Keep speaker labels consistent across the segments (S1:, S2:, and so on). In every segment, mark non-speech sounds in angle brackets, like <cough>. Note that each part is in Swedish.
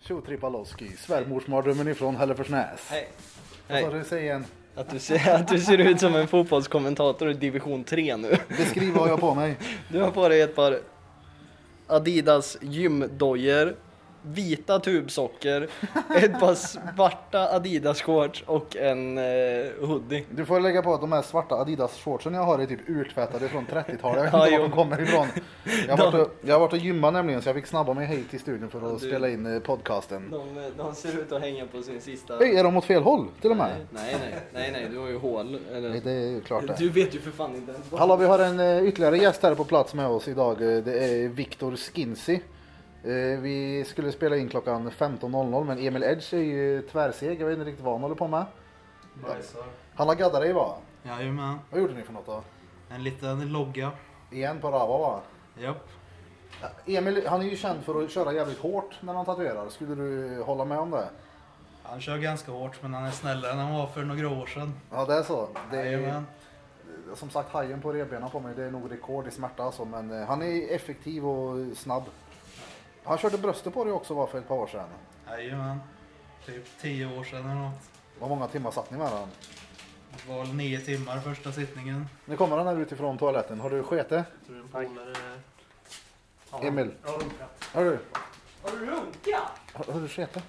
S1: Tjo Tripaloski, svärmorsmardrömmen ifrån Hälleforsnäs.
S2: Hej.
S1: Vad sa
S2: Hej.
S1: du, säg igen.
S2: Att, du ser, att du ser ut som en fotbollskommentator i division 3 nu.
S1: Beskriv vad jag har på mig.
S2: Du har på dig ett par Adidas gymdojor, vita tubsocker, ett par svarta Adidas shorts och en eh, hoodie.
S1: Du får lägga på att de här svarta Adidas-shortsen jag har är typ urtvättade från 30-talet. Jag vet
S2: Ja,
S1: inte
S2: jo.
S1: var de kommer ifrån. Jag har,
S2: De- <laughs>
S1: varit och, jag har varit och gymmat nämligen så jag fick snabba mig hit till studion för att
S2: du-
S1: spela in eh, podcasten.
S2: De, de ser ut att hänga på sin sista...
S1: Hej, är de åt fel håll till och med?
S2: Nej, nej, nej, nej, nej, du har ju hål.
S1: Nej,
S2: Eller...
S1: det är ju klart det.
S2: Du vet ju för fan inte ens vad-
S1: Hallå, vi har en eh, ytterligare gäst här på plats med oss idag. Eh, Det är Viktor Skinsi. Eh, Vi skulle spela in klockan 15.00 men Emil Edge är ju tvärseg. Jag vet inte riktigt vad han håller på med.
S3: Bajsar.
S1: Han har gaddat dig va?
S3: Jajamän.
S1: Vad gjorde ni för något då?
S3: En liten logga.
S1: Igen på Rava va?
S3: Japp.
S1: Emil han är ju känd för att köra jävligt hårt när han tatuerar. Skulle du hålla med om det?
S3: Han kör ganska hårt men han är snällare än han var för några år sedan.
S1: Ja det är så. Det är,
S3: Jajamän.
S1: som sagt hajen på revbenen på mig det är nog rekord i smärta alltså. Men eh, han är effektiv och snabb. Han körde bröstet på dig också va för ett par år sedan.
S3: Jajamän. Typ tio år sedan eller något.
S1: Vad många timmar satt ni med den?
S3: Det var väl nio timmar första sittningen.
S1: Nu kommer han här utifrån toaletten. Har du skete?
S4: Tror du en polare...
S1: Emil,
S4: Jag har runkat.
S1: har du?
S2: Har du runkat?
S1: Har, har du skete?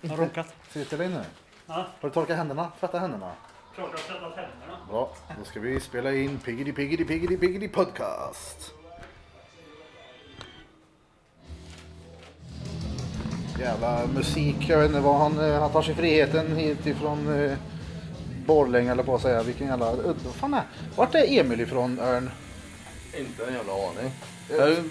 S4: Jag har runkat.
S1: Ser till dig nu?
S4: Ja.
S1: Har du torkat händerna? Tvätta händerna?
S4: Klart jag har tvättat händerna.
S1: Bra, då ska vi spela in Piggity Piggity Piggity Piggity Podcast. Jävla musik, jag vet inte vad han, eh, han tar sig friheten hit ifrån eh, Borlänge eller på att säga. Vilken jävla... eh, Vad fan är... Vart är Emil ifrån Örn?
S5: Inte en jävla aning. Jag...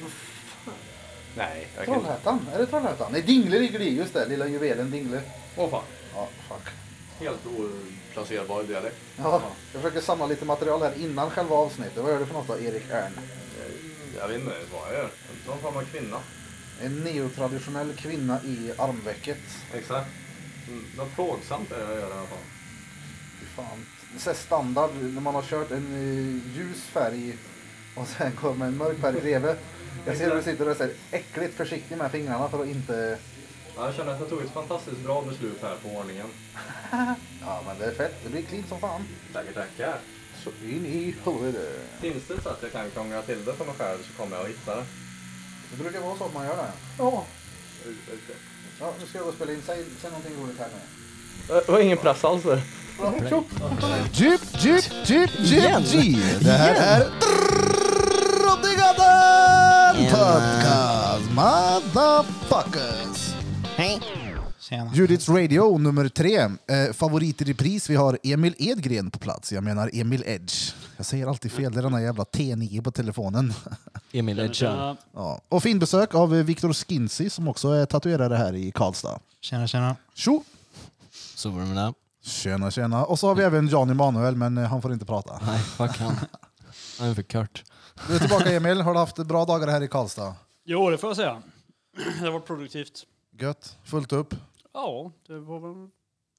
S5: Nej, jag kan inte.
S1: Trollhättan? Är det Trollhättan? Nej, Dingle ligger det i, just det. Lilla juvelen Dingle.
S5: Åh fan.
S1: Ja, fuck.
S5: Helt oplacerbar dialekt.
S1: Ja, jag försöker samla lite material här innan själva avsnittet. Vad gör du för något då, Erik Örn?
S5: Eh, Jag- Jag vet inte vad jag gör. Jag är Någon form av kvinna.
S1: En neotraditionell kvinna i armvecket.
S5: Exakt. Mm, Något plågsamt är det jag gör i alla fall.
S1: Fy Fan. Så här standard när man har kört en eh, ljus färg och sen kommer en mörk färg bredvid. Jag ser hur du sitter och är så här äckligt försiktig med fingrarna för att inte...
S5: Ja, Jag känner att jag tog ett fantastiskt bra beslut här på ordningen.
S1: Ja men det är fett, det blir clean som fan.
S5: Tackar, tackar.
S1: Så in i huvudet.
S5: Finns det så att jag kan krångla till det för mig själv så kommer jag att hitta det.
S1: Det brukar vara så att man gör det. Ja.
S5: Ursäkta.
S1: Ja, nu ska jag gå och spela in. Säg, säg någonting roligt här nu.
S5: Det var ingen press alls där.
S1: Bra, tjopp!
S6: Djup, djup, djup, djup, djup. Det här är Drottninggatan Podcast Motherfuckers.
S3: Tjena.
S1: Judits Radio nummer tre. Eh, favoriter i pris. Vi har Emil Edgren på plats. Jag menar Emil Edge. Jag säger alltid fel. Det är den där jävla T9 på telefonen.
S7: Emil Edgen.
S4: Ja.
S1: ja. Och fin besök av eh, Viktor Skinsi som också är tatuerare här i Karlstad.
S3: Tjena tjena.
S1: Tjo!
S7: Så var det med det.
S1: Tjena tjena. Och så har vi även Jan Emanuel men eh, han får inte prata.
S7: Nej, fuck han. Han är för kort.
S1: Du är tillbaka Emil. Har du haft bra dagar här i Karlstad?
S4: Jo, det får jag säga. <clears throat> Det har varit produktivt.
S1: Gött. Fullt upp.
S4: Ja, det var väl...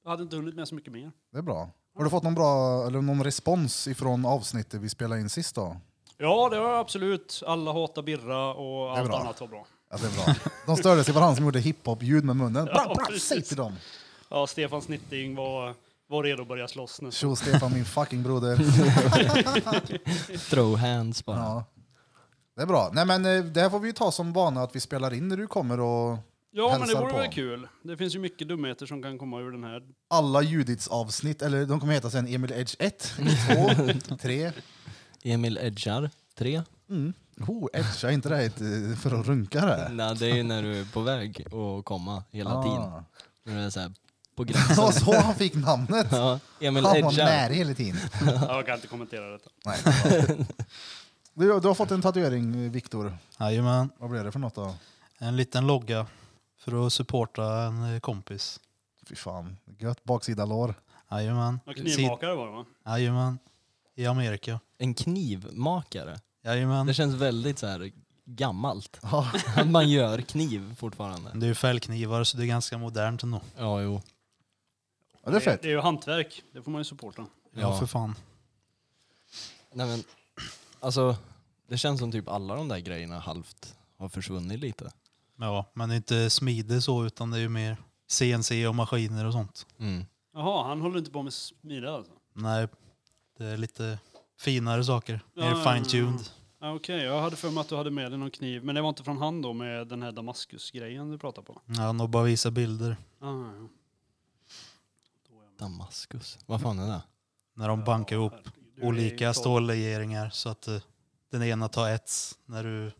S4: Jag hade inte hunnit med så mycket mer.
S1: Det är bra. Har du fått någon bra eller någon respons ifrån avsnittet vi spelade in sist då?
S4: Ja, det har jag absolut. Alla hatar Birra och
S1: är
S4: allt
S1: bra.
S4: annat var bra.
S1: Ja, det är bra. De störde sig på han som gjorde hiphop-ljud med munnen. Bra,
S4: Ja,
S1: bra,
S4: precis.
S1: säg till dem!
S4: Ja, Stefan Snitting var, var redo att börja slåss nu.
S1: Tjo Stefan, min fucking broder.
S7: Throw hands bara.
S1: Ja. Det är bra. Nej, men eh, det här får vi ju ta som vana att vi spelar in när du kommer och
S4: Ja, men det
S1: Hälsar
S4: vore
S1: på.
S4: väl kul. Det finns ju mycket dumheter som kan komma ur
S1: <laughs>
S4: den här.
S1: alla Judits avsnitt, eller de kommer heta sen Emil Edge 1, 2, 3.
S7: Emil Edgar. Tre.
S1: Oh, edge, är inte det här ett, eh, för att runka det?
S7: Nej, det är ju när du är på väg att komma hela tiden.
S1: Ah. <laughs>
S7: När du är så här på
S1: Det <laughs> var
S7: gränsen.
S1: så han fick namnet.
S7: Ja, Emil
S1: Han var
S7: Edgar.
S1: nära hela tiden.
S4: Jag kan inte kommentera detta.
S1: Nej, det är
S7: <laughs>
S1: bra. du, du har fått en tatuering, eh, Viktor.
S3: Jajamän.
S1: Vad blev det för något då?
S3: En liten logga. För att supporta en eh, kompis.
S1: Fy fan, gött baksida lår.
S3: Jajamän.
S4: Och
S3: Sid-
S4: knivmakare var det va?
S3: Jajamän. I Amerika.
S7: En knivmakare.
S3: Jajamän.
S7: Det känns väldigt så här gammalt. <laughs>
S1: Ja.
S7: Att man gör kniv fortfarande.
S3: Det är ju fällknivar så det är ganska modernt ändå.
S7: Ja, jo.
S1: Ja, det är fett.
S4: Det är ju hantverk. Det får man ju supporta.
S3: Ja,
S7: Ja.
S3: för fan.
S7: Nej, men, alltså, det känns som typ alla de där grejerna halvt har försvunnit lite.
S3: Ja, men det är inte smide så utan det är ju mer CNC och maskiner och sånt.
S7: Mm.
S4: Jaha, han håller inte på med smida alltså?
S3: Nej, det är lite finare saker. Mer
S4: Ja, ja, ja, ja.
S3: fine-tuned.
S4: Ja, Okej, jag hade för mig att du hade med dig någon kniv, men det var inte från han då med den här Damaskus-grejen du pratade på?
S3: Ja, han har bara visat bilder
S4: Ah, ja.
S7: Damaskus. Vad fan är det?
S3: när de bankar ihop
S4: herregud, du är ju
S3: olika
S4: tolv.
S3: stållegeringar så att eh, den ena tar ets när du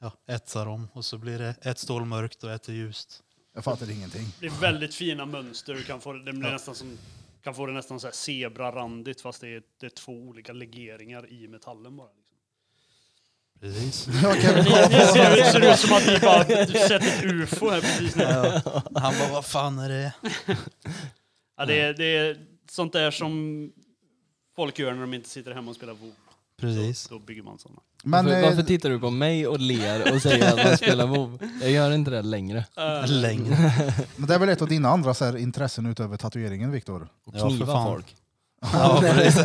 S3: ja, etsar dem och så blir det ett stål mörkt och ett är ljust.
S1: Jag fattar ingenting. <laughs>
S4: Det är väldigt fina mönster, du kan få det, det blir nästan som kan få det nästan så här zebrarandigt fast det är, det är två olika legeringar i metallen bara. Liksom.
S3: <laughs> Precis.
S4: Det, <laughs> det ser, ut- ser ut som att vi bara <laughs> du sett ett ufo här precis nu.
S3: Han bara, vad fan är det?
S4: Ja, det, är, det är sånt där som folk gör när de inte sitter hemma och spelar WoW.
S3: Precis.
S4: Då bygger man sådana.
S8: Men
S7: varför,
S8: eh,
S7: varför tittar du på mig och ler och säger att man spelar WoW? Jag gör inte det längre.
S3: Längre.
S1: Men det är väl ett av dina andra så här, intressen utöver tatueringen, Viktor?
S7: Och
S3: Ja, för
S7: kniva
S3: fan.
S7: folk.
S3: Ja, precis.
S1: <laughs>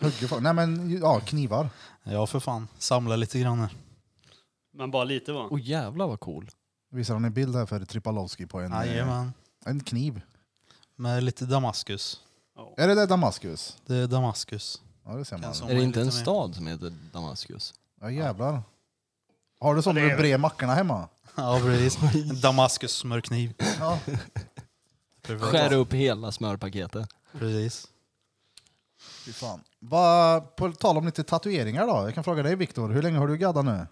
S1: Hugger folk? Nej men, ju- ja, knivar.
S3: Ja, för fan. Samla lite grann här.
S4: Men bara lite va?
S7: Åh jävlar vad cool.
S1: Visar han en bild här för Tripalowski på en, eh,
S3: Jajamän.
S1: en kniv.
S3: Med lite Damaskus.
S1: Är det där Damaskus?
S3: Det är Damaskus. <laughs>
S1: Ja, det ser man.
S3: Kan som-
S7: Är det inte en
S3: lite mer.
S7: stad som heter Damaskus?
S1: Ja, jävlar. Har du sån när du brer mackorna hemma?
S3: Ja, precis. En Damaskus-smörkniv.
S1: Ja.
S3: Perfekt.
S7: Skär upp hela smörpaketet.
S3: Precis.
S1: <laughs> Fy fan. Va, på tal om lite tatueringar då. Jag kan fråga dig Viktor, hur länge har du gaddat nu?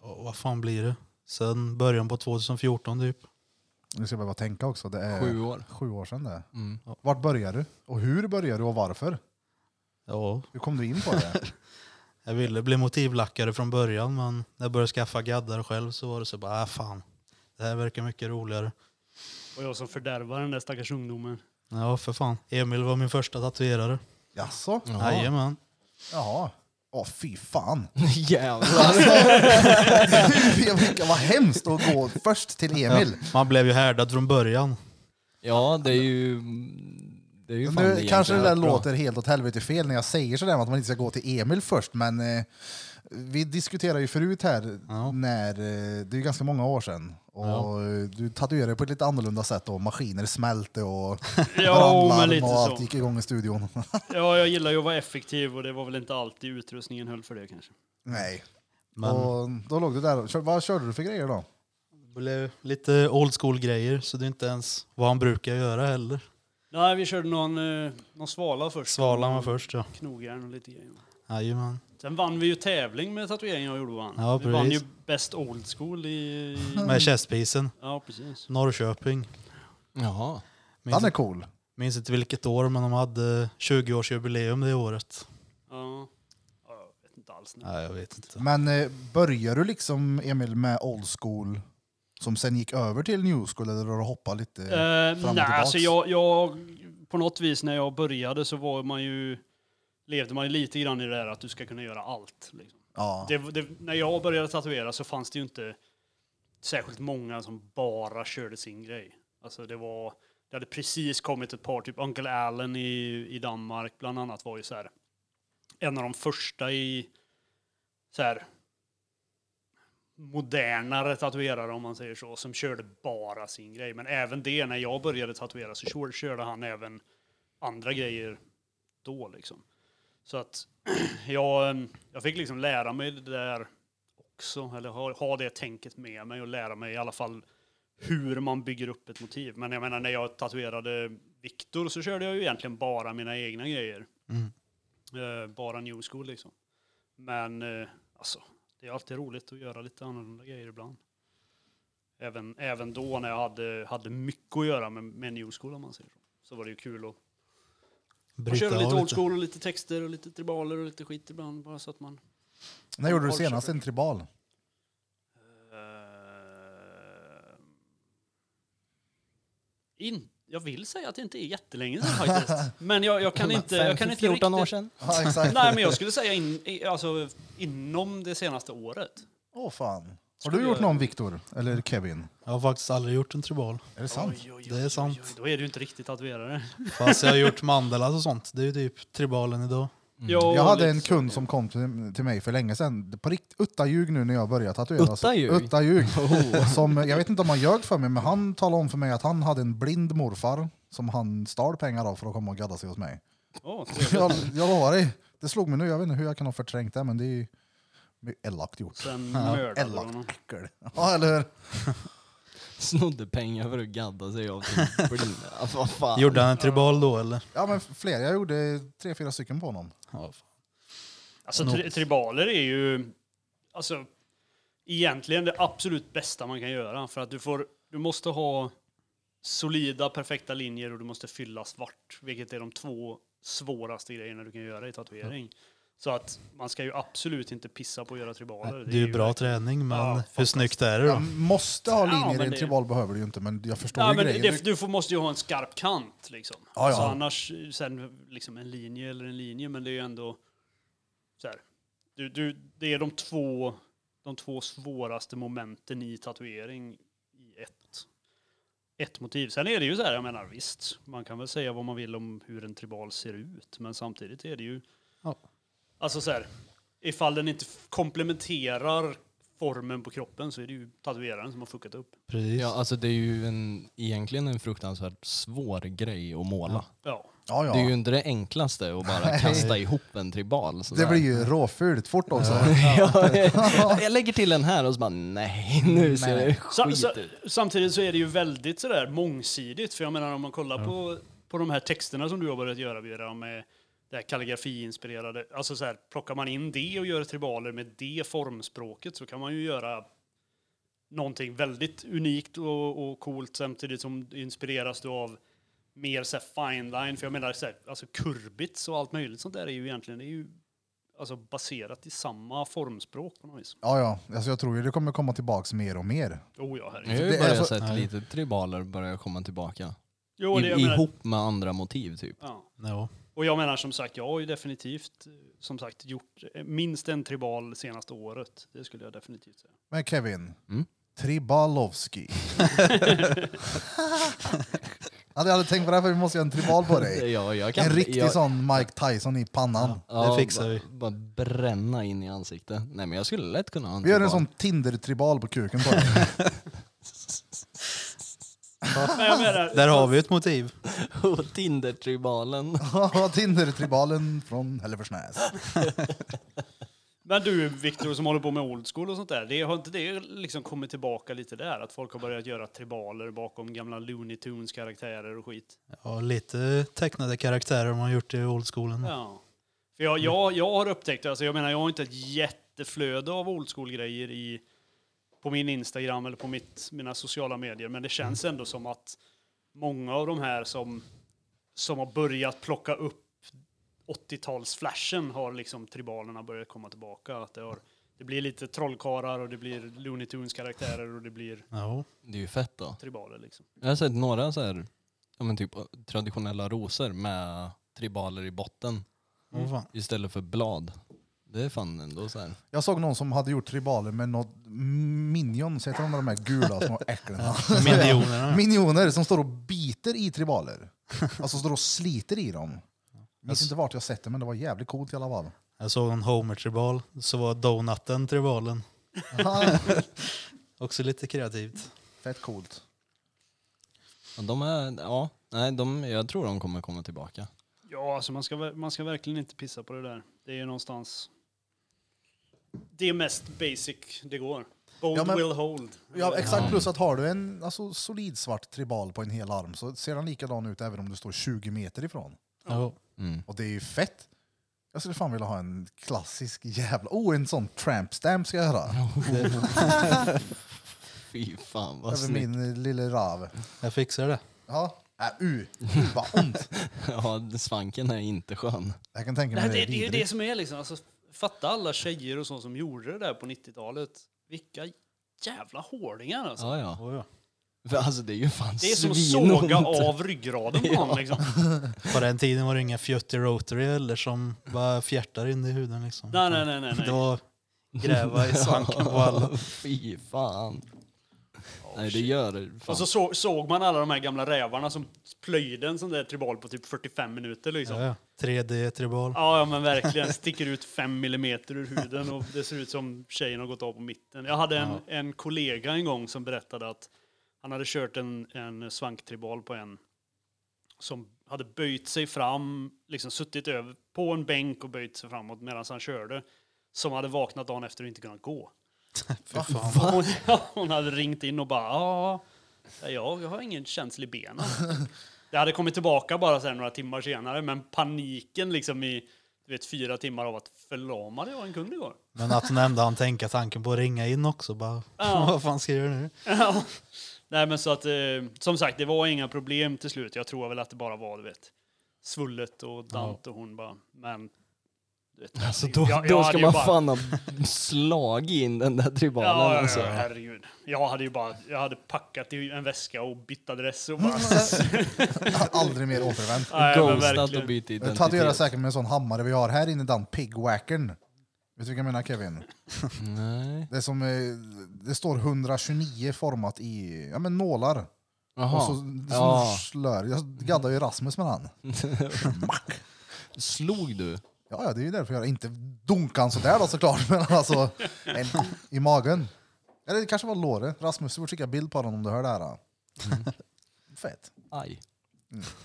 S3: Och vad fan blir det? Sen början på 2014 typ.
S1: Nu ska jag behöva tänka också. Det är
S7: Sju år.
S1: sju år sedan det.
S7: Mm.
S1: Vart började du? Och hur började du och varför?
S3: Ja,
S1: Hur kom du in på det?
S3: jag ville bli motivlackare från början men när jag började skaffa gaddar själv så var det så bara, äh, fan. Det här verkar mycket roligare.
S4: Och jag som fördärvar den där stackars ungdomen.
S3: Ja, för fan. Emil var min första tatuerare.
S1: Jaså?
S3: Jajamän.
S1: Jaha. Åh fy fan. <laughs>
S7: Jävlar.
S1: Jag fick- Vad hemskt att gå först till Emil.
S3: Man blev ju härdad från början.
S7: Ja, det är ju... Det är ju fan
S1: Nu kanske det där
S7: egentligen rätt bra.
S1: låter helt åt helvete fel när jag säger sådär att man inte ska gå till Emil först, men eh, vi diskuterade ju förut här,
S3: Ja.
S1: när, eh, det är ju ganska många år sedan, och eh, du tatuerade på ett lite annorlunda sätt och maskiner smälte och
S4: Ja,
S1: brandlarm
S4: men lite
S1: och allt
S4: så.
S1: gick igång i studion. <laughs>
S4: Ja, jag gillar ju att vara effektiv och det var väl inte alltid utrustningen höll för det kanske.
S1: Nej.
S3: Men-
S1: Och då låg du där, och kör- vad körde du för grejer då?
S3: Det blev lite old school grejer så det är inte ens vad han brukar göra heller.
S4: Nej, vi körde någon, eh, någon svala först.
S3: Svalan var först ja.
S4: Knogjärn och lite grejer.
S3: Jajamän.
S4: Sen vann vi ju tävling med tatueringen jag gjorde va?
S3: Ja,
S4: vi vann ju
S3: precis.
S4: Best Old School i... i
S3: <laughs> Med chestpisen.
S4: ja, precis.
S3: Norrköping.
S7: Jaha.
S1: Den
S3: Minns,
S1: är cool.
S3: minns inte vilket år men de hade 20-årsjubileum det året.
S4: Ja. ja, jag vet inte alls. Nu.
S3: Nej, jag vet inte.
S1: Men eh, började du liksom Emil med old school som sen gick över till new school eller har du hoppat lite?
S4: Eh,
S1: fram och
S4: nej,
S1: tillbaks.
S4: alltså jag, jag, på något vis när jag började så var man ju, levde man ju lite grann i det här att du ska kunna göra allt. Liksom.
S1: ja.
S4: Det, det, när jag började tatuera så fanns det ju inte särskilt många som bara körde sin grej. Alltså det var, det hade precis kommit ett par, typ Uncle Allen i, i Danmark bland annat var ju så här, en av de första i så här, modernare tatuerare om man säger så, som körde bara sin grej. Men även det, när jag började tatuera så kör- körde han även andra grejer då liksom. Så att <clears throat> jag, em, jag fick liksom lära mig det där också, eller ha, ha det tänket med mig och lära mig i alla fall hur man bygger upp ett motiv. Men jag menar, när jag tatuerade Viktor så körde jag ju egentligen bara mina egna grejer.
S3: Mm.
S4: Eh, bara new school liksom. Men eh, alltså, det är alltid roligt att göra lite annorlunda grejer ibland. Även, även då när jag hade, hade mycket att göra med, med new school om man säger så. Så var det ju kul att och
S3: Bryta
S4: köra
S3: av
S4: lite old school och lite texter och lite tribaler och lite skit ibland bara så att man...
S1: När gjorde du
S4: Har du
S1: senast
S4: kört?
S1: en tribal?
S4: Eh, in, jag vill säga att det inte är jättelänge sedan faktiskt. Men jag, jag kan inte... Jag kan inte
S7: 14 år
S4: riktigt-
S7: sedan.
S1: Ja, exakt.
S4: Nej, men jag skulle säga in, i- alltså, inom det senaste året.
S1: Åh fan. Har
S4: Skulle
S1: du gjort
S4: jag-
S1: någon Viktor? Eller Kevin?
S3: Jag har faktiskt aldrig gjort en tribal.
S1: Är det sant?
S4: Oj, oj, oj,
S3: Det är sant.
S4: Oj, då är du inte riktigt tatuerare.
S3: Fast jag har gjort mandalas och sånt. Det är ju typ tribalen idag.
S4: Ja,
S1: Jag hade
S4: lite
S1: en
S4: så.
S1: kund som kom till, till mig för länge sedan, på rikt, utta ljug nu när jag började tatuera. Alltså,
S7: Utta ljug?
S1: Utta ljug.
S4: <laughs> Oh.
S1: Som, jag vet inte om han ljög för mig, men han talade om för mig att han hade en blind morfar som han stal pengar av för att komma och gadda sig hos mig.
S4: Ja,
S1: <laughs>
S4: trevligt.
S1: Jag, jag lovar dig, det slog mig nu. Jag vet inte hur jag kan ha förträngt det, men det är ju det är elakt gjort.
S4: Sen
S1: Ja,
S4: mördade du honom.
S1: elakt äckel. Ja, eller hur?
S7: Snodde pengar för att gadda sig av sin blinda. Alltså, vad fan.
S3: Gjorde han en tribal då eller?
S1: Ja, men fler. Jag gjorde tre, fyra stycken på honom.
S3: Ja, fan.
S4: Alltså tri tribaler är ju alltså, egentligen det absolut bästa man kan göra. För att du, får, du måste ha solida, perfekta linjer och du måste fylla svart. Vilket är de två svåraste grejerna du kan göra i tatuering. Så att man ska ju absolut inte pissa på att göra tribaler.
S3: Det är ju bra träning men
S4: Ja,
S3: hur snyggt är det
S1: Jag
S3: då?
S1: måste ha linjer
S4: men
S1: i en
S4: det-
S1: tribal, behöver du ju inte, men jag förstår
S4: Ja,
S1: ju
S4: men
S1: grejen.
S4: det, du får, måste ju ha en skarp kant liksom.
S1: Ja, ja.
S4: Så annars, sen liksom en linje eller en linje, men det är ju ändå så här. Du, du, det är de två, de två svåraste momenten i tatuering i ett, ett motiv. Sen är det ju så här, jag menar visst, man kan väl säga vad man vill om hur en tribal ser ut, men samtidigt är det ju,
S3: Ja.
S4: alltså så här, ifall den inte f- komplementerar formen på kroppen så är det ju tatueraren som har fuckat upp.
S3: Precis.
S7: Ja, alltså det är ju en, egentligen en fruktansvärt svår grej att måla.
S4: Ja.
S1: Ja, ja.
S7: Det är ju inte det enklaste att bara kasta ihop en tribal.
S1: Det
S7: sådär.
S1: blir ju råfult fort också.
S7: ja, <laughs> jag lägger till den här och så bara nej, nu ser det
S4: Sa-
S7: skit
S4: sa-
S7: ut.
S4: Samtidigt så är det ju väldigt sådär mångsidigt, för jag menar om man kollar på, på de här texterna som du har börjat göra Björn, med det här kalligrafiinspirerade, alltså så här, plockar man in det och gör tribaler med det formspråket så kan man ju göra någonting väldigt unikt och, och coolt samtidigt som det inspireras du av mer så här fine line, för jag menar så här, alltså kurbits och allt möjligt sånt där är ju egentligen, det är ju alltså baserat i samma formspråk på något vis.
S1: Ja, ja. Alltså, jag tror ju det kommer komma tillbaks mer och mer.
S4: Oh ja,
S7: Jag har
S4: herregud.
S1: Alltså, Det
S7: ju
S1: är
S7: börjat
S1: så-
S7: sett lite tribaler börja komma tillbaka.
S4: Jo,
S7: I,
S4: det jag menar-
S7: ihop med andra motiv typ.
S4: Ja.
S3: Ja.
S4: Och jag menar som sagt, jag har ju definitivt eh, som sagt gjort eh, minst en tribal senaste året. Det skulle jag definitivt säga.
S1: Men Kevin,
S7: Mm. <laughs>
S1: Tribalowski. ja, jag hade tänkt på det här för vi måste göra en tribal på dig.
S7: Ja, jag kan,
S1: En riktig
S7: jag,
S1: sån Mike Tyson i pannan.
S7: ja,
S3: Det fixar
S7: ba-
S3: vi.
S7: Bara bränna in i ansiktet. Nej men jag skulle lätt kunna ha en
S1: Vi gör en
S7: tribal.
S1: sån Tinder-tribal på kuken på dig. <laughs>
S4: Men jag menar,
S3: Där har vi ett motiv.
S7: <laughs> Tinder-tribalen.
S1: Ja, Tinder-tribalen från Hälleforsnäs.
S4: men du Viktor som håller på med old school och sånt där, det har inte det liksom kommit tillbaka lite där? Att folk har börjat göra tribaler bakom gamla Looney Tunes karaktärer och skit?
S3: Ja, lite tecknade karaktärer man har gjort i old schoolen.
S4: Ja. För jag, jag, jag har upptäckt, alltså jag menar jag har inte ett jätteflöde av old school-grejer i, på min Instagram eller på mitt, mina sociala medier, men det känns ändå som att många av de här som, som har börjat plocka upp 80-talsflashen har liksom tribalerna börjat komma tillbaka. Att det, har, det blir lite trollkarlar och det blir Looney Tunes-karaktärer och det blir
S3: Ja.
S7: Det är ju fett då.
S4: tribaler liksom.
S7: Jag har sett några så här, ja, men typ traditionella rosor med tribaler i botten
S3: Åh, fan.
S7: istället för blad. Det är fan ändå så här.
S1: Jag såg någon som hade gjort tribaler med något Minions, heter de där de här gula små äcklena? <laughs>
S3: Miljonerna.
S1: Minioner som står och biter i tribaler. Alltså står och sliter i dem. Jag minns inte vart jag sett det, men det var jävligt coolt i alla fall.
S3: Jag såg en Homer-tribal, så var Donutten tribalen.
S1: Aha,
S3: Också lite kreativt.
S1: <laughs> Fett coolt.
S7: Ja, de är, ja, nej, de, jag tror de kommer komma tillbaka.
S4: Ja, alltså man ska, ver- man ska verkligen inte pissa på det där. Det är ju någonstans... Det är mest basic det går. Bold
S1: Ja, men-
S4: will hold.
S1: Ja,
S4: Eller-
S1: exakt. Plus att har du en alltså, solid svart tribal på en hel arm så ser den likadan ut även om du står 20 meter ifrån.
S3: Ja.
S4: <laughs>
S7: Mm.
S1: Och det är ju fett. Jag skulle fan vilja ha en klassisk jävla... Oh, en sån tramp stamp ska jag göra.
S7: Fy fan vad
S1: Över
S7: snyggt.
S1: min eh, lille rav.
S3: Jag fixar det.
S1: Ja. Äh, u. U, vad ont.
S7: Ja, svanken är inte skön.
S1: Jag kan tänka mig
S4: Nej,
S1: det
S4: det,
S1: är
S4: det är ju det
S1: vidrigt.
S4: som är liksom. Alltså, fatta alla tjejer och sånt som gjorde det där på 90-talet. Vilka jävla hårdingar alltså.
S7: Ja, ja.
S3: Oh, ja.
S7: För, alltså det är ju fan
S4: Det är som att
S7: svinont.
S4: såga av ryggraden på honom liksom.
S3: På den tiden var det inga fjuttig rotary eller som bara fjärtar in i huden liksom. <laughs>
S4: Nej, nej, nej, nej.
S7: <laughs>
S4: nej. <laughs>
S3: Det var gräva i svanken på alla.
S7: Fy fan. Nej, det gör det. fan.
S4: Och så, så såg man alla de här gamla rävarna som plöjde en sån där tribal på typ 45 minuter liksom.
S3: Ja, ja. 3D-tribal.
S4: Ja, ja men verkligen. Sticker ut fem millimeter ur huden och det ser ut som tjejen har gått av på mitten. Jag hade en, en kollega en gång som berättade att han hade kört en, en svanktribal på en som hade böjt sig fram, liksom suttit över på en bänk och böjt sig framåt medan han körde. Som hade vaknat dagen efter och inte kunnat gå.
S3: Fy fan.
S4: Hon, <laughs> hon hade ringt in och bara ja, jag, jag har ingen känsla i benen. Det hade kommit tillbaka bara så här några timmar senare, men paniken liksom i du vet, fyra timmar av att förlamade jag en
S7: <laughs>
S4: kund igår.
S3: Men att hon ändå han tänka tanken på att ringa in också. Bara, <laughs> vad fan ska jag göra nu?
S4: Ja. Nej men så att, eh, som sagt, det var inga problem till slut. Jag tror väl att det bara var, du vet, svullet och dant och hon bara, men... Du vet,
S7: Alltså då,
S4: jag- jag
S7: då
S4: hade
S7: ska
S4: ju
S7: man
S4: bara-
S7: fan ha slagit in den där tribalen
S4: Ja, ja,
S7: alltså.
S4: ja, herregud. Jag hade ju bara, jag hade packat i en väska och bytt
S7: <laughs>
S4: adress och bara...
S1: <laughs> Aldrig mer återvänt.
S4: Nej, men
S7: Ghostat
S4: verkligen.
S7: och bytt
S1: Det hade att göra
S7: identitet.
S1: säkert med en sån hammare vi har här inne, den pigwackern. Vet du vilka jag menar Kevin?
S7: Nej.
S1: Det, är som, eh, det står 129 format i ja, men nålar.
S7: Jaha.
S1: Och så det är som
S7: ja.
S1: slör. Jag gaddar ju Rasmus med han.
S7: Slog du?
S1: Ja, ja, det är ju därför jag inte dunkar han sådär då såklart, <laughs> men alltså en, i magen. Eller det kanske var låret. Rasmus, du får skicka bild på honom om du hör det här. då.
S7: Mm.
S1: <laughs> Fett.
S7: Aj. <laughs>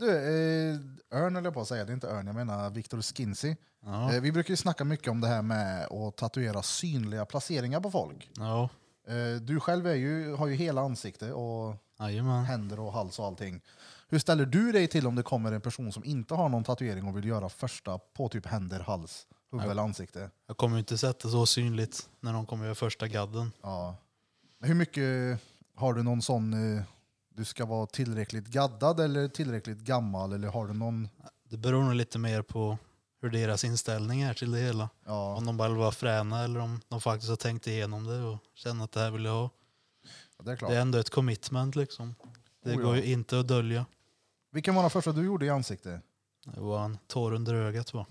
S1: Du, eh, Örn höll jag på att säga, det är inte Örn, jag menar Viktor Skinsey. Eh, vi brukar ju snacka mycket om det här med att tatuera synliga placeringar på folk.
S3: Ja,
S1: Eh, du själv är ju, har ju hela ansikte och
S3: jajamän.
S1: händer och hals och allting. Hur ställer du dig till om det kommer en person som inte har någon tatuering och vill göra första på typ händer, hals, huvud eller ansikte?
S3: Jag kommer ju inte sätta så synligt när de kommer göra första gadden.
S1: Ja. Men Hur mycket har du någon sån, eh, du ska vara tillräckligt gaddad eller tillräckligt gammal eller har du någon,
S3: Det beror nog lite mer på hur deras inställning är till det hela.
S1: ja,
S3: Om de bara vill vara fräna eller om de faktiskt har tänkt igenom det och känner att det här vill jag ha.
S1: det är klart.
S3: Det är ändå ett commitment liksom.
S4: Oh,
S3: Det går ju inte att dölja.
S1: Vilken var den första du gjorde i ansiktet?
S3: Det var en tår under ögat va?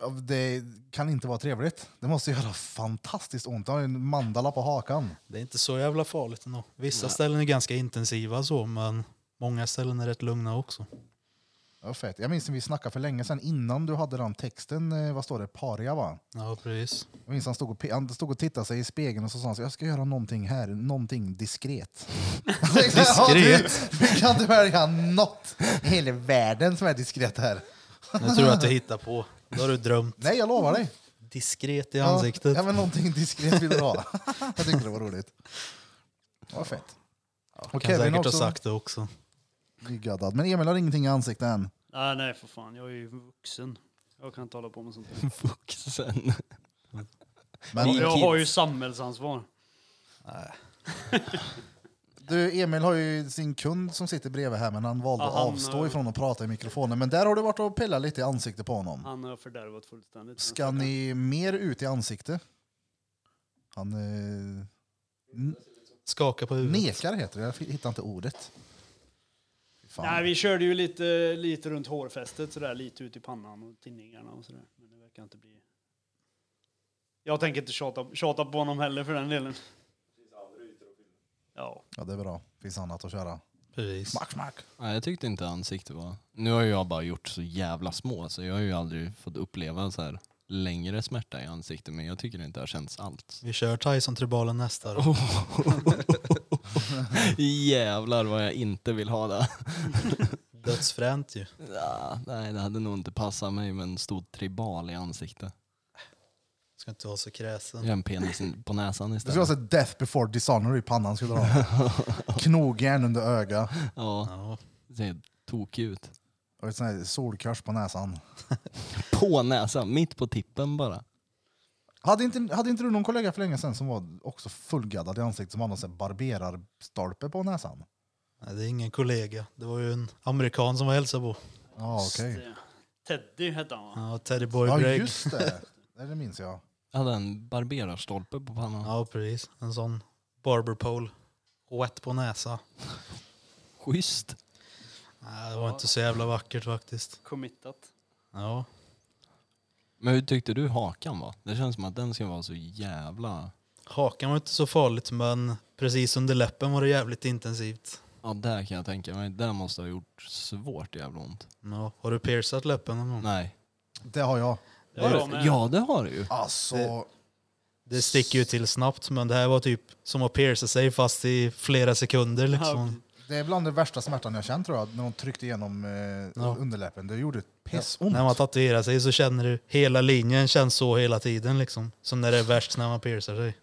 S1: Ja, Det kan inte vara trevligt. Det måste göra fantastiskt ont. Jag har en mandala på hakan.
S3: Det är inte så jävla farligt ändå. Vissa ställen är ganska intensiva så men många ställen är rätt lugna också.
S1: Ja, fett. Jag minns när vi snackade för länge sedan innan du hade den texten, eh, vad står det, paria va?
S3: Ja precis.
S1: Jag minns han stod och, pe- han stod och tittade sig i spegeln och så sa han så, jag ska göra någonting här, någonting
S3: <laughs>
S1: diskret. diskret? Ja, du, du kan inte välja något i hela världen som är diskret här. <laughs>
S3: Nu tror jag att du hittar på. Då har du drömt.
S1: Nej, jag lovar dig.
S3: Diskret i
S1: Ja,
S3: ansiktet.
S1: Ja, men någonting diskret vill du ha.
S3: <laughs>
S1: jag tyckte det var roligt. Vad fett. Och
S3: kan
S1: Kevin
S3: säkert
S1: också
S3: ha sagt det också.
S1: nygaddad. Men Emil har ingenting i ansiktet än.
S4: Nej, nej för fan, jag är ju vuxen. Jag kan inte hålla på med sånt. här.
S7: Vuxen.
S1: Men
S7: Ni-
S4: Jag har ju samhällsansvar.
S1: du, Emil har ju sin kund som sitter bredvid här, men han valde
S4: Ja, han,
S1: att avstå
S4: eh,
S1: ifrån att prata i mikrofonen. Men där har du varit och pillat lite i ansiktet på honom.
S4: Han har jag fördärvat fullständigt.
S1: Ska ni mer ut i ansikte? Han eh,
S3: Skaka på huvudet.
S1: nekar heter det, jag hittar inte ordet. Fy Fan.
S4: Nej, vi körde ju lite, lite runt hårfästet, sådär, lite ut i pannan och tinningarna och sådär. Men det verkar inte bli... Jag tänker inte tjata, tjata på honom heller för den delen. Ja,
S1: Ja, det är bra, finns annat att köra.
S3: Precis.
S1: Smack, smack.
S7: Nej, jag tyckte inte ansikte var... Nu har ju jag bara gjort så jävla små så jag har ju aldrig fått uppleva så här längre smärta i ansiktet men jag tycker det inte har känts alls. <laughs>
S3: Vi kör Tyson-tribalen nästa då.
S1: Oh.
S7: Jävlar vad jag inte vill ha det.
S3: Dödsfränt ju.
S7: <laughs> Ja, nej, det hade nog inte passat mig med en stor tribal i ansiktet.
S3: Ska inte vara så kräsen.
S7: Jag har en penis in- på näsan
S1: Det skulle
S7: istället.
S1: vara så death before dishonor i pannan. Skulle du ha.
S4: <laughs>
S1: Knogjärn under öga
S7: Ja,
S3: Ja.
S7: det ser tokig ut.
S1: och ett sånt här solkors på näsan.
S7: På näsan, mitt på tippen bara.
S1: Hade inte, hade inte du någon kollega för länge sedan som var också fullgaddad i ansiktet som hade en sån här barberarstolpe på näsan?
S3: Nej, det är ingen kollega. Det var ju en amerikan som var hälsa på.
S1: Ja, okej.
S4: det- Teddy hette han va?
S3: Ja, Teddy Boy
S1: Ja,
S3: Gregg.
S1: just det. Det minns jag.
S7: Jag hade en barberarstolpe på pannan.
S3: Ja, precis. En sån barber pole. Wet på näsa.
S7: Schysst.
S3: Nej, det var inte så jävla vackert faktiskt.
S4: Committat.
S3: Ja.
S7: Men hur tyckte du hakan var? Det känns som att den ska vara så jävla...
S3: Hakan var inte så farligt men precis under läppen var det jävligt intensivt.
S7: Ja, där kan jag tänka mig. Det måste ha gjort svårt jävla ont.
S3: Ja, har du piercat läppen någon gång?
S7: Nej.
S1: Det har jag.
S4: Det var jag med.
S7: Ja, det har du ju.
S1: Alltså,
S3: Det sticker ju till snabbt men det här var typ som att pierca sig fast i flera sekunder liksom.
S1: det är bland den värsta smärtan jag känt tror jag, när de tryckte igenom eh,
S3: Ja.
S1: underläppen. Det gjorde pissont.
S3: När man tatuerar sig så känner du hela linjen känns så hela tiden liksom. Som när det är värst när man piercar sig.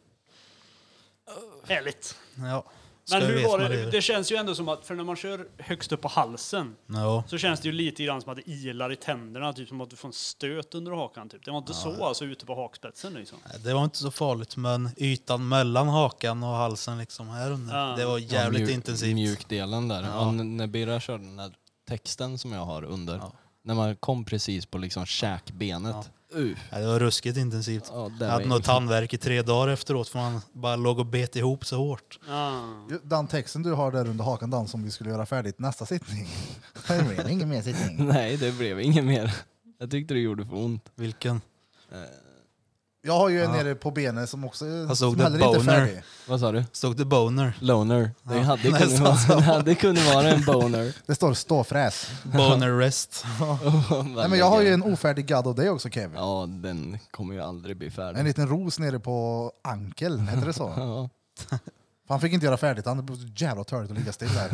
S4: Härligt.
S3: Ja.
S4: Men
S3: Så
S4: hur
S3: vet
S4: var
S3: man
S4: det? Det känns ju ändå som att, för när man kör högst upp på halsen
S3: Ja.
S4: så känns det ju lite grann som att det ilar i tänderna, typ som att du får en stöt under hakan. Typ. Det var inte så alltså ute på hakspetsen liksom.
S3: Det var inte så farligt men ytan mellan hakan och halsen liksom här under.
S4: Ja.
S3: Det var jävligt
S7: Ja, mjuk-
S3: intensivt.
S7: Mjukdelen där. Ja. n- när Birra körde den där texten som jag har under. När man kom precis på liksom käkbenet. Uh.
S3: Ja, det var ruskigt intensivt.
S7: Ja, det
S3: jag
S7: var
S3: hade nog tandvärk i tre dagar efteråt för man bara låg och bet ihop så hårt.
S4: Ah.
S1: Ju- Den texten du har där under hakan, Dan, som vi skulle göra färdigt nästa
S3: <laughs>
S1: sittning. det blev ingen mer sittning.
S7: <laughs> Nej, det blev inget mer. Jag tyckte det gjorde för ont.
S3: Vilken? Eh.
S1: Jag har ju en nere på benet som också
S3: Jag såg
S1: som
S3: det,
S1: heller inte är
S3: boner.
S1: färdig.
S7: Vad sa du?
S3: Stod
S7: <laughs>
S3: det boner?
S7: Loner. Det, hade, <laughs> kunnat
S3: nästan
S7: vara, det hade kunnat vara en boner.
S1: Det står ståfräs.
S3: Boner rest.
S1: <laughs> Nej, men jag har ju en ofärdig gadd av dig också Kevin.
S7: Ja, den kommer ju aldrig bli färdig.
S1: En liten ros nere på ankeln, heter det
S7: <laughs>
S1: så?
S7: Ja.
S1: Han fick inte göra färdigt, han blev så jävla törligt att ligga still där.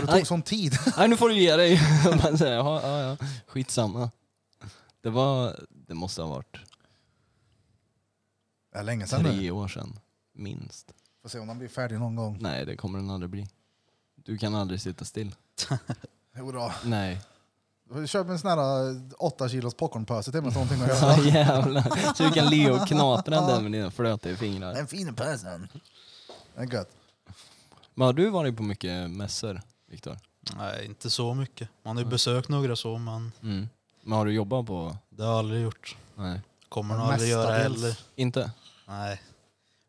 S1: Och det
S7: Aj.
S1: tog sån tid.
S7: Nej, nu får du ge dig. <laughs> Man säger, ja, ja, ja. Skitsamma. Det var, det måste ha varit
S1: Det är länge sedan nu.
S7: tre år sedan, minst.
S1: Får se om han blir färdig någon gång.
S7: Nej, det kommer den aldrig bli. Du kan aldrig sitta still.
S1: Jodå.
S7: Nej.
S1: Köp en sån här eh, åtta kilos popcornpåse till mig så någonting att göra.
S7: <laughs> Ja, jävlar. Så du kan le och knapra den med dina flötiga fingrar.
S1: Den fina pösen. Det är gött.
S7: Men har du varit på mycket mässor, Viktor?
S3: Nej, inte så mycket. Man har ju besökt några så men
S7: Mm. Men har du jobbat på...
S3: det har jag aldrig gjort.
S7: Nej.
S3: Kommer nog aldrig göra
S1: Mestadels.
S3: heller.
S7: Inte?
S3: Nej.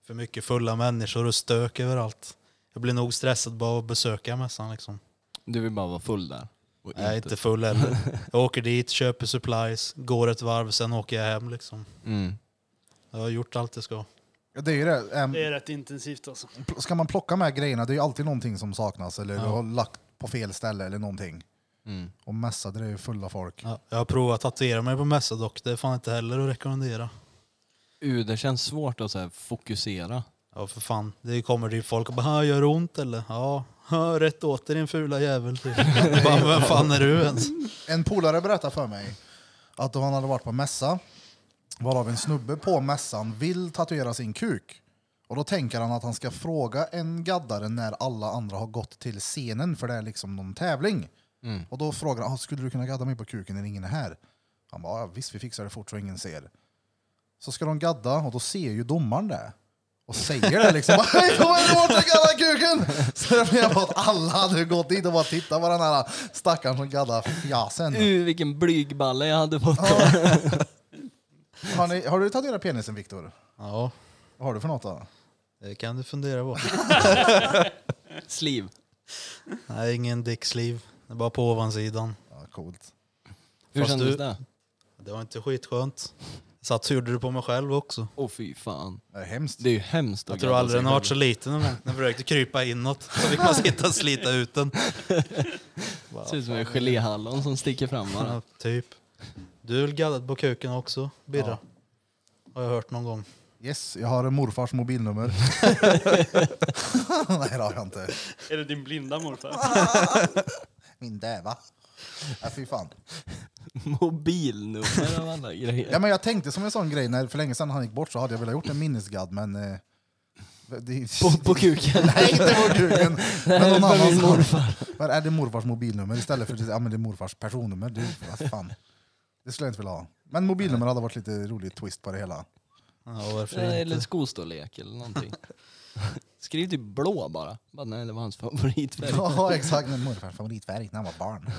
S3: För mycket fulla människor och stök överallt. Jag blir nog stressad bara av att besöka mässan liksom.
S7: Du vill bara vara full där? och
S3: Jag är inte full heller. Jag åker dit, köper supplies, går ett varv, sen åker jag hem liksom.
S7: Mm.
S3: Jag har gjort allt jag ska.
S1: Ja, Det är ju det. Ehm,
S4: Det är rätt intensivt alltså.
S1: pl- Ska man plocka med grejerna, det är ju alltid någonting som saknas eller du har lagt på fel ställe eller någonting.
S7: Mm.
S1: Och mässa, det är ju fulla folk.
S3: Ja, jag har provat att tatuera mig på mässa dock, det är fan inte heller att rekommendera.
S7: Uh, det känns svårt att så här, fokusera.
S3: Ja för fan, det kommer ju folk och bara "Ha, “gör det ont eller?” Ja, <laughs> "Ha, rätt åt dig din fula jävel. <laughs> typ. bara, vem fan är du ens?
S1: En polare berättade för mig att då han hade varit på mässa varav en snubbe på mässan vill tatuera sin kuk. Och då tänker han att han ska fråga en gaddare när alla andra har gått till scenen för det är liksom någon tävling. Och då frågar han, "Ah, skulle du kunna gadda mig på kuken när ingen är här? Han bara, "Ja, visst vi fixar det fort så ingen ser. Så ska de gadda och då ser ju domaren det. Och säger det liksom. <laughs> Hej, kom igen bort och gadda kuken! Så det blev att alla hade gått dit och bara tittat på den här stackaren som gaddar fjasen.
S7: Uh, vilken blygballe jag hade fått.
S1: Har, ni, har du tatuerat penisen, Viktor?
S3: Ja,
S1: Vad har du för något då?
S3: det kan du fundera på.
S7: Sliv.
S3: Nej, ingen dicksliv. Det är bara på ovansidan.
S1: Ja, coolt.
S7: Hur
S3: Fast
S7: kändes
S3: du-
S7: det?
S3: Det var inte skitskönt. Satt så gjorde det på mig själv också.
S7: Åh fy fan.
S1: Det är hemskt.
S7: Det är ju hemskt.
S3: Jag tror aldrig den har varit så liten någon gång. Den försökte krypa inåt, så fick man sitta och slita ut den.
S7: Det ser ut som en geléhallon som sticker fram bara.
S3: <laughs> Ja, typ. Du är väl gaddad på kuken också, Birra? Har jag hört någon gång.
S1: Yes, jag har morfars mobilnummer. <laughs> Nej, det har jag inte.
S4: <laughs> Är det din blinda morfar?
S1: Min däva. Ja, fy fan.
S7: Mobilnummer av alla grejer.
S1: Ja, men jag tänkte som en sån grej, när för länge sedan han gick bort så hade jag velat gjort en minnesgadd, men... Eh, det,
S7: På, på kuken.
S1: <laughs> Nej, inte på
S7: <laughs>
S1: kuken.
S7: Det här är
S1: Men någon
S7: för min
S1: annan
S7: morfar.
S1: Var är det morfars mobilnummer istället för ja, men det är morfars personnummer? Du, vad fan. Det skulle jag inte vilja ha. Men mobilnummer hade varit lite rolig twist på det hela.
S3: Ja, varför
S7: Nej, Eller
S3: inte?
S7: skostorlek eller någonting. Skriv typ blå bara. bara. Nej, det var hans favoritfärg.
S1: Ja, exakt. Min morfars favoritfärg när han var <laughs> barn.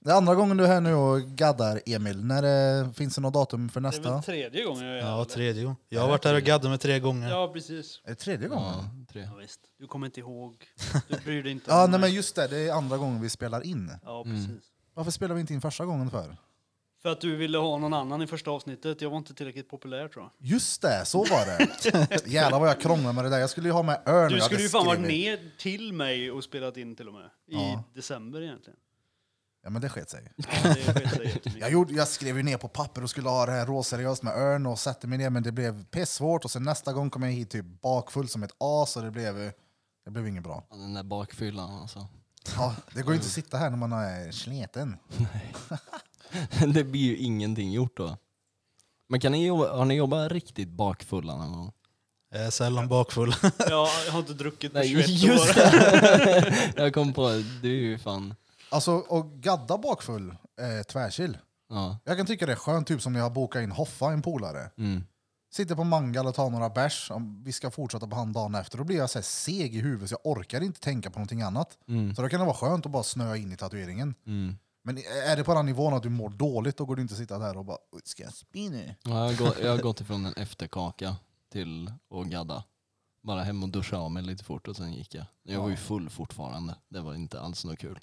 S1: Det är andra gången du är här nu och gaddar, Emil. När eh, finns det något datum för
S4: Det är väl
S1: nästa?
S4: tredje gången jag gör
S3: Ja,
S4: det?
S3: tredje gången. Jag har varit här och gaddat mig tre gånger.
S4: Ja, precis.
S1: Är det tredje gången?
S7: Ja,
S1: Ja,
S7: tre.
S4: Ja, visst. Du kommer inte ihåg. Du bryr
S1: <laughs>
S4: dig inte
S1: nej, Mm.
S4: mig.
S1: men just det. Det är andra gången vi spelar in.
S4: Ja, precis.
S1: Varför spelar vi inte in första gången för?
S4: För att du ville ha någon annan i första avsnittet. Jag var inte tillräckligt populär tror jag.
S1: Just det, så var det.
S4: <laughs>
S1: Jävlar vad jag krånglade med det där. Jag skulle ju ha med Örn.
S4: Du
S1: jag
S4: skulle
S1: hade
S4: ju fan varit
S1: skrivit.
S4: ner till mig och spelat in till och med. I
S1: Ja. <laughs>
S4: december egentligen.
S1: Ja, men det sket sig.
S4: Ja, det sket sig jättemycket.
S1: Jag, gjorde, jag skrev ju ner på papper och skulle ha det här råseriöst med Örn och satte mig ner, men det blev pissvårt. Och sen nästa gång kom jag hit typ bakfull som ett as och det blev, ju- det blev inget bra.
S7: Den där bakfyllan alltså.
S1: Ja, det går ju inte att sitta här när man är sleten.
S7: det blir ju ingenting gjort då. Men kan ni jobba, har ni jobbat riktigt bakfulla någon gång?
S3: Jag är sällan bakfull. <laughs>
S4: Ja, jag har inte druckit på
S7: Nej,
S4: 21
S7: just
S4: år.
S7: det. <laughs> Jag kom på det, du är ju fan...
S1: Alltså, och gadda bakfull, eh, tvärsill.
S7: Ja.
S1: Jag kan tycka det är skönt, typ som när jag har bokat in Hoffa, en polare.
S7: Mm.
S1: Sitter på mangal och tar några bärs, om vi ska fortsätta på han dagen efter, då blir jag så här seg i huvudet så jag orkar inte tänka på någonting annat.
S7: Mm.
S1: Så då kan det vara skönt att bara snöa in i tatueringen.
S7: Mm.
S1: Men är det på den nivån att du mår dåligt, då går du inte att sitta där och bara “ska jag spy nu?”
S7: Ja, jag, har gått, jag har gått ifrån en efterkaka till att gadda. Bara hem och duscha av mig lite fort och sen gick jag. Jag var ju full fortfarande. Det var inte alls något kul.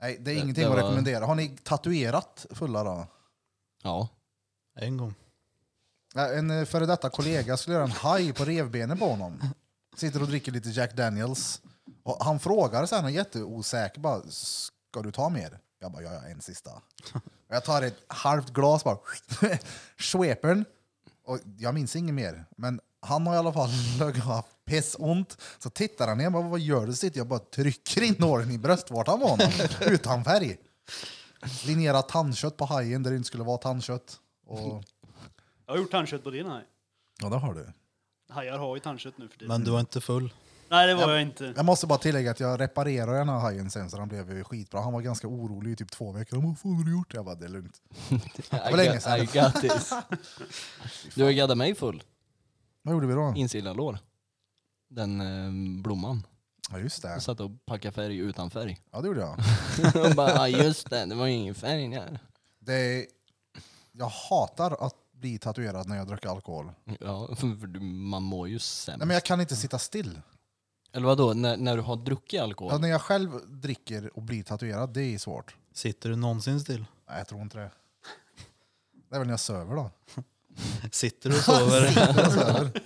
S1: Nej, det är
S7: Det-
S1: ingenting
S7: det
S1: att
S7: var-
S1: rekommendera. Har ni tatuerat fulla då?
S7: Ja.
S3: En gång.
S1: Ja, En eh, före detta kollega skulle göra en haj på revbenen på honom. Sitter och dricker lite Jack Daniels. Och han frågar sen, han är jätteosäker, bara, ska du ta mer? Jag bara, ja, ja, en sista. Och jag tar ett halvt glas bara, <laughs> svepern. Och jag minns inget mer. Men han har i alla fall <laughs> legat och haft pissont. Så tittar han ner, bara, vad gör du? Så Sitter jag bara trycker in nålen i bröstvårtan på honom, <laughs> utan färg. Linjerat tandkött på hajen där det inte skulle vara tandkött. Och,
S4: Jag har gjort tandkött på din haj.
S1: ja, det har du.
S4: Hajar har ju tandkött nu för tiden.
S3: Men
S1: Mm.
S3: du var inte full.
S4: Nej, det var jag inte.
S1: Jag måste bara tillägga att jag reparerade den här hajen sen så den blev ju skitbra. Han var ganska orolig i typ två veckor. Han bara, Vad fan har du gjort? Jag bara, det är lugnt.
S7: Det
S1: var länge sedan.
S7: I
S1: <laughs>
S7: got this. Du har gaddat mig full.
S1: Vad gjorde vi då?
S7: Insida lår. Den eh, blomman.
S1: Ja just det.
S7: Jag satt och packade färg utan färg.
S1: Ja det gjorde jag.
S7: Och bara, ja just det, det var ju ingen färg där.
S1: Det är... Jag hatar att bli tatuerad när jag dricker alkohol. Nej,
S7: Ja, för du- man mår ju sämst.
S1: men jag kan inte sitta
S4: Mm.
S1: still.
S7: Eller vadå, när, när du har druckit
S1: Ja,
S7: alkohol?
S1: när jag själv dricker och blir tatuerad, det är svårt.
S3: Sitter du någonsin still?
S1: Nej jag tror inte det. Det är väl när jag söver då. <laughs>
S3: Sitter du och sover?
S1: Jag söver.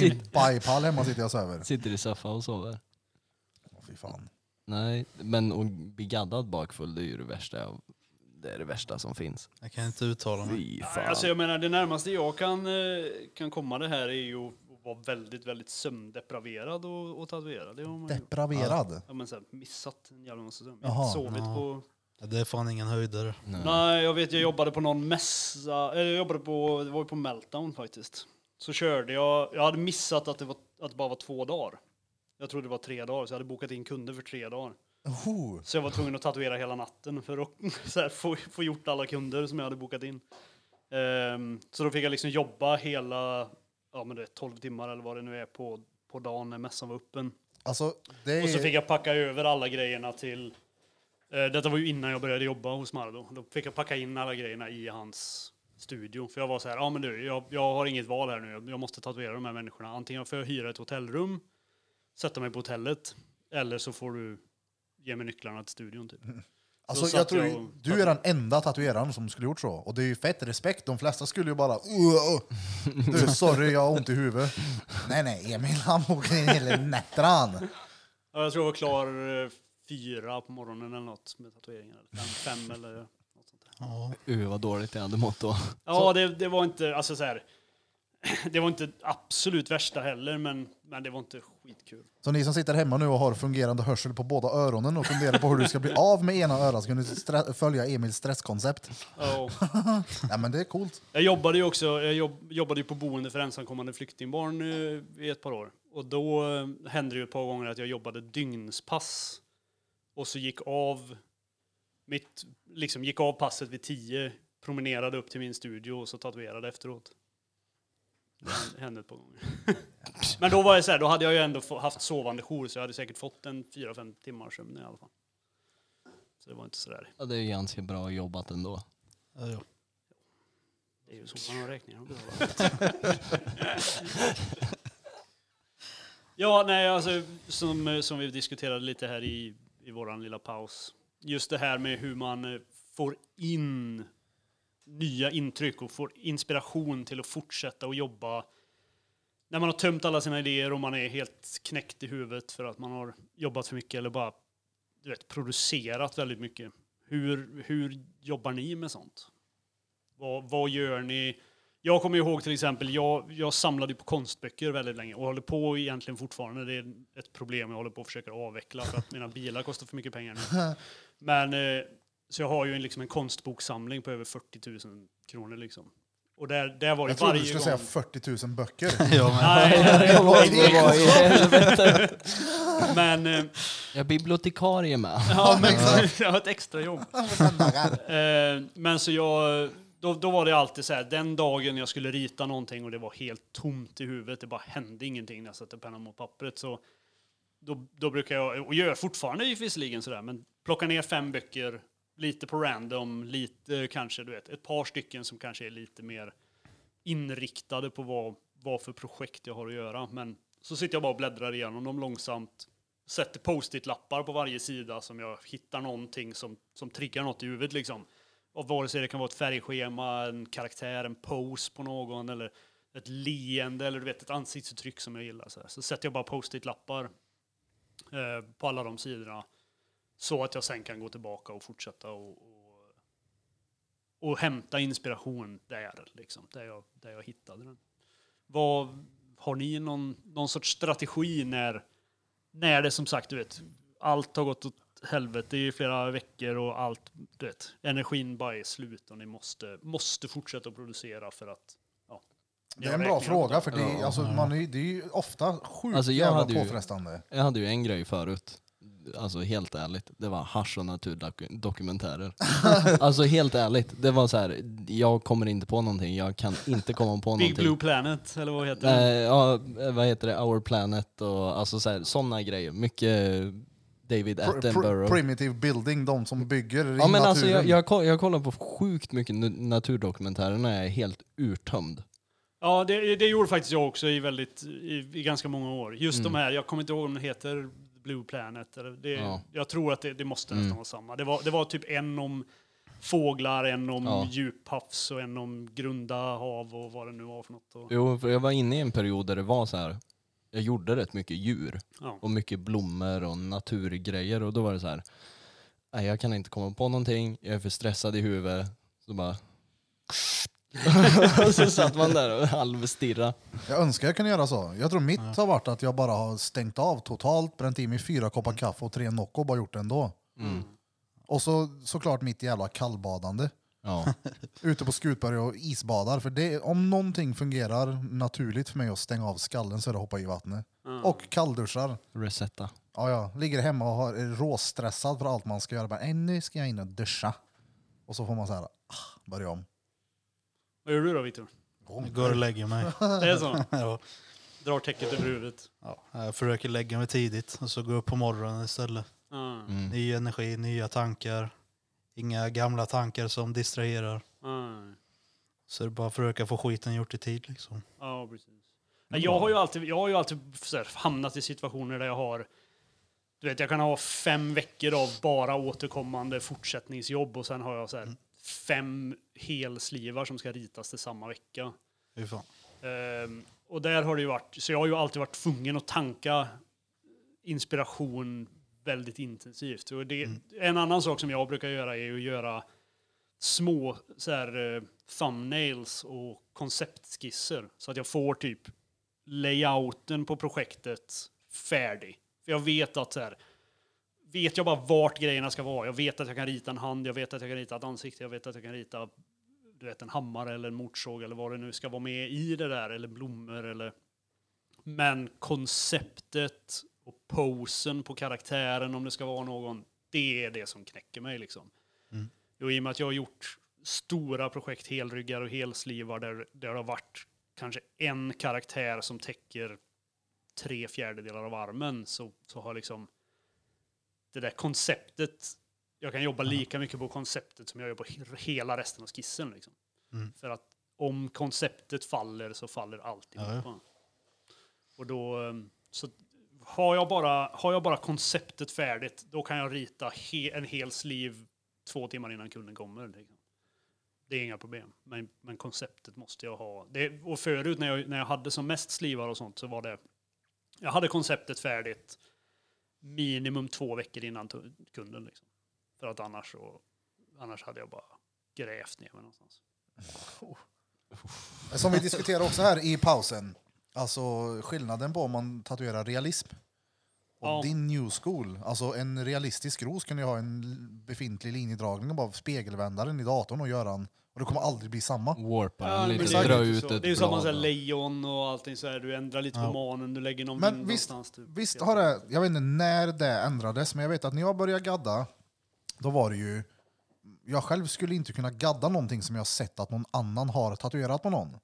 S1: Min bajpall hemma sitter jag och söver.
S7: Sitter i soffan och sover?
S1: Åh, fy fan.
S7: Nej, men att bli gaddad bakfull det är ju det värsta. jag- Det är det värsta som finns.
S3: jag kan inte uttala mig.
S7: Fy
S4: Nej,
S7: fan.
S4: Alltså jag menar, det närmaste jag kan, eh, kan komma det här är ju att vara väldigt, väldigt sömndepraverad och, och tatuerad. Det har man ju
S1: Depraverad.
S4: ja, men så här, missat en jävla massa sömn.
S1: Jaha,
S4: Sovit
S3: ja.
S4: på...
S3: Det är fan ingen höjdare.
S4: Nej, jag vet, jag jobbade på någon mässa, eller jag jobbade på, det var ju på Meltdown faktiskt. Så körde jag, jag hade missat att det, var, att det bara var två dagar. Jag trodde det var tre dagar, så jag hade bokat in kunder för tre dagar.
S1: Oh,
S4: Så jag var tvungen att tatuera hela natten för att <laughs> så här, få, få gjort alla kunder som jag hade bokat in. Ehm, så då fick jag liksom jobba hela, ja men det är 12 timmar eller vad det nu är på, på dagen när mässan var öppen.
S1: alltså, det är...
S4: Och så fick jag packa över alla grejerna till, eh, detta var ju innan jag började jobba hos Mardo. Då fick jag packa in alla grejerna i hans studio. För jag var så här, ja men du, jag, jag har inget val här nu. Jag, jag måste tatuera de här människorna. Antingen får jag hyra ett hotellrum, sätta mig på hotellet, eller så får du ge mig nycklarna till studion typ. Då
S1: Alltså,
S4: satt
S1: jag tror
S4: jag
S1: ju-
S4: och-
S1: du är den enda tatueraren som skulle gjort så. Och det är ju fett respekt. De flesta skulle ju bara... "Uh, uh."
S4: <laughs>
S1: Du, sorry, jag har ont i huvudet. Nej, nej, Emil han åker in hela nätterna. han.
S4: Ja, jag tror jag var klar eh, fyra på morgonen eller något med tatueringar. Eller fem, fem eller något sånt där.
S3: Ja.
S7: Uh, vad dåligt jag hade mått då.
S4: Ja, det, det var inte, alltså så här, <clears throat> det var inte absolut värsta heller, men, men det var inte skitkul.
S1: Så ni som sitter hemma nu och har fungerande hörsel på båda öronen och funderar på hur du ska bli av med ena örat så kan du stre- följa Emils stresskoncept.
S4: Ja, och
S1: Ja, men det är coolt.
S4: jag jobbade ju också, jag jobb, jobbade ju på boende för ensamkommande flyktingbarn eh, i ett par år. Och då eh, hände det ju ett par gånger att jag jobbade dygnspass och så gick av mitt, liksom gick av passet vid tio, promenerade upp till min studio och så tatuerade efteråt. Det hände ett par gånger. <laughs> Men då var jag så här, då hade jag ju ändå få- haft sovande jour så jag hade säkert fått en fyra fem timmars sömn i alla fall. Så det var inte så där.
S7: Ja, det är ganska bra
S1: <laughs>
S7: jobbat ändå.
S3: Ja, ja.
S4: Det är ju så man har räkningar och Ja, nej, alltså som, eh, som vi diskuterade lite här i, i våran lilla paus. Just det här med hur man eh, får in nya intryck och får inspiration till att fortsätta och jobba. När man har tömt alla sina idéer och man är helt knäckt i huvudet för att man har jobbat för mycket eller bara du vet, producerat väldigt mycket. Hur, hur jobbar ni med sånt? Vad, vad gör ni? Jag kommer ihåg till exempel, jag, jag samlade på konstböcker väldigt länge och håller på egentligen fortfarande. Det är ett problem jag håller på att försöka avveckla för att mina bilar kostar för mycket pengar nu.
S1: <laughs>
S4: Men, eh, så jag har ju en, liksom en konstboksamling på över 40 000 kronor liksom. Och där, där var ju
S1: Jag trodde
S4: varje
S1: du skulle säga
S4: gång...
S1: 40 000
S7: <laughs>
S1: böcker.
S3: Ja, men,
S4: Nej, nej, nej.
S2: Vad var i helvete?
S4: Men, eh,
S7: Jag är bibliotekarie med.
S4: <laughs> ja, men jag har ett extra jobb. Eh, men så jag, då, då var det alltid så här, den dagen jag skulle rita någonting och det var helt tomt i huvudet, det bara hände ingenting när jag satte pennan mot pappret. Så då, då brukar jag, och gör fortfarande visserligen sådär, men plocka ner fem böcker, lite på random, lite kanske, du vet, ett par stycken som kanske är lite mer inriktade på vad, vad för projekt jag har att göra. Men så sitter jag bara och bläddrar igenom dem långsamt, sätter post-it-lappar på varje sida som jag hittar någonting som, som triggar något i huvudet liksom. Och vare sig det kan vara ett färgschema, en karaktär, en pose på någon eller ett leende eller du vet ett ansiktsuttryck som jag gillar. Så, här. så sätter jag bara post-it-lappar eh, på alla de sidorna så att jag sen kan gå tillbaka och fortsätta och, och, och hämta inspiration där, liksom, där, jag, där jag hittade den. Vad, har ni någon, någon sorts strategi när, när det som sagt, du vet, allt har gått åt helvete i flera veckor och allt, du vet, energin bara är slut och ni måste, måste fortsätta att producera för att, ja.
S1: Det är
S4: jag
S1: en bra
S4: räknar upp
S1: fråga,
S4: dem.
S1: för det, är- alltså, man är, ju- det är ju ofta sjukt
S7: Alltså, jag
S1: jävla
S7: hade ju-
S1: påfrestande.
S7: Jag hade ju en grej förut. Alltså helt ärligt, det var hasch
S1: <laughs>
S7: och naturdokumentärer. alltså helt ärligt, det var så här. jag kommer inte på någonting, jag kan inte komma på
S4: Big
S7: någonting.
S4: Blue Planet, eller vad heter
S7: Eh,
S4: det?
S7: ja, vad heter det, Our Planet och alltså så här, såna grejer. Mycket David
S1: Pr- pr-
S7: Attenborough.
S1: primitive building, de som bygger i
S7: ja, men
S1: naturen.
S7: alltså, jag, jag, koll- jag kollar på sjukt mycket nu- naturdokumentärer när jag är helt urtömd.
S4: Ja, det, det gjorde faktiskt jag också i, väldigt, i, i ganska många år. Just
S7: Mm.
S4: de här, jag kommer inte ihåg om den heter Blue Planet. Eller det,
S7: Ja. Mm.
S4: Jag tror att det, det måste nästan vara samma. Det var, det var typ en om fåglar, en om
S7: Ja.
S4: djuphavs och en om grunda hav och vad det nu var för något. Och,
S7: Jo, för jag var inne i en period där det var så här. jag gjorde rätt mycket djur
S4: ja.
S7: och mycket blommor och naturgrejer och då var det så här. Nej, jag kan inte komma på någonting, jag är för stressad i huvudet. Så bara... <laughs> och så satt man där och halvstirrade.
S1: Jag önskar jag kunde göra så. Jag tror mitt har varit att jag bara har stängt av totalt, bränt i mig fyra koppar kaffe och tre Nocco och bara gjort det ändå. Och så såklart mitt jävla kallbadande.
S7: Ja.
S1: Ute på Skutberg och isbadar. För det, om någonting fungerar naturligt för mig att stänga av skallen så är det att hoppa i vattnet. Och kallduschar.
S7: Resetta.
S1: Ja, ja. Ligger hemma och har- är råstressad för allt man ska göra. Bara, "Äh, nu ska jag in och duscha. Och så får man så här, ah, börja om.
S4: Vad gör du då, Victor?
S3: jag går och
S1: <laughs>
S3: lägger mig. <laughs>
S4: Det
S7: <laughs>
S4: är så?
S3: Ja,
S4: Drar täcket över huvudet.
S3: ja, jag försöker lägga mig tidigt och så går jag upp på morgonen istället.
S4: Ja,
S7: Mm.
S3: Ny energi, nya tankar. Inga gamla tankar som distraherar.
S4: ja.
S3: Så det är bara att försöka få skiten gjort i tid liksom.
S4: Ja, precis. Nej, Jag har ju alltid, jag har ju alltid så här, hamnat i situationer där jag har... Du vet, jag kan ha fem veckor av bara återkommande fortsättningsjobb och sen har jag så här, fem helslivar som ska ritas till samma vecka.
S3: Fy fan.
S4: Ehm, och där har det ju varit, så jag har ju alltid varit tvungen att tanka inspiration väldigt intensivt. Och det, En annan sak som jag brukar göra är ju att göra små så här, eh, thumbnails och konceptskisser så att jag får typ layouten på projektet färdig. För jag vet att så här, vet jag bara vart grejerna ska vara. Jag vet att jag kan rita en hand, jag vet att jag kan rita ett ansikte, jag vet att jag kan rita du vet, en hammare eller en motorsåg eller vad det nu ska vara med i det där, eller blommor eller... Men konceptet och posen på karaktären, om det ska vara någon, det är det som knäcker mig liksom. Och I och med att jag har gjort stora projekt, helryggar och helslivar, där, där det har varit kanske en karaktär som täcker tre fjärdedelar av armen, så, så har liksom det där konceptet jag kan jobba lika mycket på konceptet som jag gör på he- hela resten av skissen. Liksom.
S3: Mm.
S4: För att om konceptet faller så faller alltihopa.
S3: Ja,
S4: Och då, eh, så har jag, bara, har jag bara konceptet färdigt, då kan jag rita he, en hel sliv två timmar innan kunden kommer. Liksom. Det är inga problem. Men, men konceptet måste jag ha. Det, och förut när jag, när jag hade som mest slivar och sånt så var det... Jag hade konceptet färdigt minimum två veckor innan tu- kunden. Liksom. För att annars så... Annars hade jag bara grävt ner mig någonstans.
S1: Som vi diskuterade också här i pausen. Alltså skillnaden på om man tatuerar realism och
S4: Ja.
S1: din new school. Alltså en realistisk ros kan ju ha en l- befintlig linjedragning och bara spegelvända den i datorn och göra en och det kommer aldrig bli samma.
S7: Warpa
S4: Ja,
S7: den
S4: men
S7: lite,
S4: det är
S7: dra
S4: ju
S7: ut
S4: så.
S7: ett
S4: Det är ju samma
S7: blad.
S4: såhär lejon och allting så här. Du ändrar lite på
S1: Ja.
S4: manen, du lägger någon
S1: Men
S4: vind
S1: visst-
S4: någonstans. Typ.
S1: Visst har det, jag vet inte när det ändrades, men jag vet att när jag började gadda, då var det ju, jag själv skulle inte kunna gadda någonting som jag sett att någon annan har tatuerat på någon.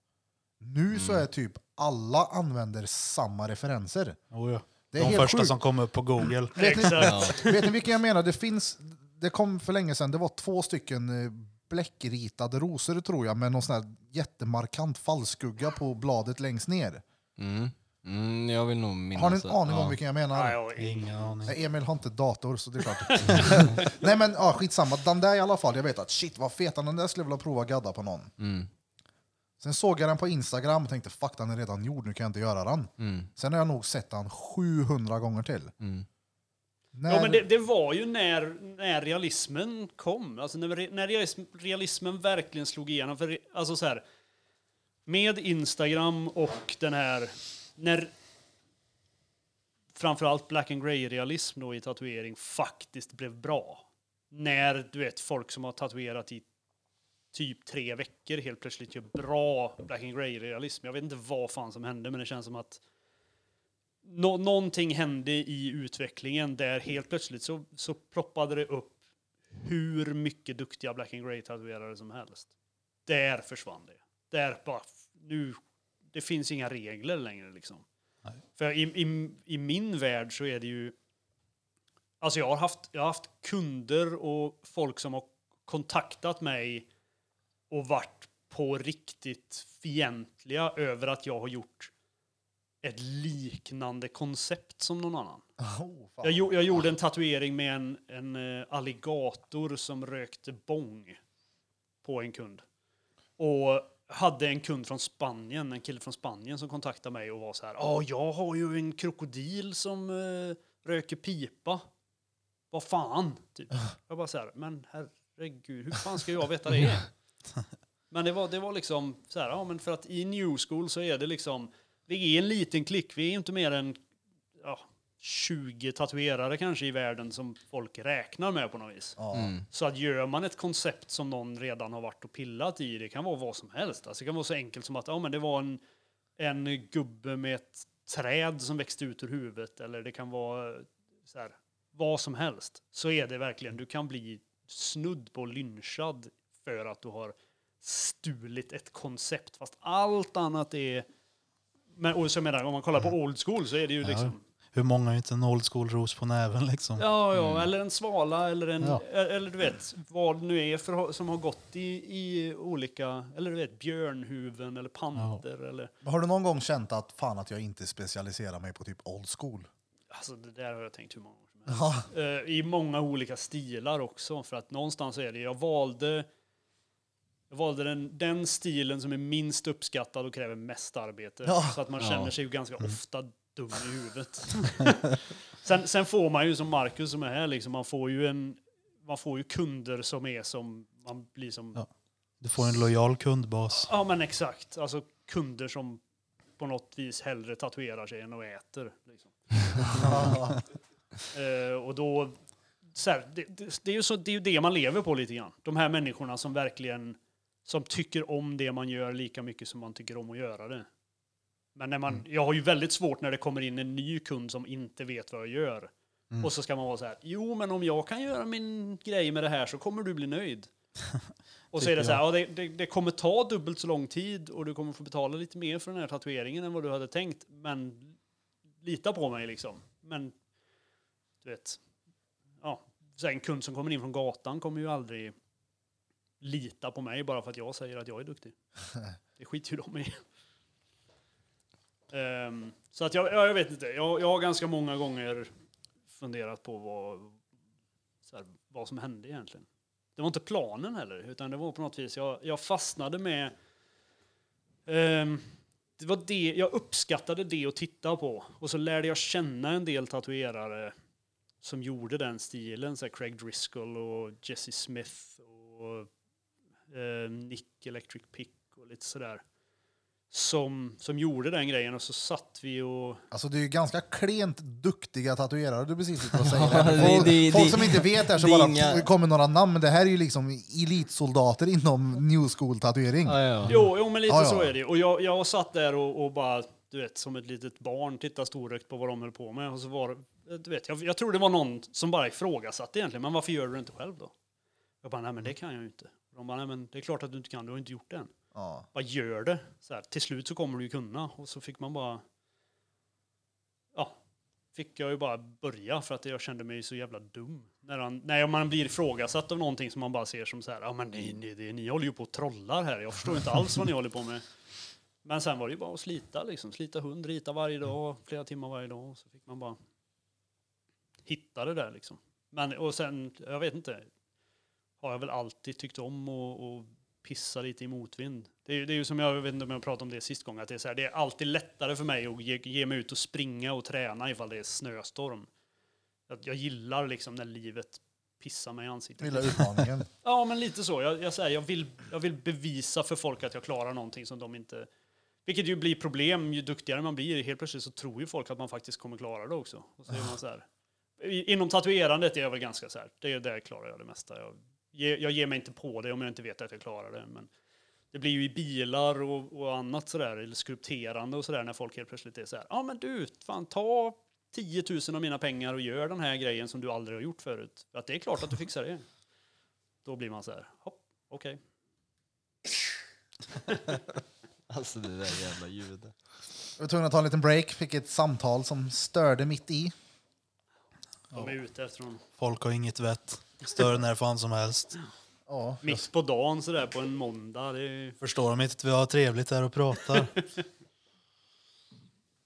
S1: Nu så
S3: Mm.
S1: är typ alla använder samma referenser.
S3: Oh, ja.
S1: Det är
S3: De
S1: helt
S3: första
S1: sjukt.
S3: som kom upp på Google.
S1: Vet ni,
S4: Exakt.
S1: Vet ni vilken jag menar? Det finns, det kom för länge sedan, det var två stycken eh, bläckritade rosor tror jag med någon sån här jättemarkant fallskugga på bladet längst ner.
S7: Mm. Mm, jag vill nog minnas
S1: Har ni en
S7: att-
S1: aning
S7: ja.
S1: om vilken jag menar?
S4: Nej, jag har ingen-
S3: Ingen aning.
S1: Nej, Emil har inte dator så det är klart. <laughs> Nej men ja, skitsamma, den där i alla fall, jag vet att shit vad fet den där skulle jag vilja prova att gadda på någon.
S7: Mm.
S1: Sen såg jag den på Instagram och tänkte fuck den är redan gjord, nu kan jag inte göra den.
S7: Mm.
S1: Sen har jag nog sett den 700 gånger till.
S7: Mm.
S1: När,
S4: Ja, men det,
S1: <laughs>
S4: det var ju när, när realismen kom. Alltså när, re- när realism, realismen verkligen slog igenom. För, re- alltså så här, med Instagram och den här... När framförallt black and grey-realism då i tatuering faktiskt blev bra. När du vet folk som har tatuerat i typ tre veckor helt plötsligt gör bra black and grey-realism. Jag vet inte vad fan som hände, men det känns som att nå någonting hände i utvecklingen där helt plötsligt så, så ploppade det upp hur mycket duktiga Black and Grey-tatuerare som helst. Där försvann det. Där bara, f- nu, det finns inga regler längre liksom. För i, i, i min värld så är det ju, alltså jag har haft, jag har haft kunder och folk som har kontaktat mig och varit på riktigt fientliga över att jag har gjort ett liknande koncept som någon annan.
S1: Oh, fan.
S4: Jag, gjo- jag gjorde en tatuering med en, en eh, alligator som rökte bong på en kund. Och hade en kund från Spanien, en kille från Spanien som kontaktade mig och var så här. Ja, jag har ju en krokodil som eh, röker pipa. Vad fan? Typ. Jag bara så här, men herregud, hur fan ska jag veta det? Men det var, det var liksom så här, ja men för att i New School så är det liksom, vi är en liten klick, vi är inte mer än ja, 20 tatuerare kanske i världen som folk räknar med på något vis.
S1: Ja.
S7: Mm.
S4: Så att gör man ett koncept som någon redan har varit och pillat i, det kan vara vad som helst. Alltså det kan vara så enkelt som att ja, men det var en, en gubbe med ett träd som växte ut ur huvudet, eller det kan vara eh, så här, vad som helst. Så är det verkligen, du kan bli snudd på lynchad för att du har stulit ett koncept, fast allt annat är... Men, och så menar, jag, om man kollar på old school så är det ju liksom...
S3: Hur många har inte en old school-ros på näven liksom?
S4: Ja, ja eller en svala eller en, e-,
S3: Ja.
S4: eller du vet, vad det nu är för, som har gått i, i olika, eller du vet, björnhuven eller panter eller,
S1: Har du någon gång känt att fan att jag inte specialiserar mig på typ old
S7: <laughs>
S1: school?
S4: alltså det där har jag tänkt hur många gånger som helst. Eh, I många olika stilar också, för att någonstans är det, jag valde, jag valde den, den stilen som är minst uppskattad och kräver mest arbete,
S1: Ja.
S4: så att man
S7: Ja.
S4: känner sig ju ganska ofta dum i huvudet. sen, sen får man ju som Marcus som är här, liksom, man får ju en, man får ju kunder som är som, man blir som, ja,
S3: Ja. Du får en lojal kundbas.
S4: men exakt, alltså kunder som på något vis hellre tatuerar sig än att äter. Liksom. Eh, och då, så här, det, det, det, är ju så, det är ju det man lever på lite grann. De här människorna som verkligen som tycker om det man gör lika mycket som man tycker om att göra det. Men när man, jag har ju väldigt svårt när det kommer in en ny kund som inte vet vad jag gör. Och så ska man vara så här, jo men om jag kan göra min grej med det här så kommer du bli nöjd. och så är det så här, ja, det, det, det kommer ta dubbelt så lång tid och du kommer få betala lite mer för den här tatueringen än vad du hade tänkt. Men lita på mig liksom. Men du vet, ja, så här, en kund som kommer in från gatan kommer ju aldrig lita på mig bara för att jag säger att jag är duktig. Det skiter ju de i. Ehm, så att jag, ja, jag vet inte, jag, jag har ganska många gånger funderat på vad, så här, vad som hände egentligen. Det var inte planen heller, utan det var på något vis, jag, jag fastnade med... ehm, det var det, jag uppskattade det att titta på. Och så lärde jag känna en del tatuerare som gjorde den stilen. Så här Craig Driscoll och Jesse Smith och eh, Nick Electric Pick och lite sådär. Som, som gjorde den grejen och så satt vi och...
S1: Alltså det är ju ganska klent duktiga tatuerare du precis sitter och säger.
S7: Ja,
S1: här.
S7: det-
S1: folk
S7: det-
S1: folk
S7: det-
S1: som inte vet det här så
S7: det är
S1: bara
S7: inga-
S1: pff, kommer några namn, men det här är ju liksom elitsoldater inom new school tatuering.
S7: Ja, ja.
S4: Jo, jo men lite
S1: Ja, ja.
S4: så är det ju. Och jag, jag satt där och, och bara, du vet, som ett litet barn tittade storögt på vad de höll på med. Och så var det- du vet, jag, jag tror det var någon som bara ifrågasatte egentligen, men varför gör du det inte själv då? Jag bara, nej men det kan jag ju inte. De bara, nej men det är klart att du inte kan, du har ju inte gjort det än.
S1: Ja.
S4: Bara gör det. Så här, till slut så kommer du ju kunna. Och så fick man bara, ja, fick jag ju bara börja för att jag kände mig så jävla dum. När, han, när man blir ifrågasatt av någonting som man bara ser som så här, ja men ni, ni, ni, ni håller ju på och trollar här, jag förstår inte alls vad ni håller på med. Men sen var det ju bara att slita liksom, slita hund, rita varje dag, flera timmar varje dag. Och så fick man bara hitta det där liksom. Men och sen, jag vet inte, har jag väl alltid tyckt om och, och pissa lite i motvind. Det är, ju- det är ju som jag, jag vet inte om jag pratade om det sist gång, att det är, så här, det är alltid lättare för mig att ge, ge mig ut och springa och träna ifall det är snöstorm. Jag, jag gillar liksom när livet pissar mig i ansiktet.
S1: Lilla utmaningen.
S4: Ja, men lite så. Jag, jag, säger, jag, vill, jag vill bevisa för folk att jag klarar någonting som de inte... Vilket ju blir problem ju duktigare man blir. Helt plötsligt så tror ju folk att man faktiskt kommer klara det också. Och så är man så här. I- Inom tatuerandet är jag väl ganska så här, det är där klarar jag det mesta. Jag, ge- jag ger mig inte på det om jag inte vet att jag klarar det. Men det blir ju i bilar och, och annat sådär, eller skulpterande och sådär, när folk helt plötsligt är så här, ja men du, fan ta 10 000 av mina pengar och gör den här grejen som du aldrig har gjort förut. För att det är klart att du fixar det. Då blir man så här, hopp, okej.
S7: Alltså det där jävla ljudet.
S1: Jag var tvungen att ta en liten break, fick ett samtal som störde mitt i.
S4: De är ute efter honom.
S3: Folk har inget vett. Stör när fan som helst.
S1: Ja.
S4: Mitt på dagen sådär på en måndag. Det är ju...
S3: Förstår de inte att vi har trevligt här och pratar?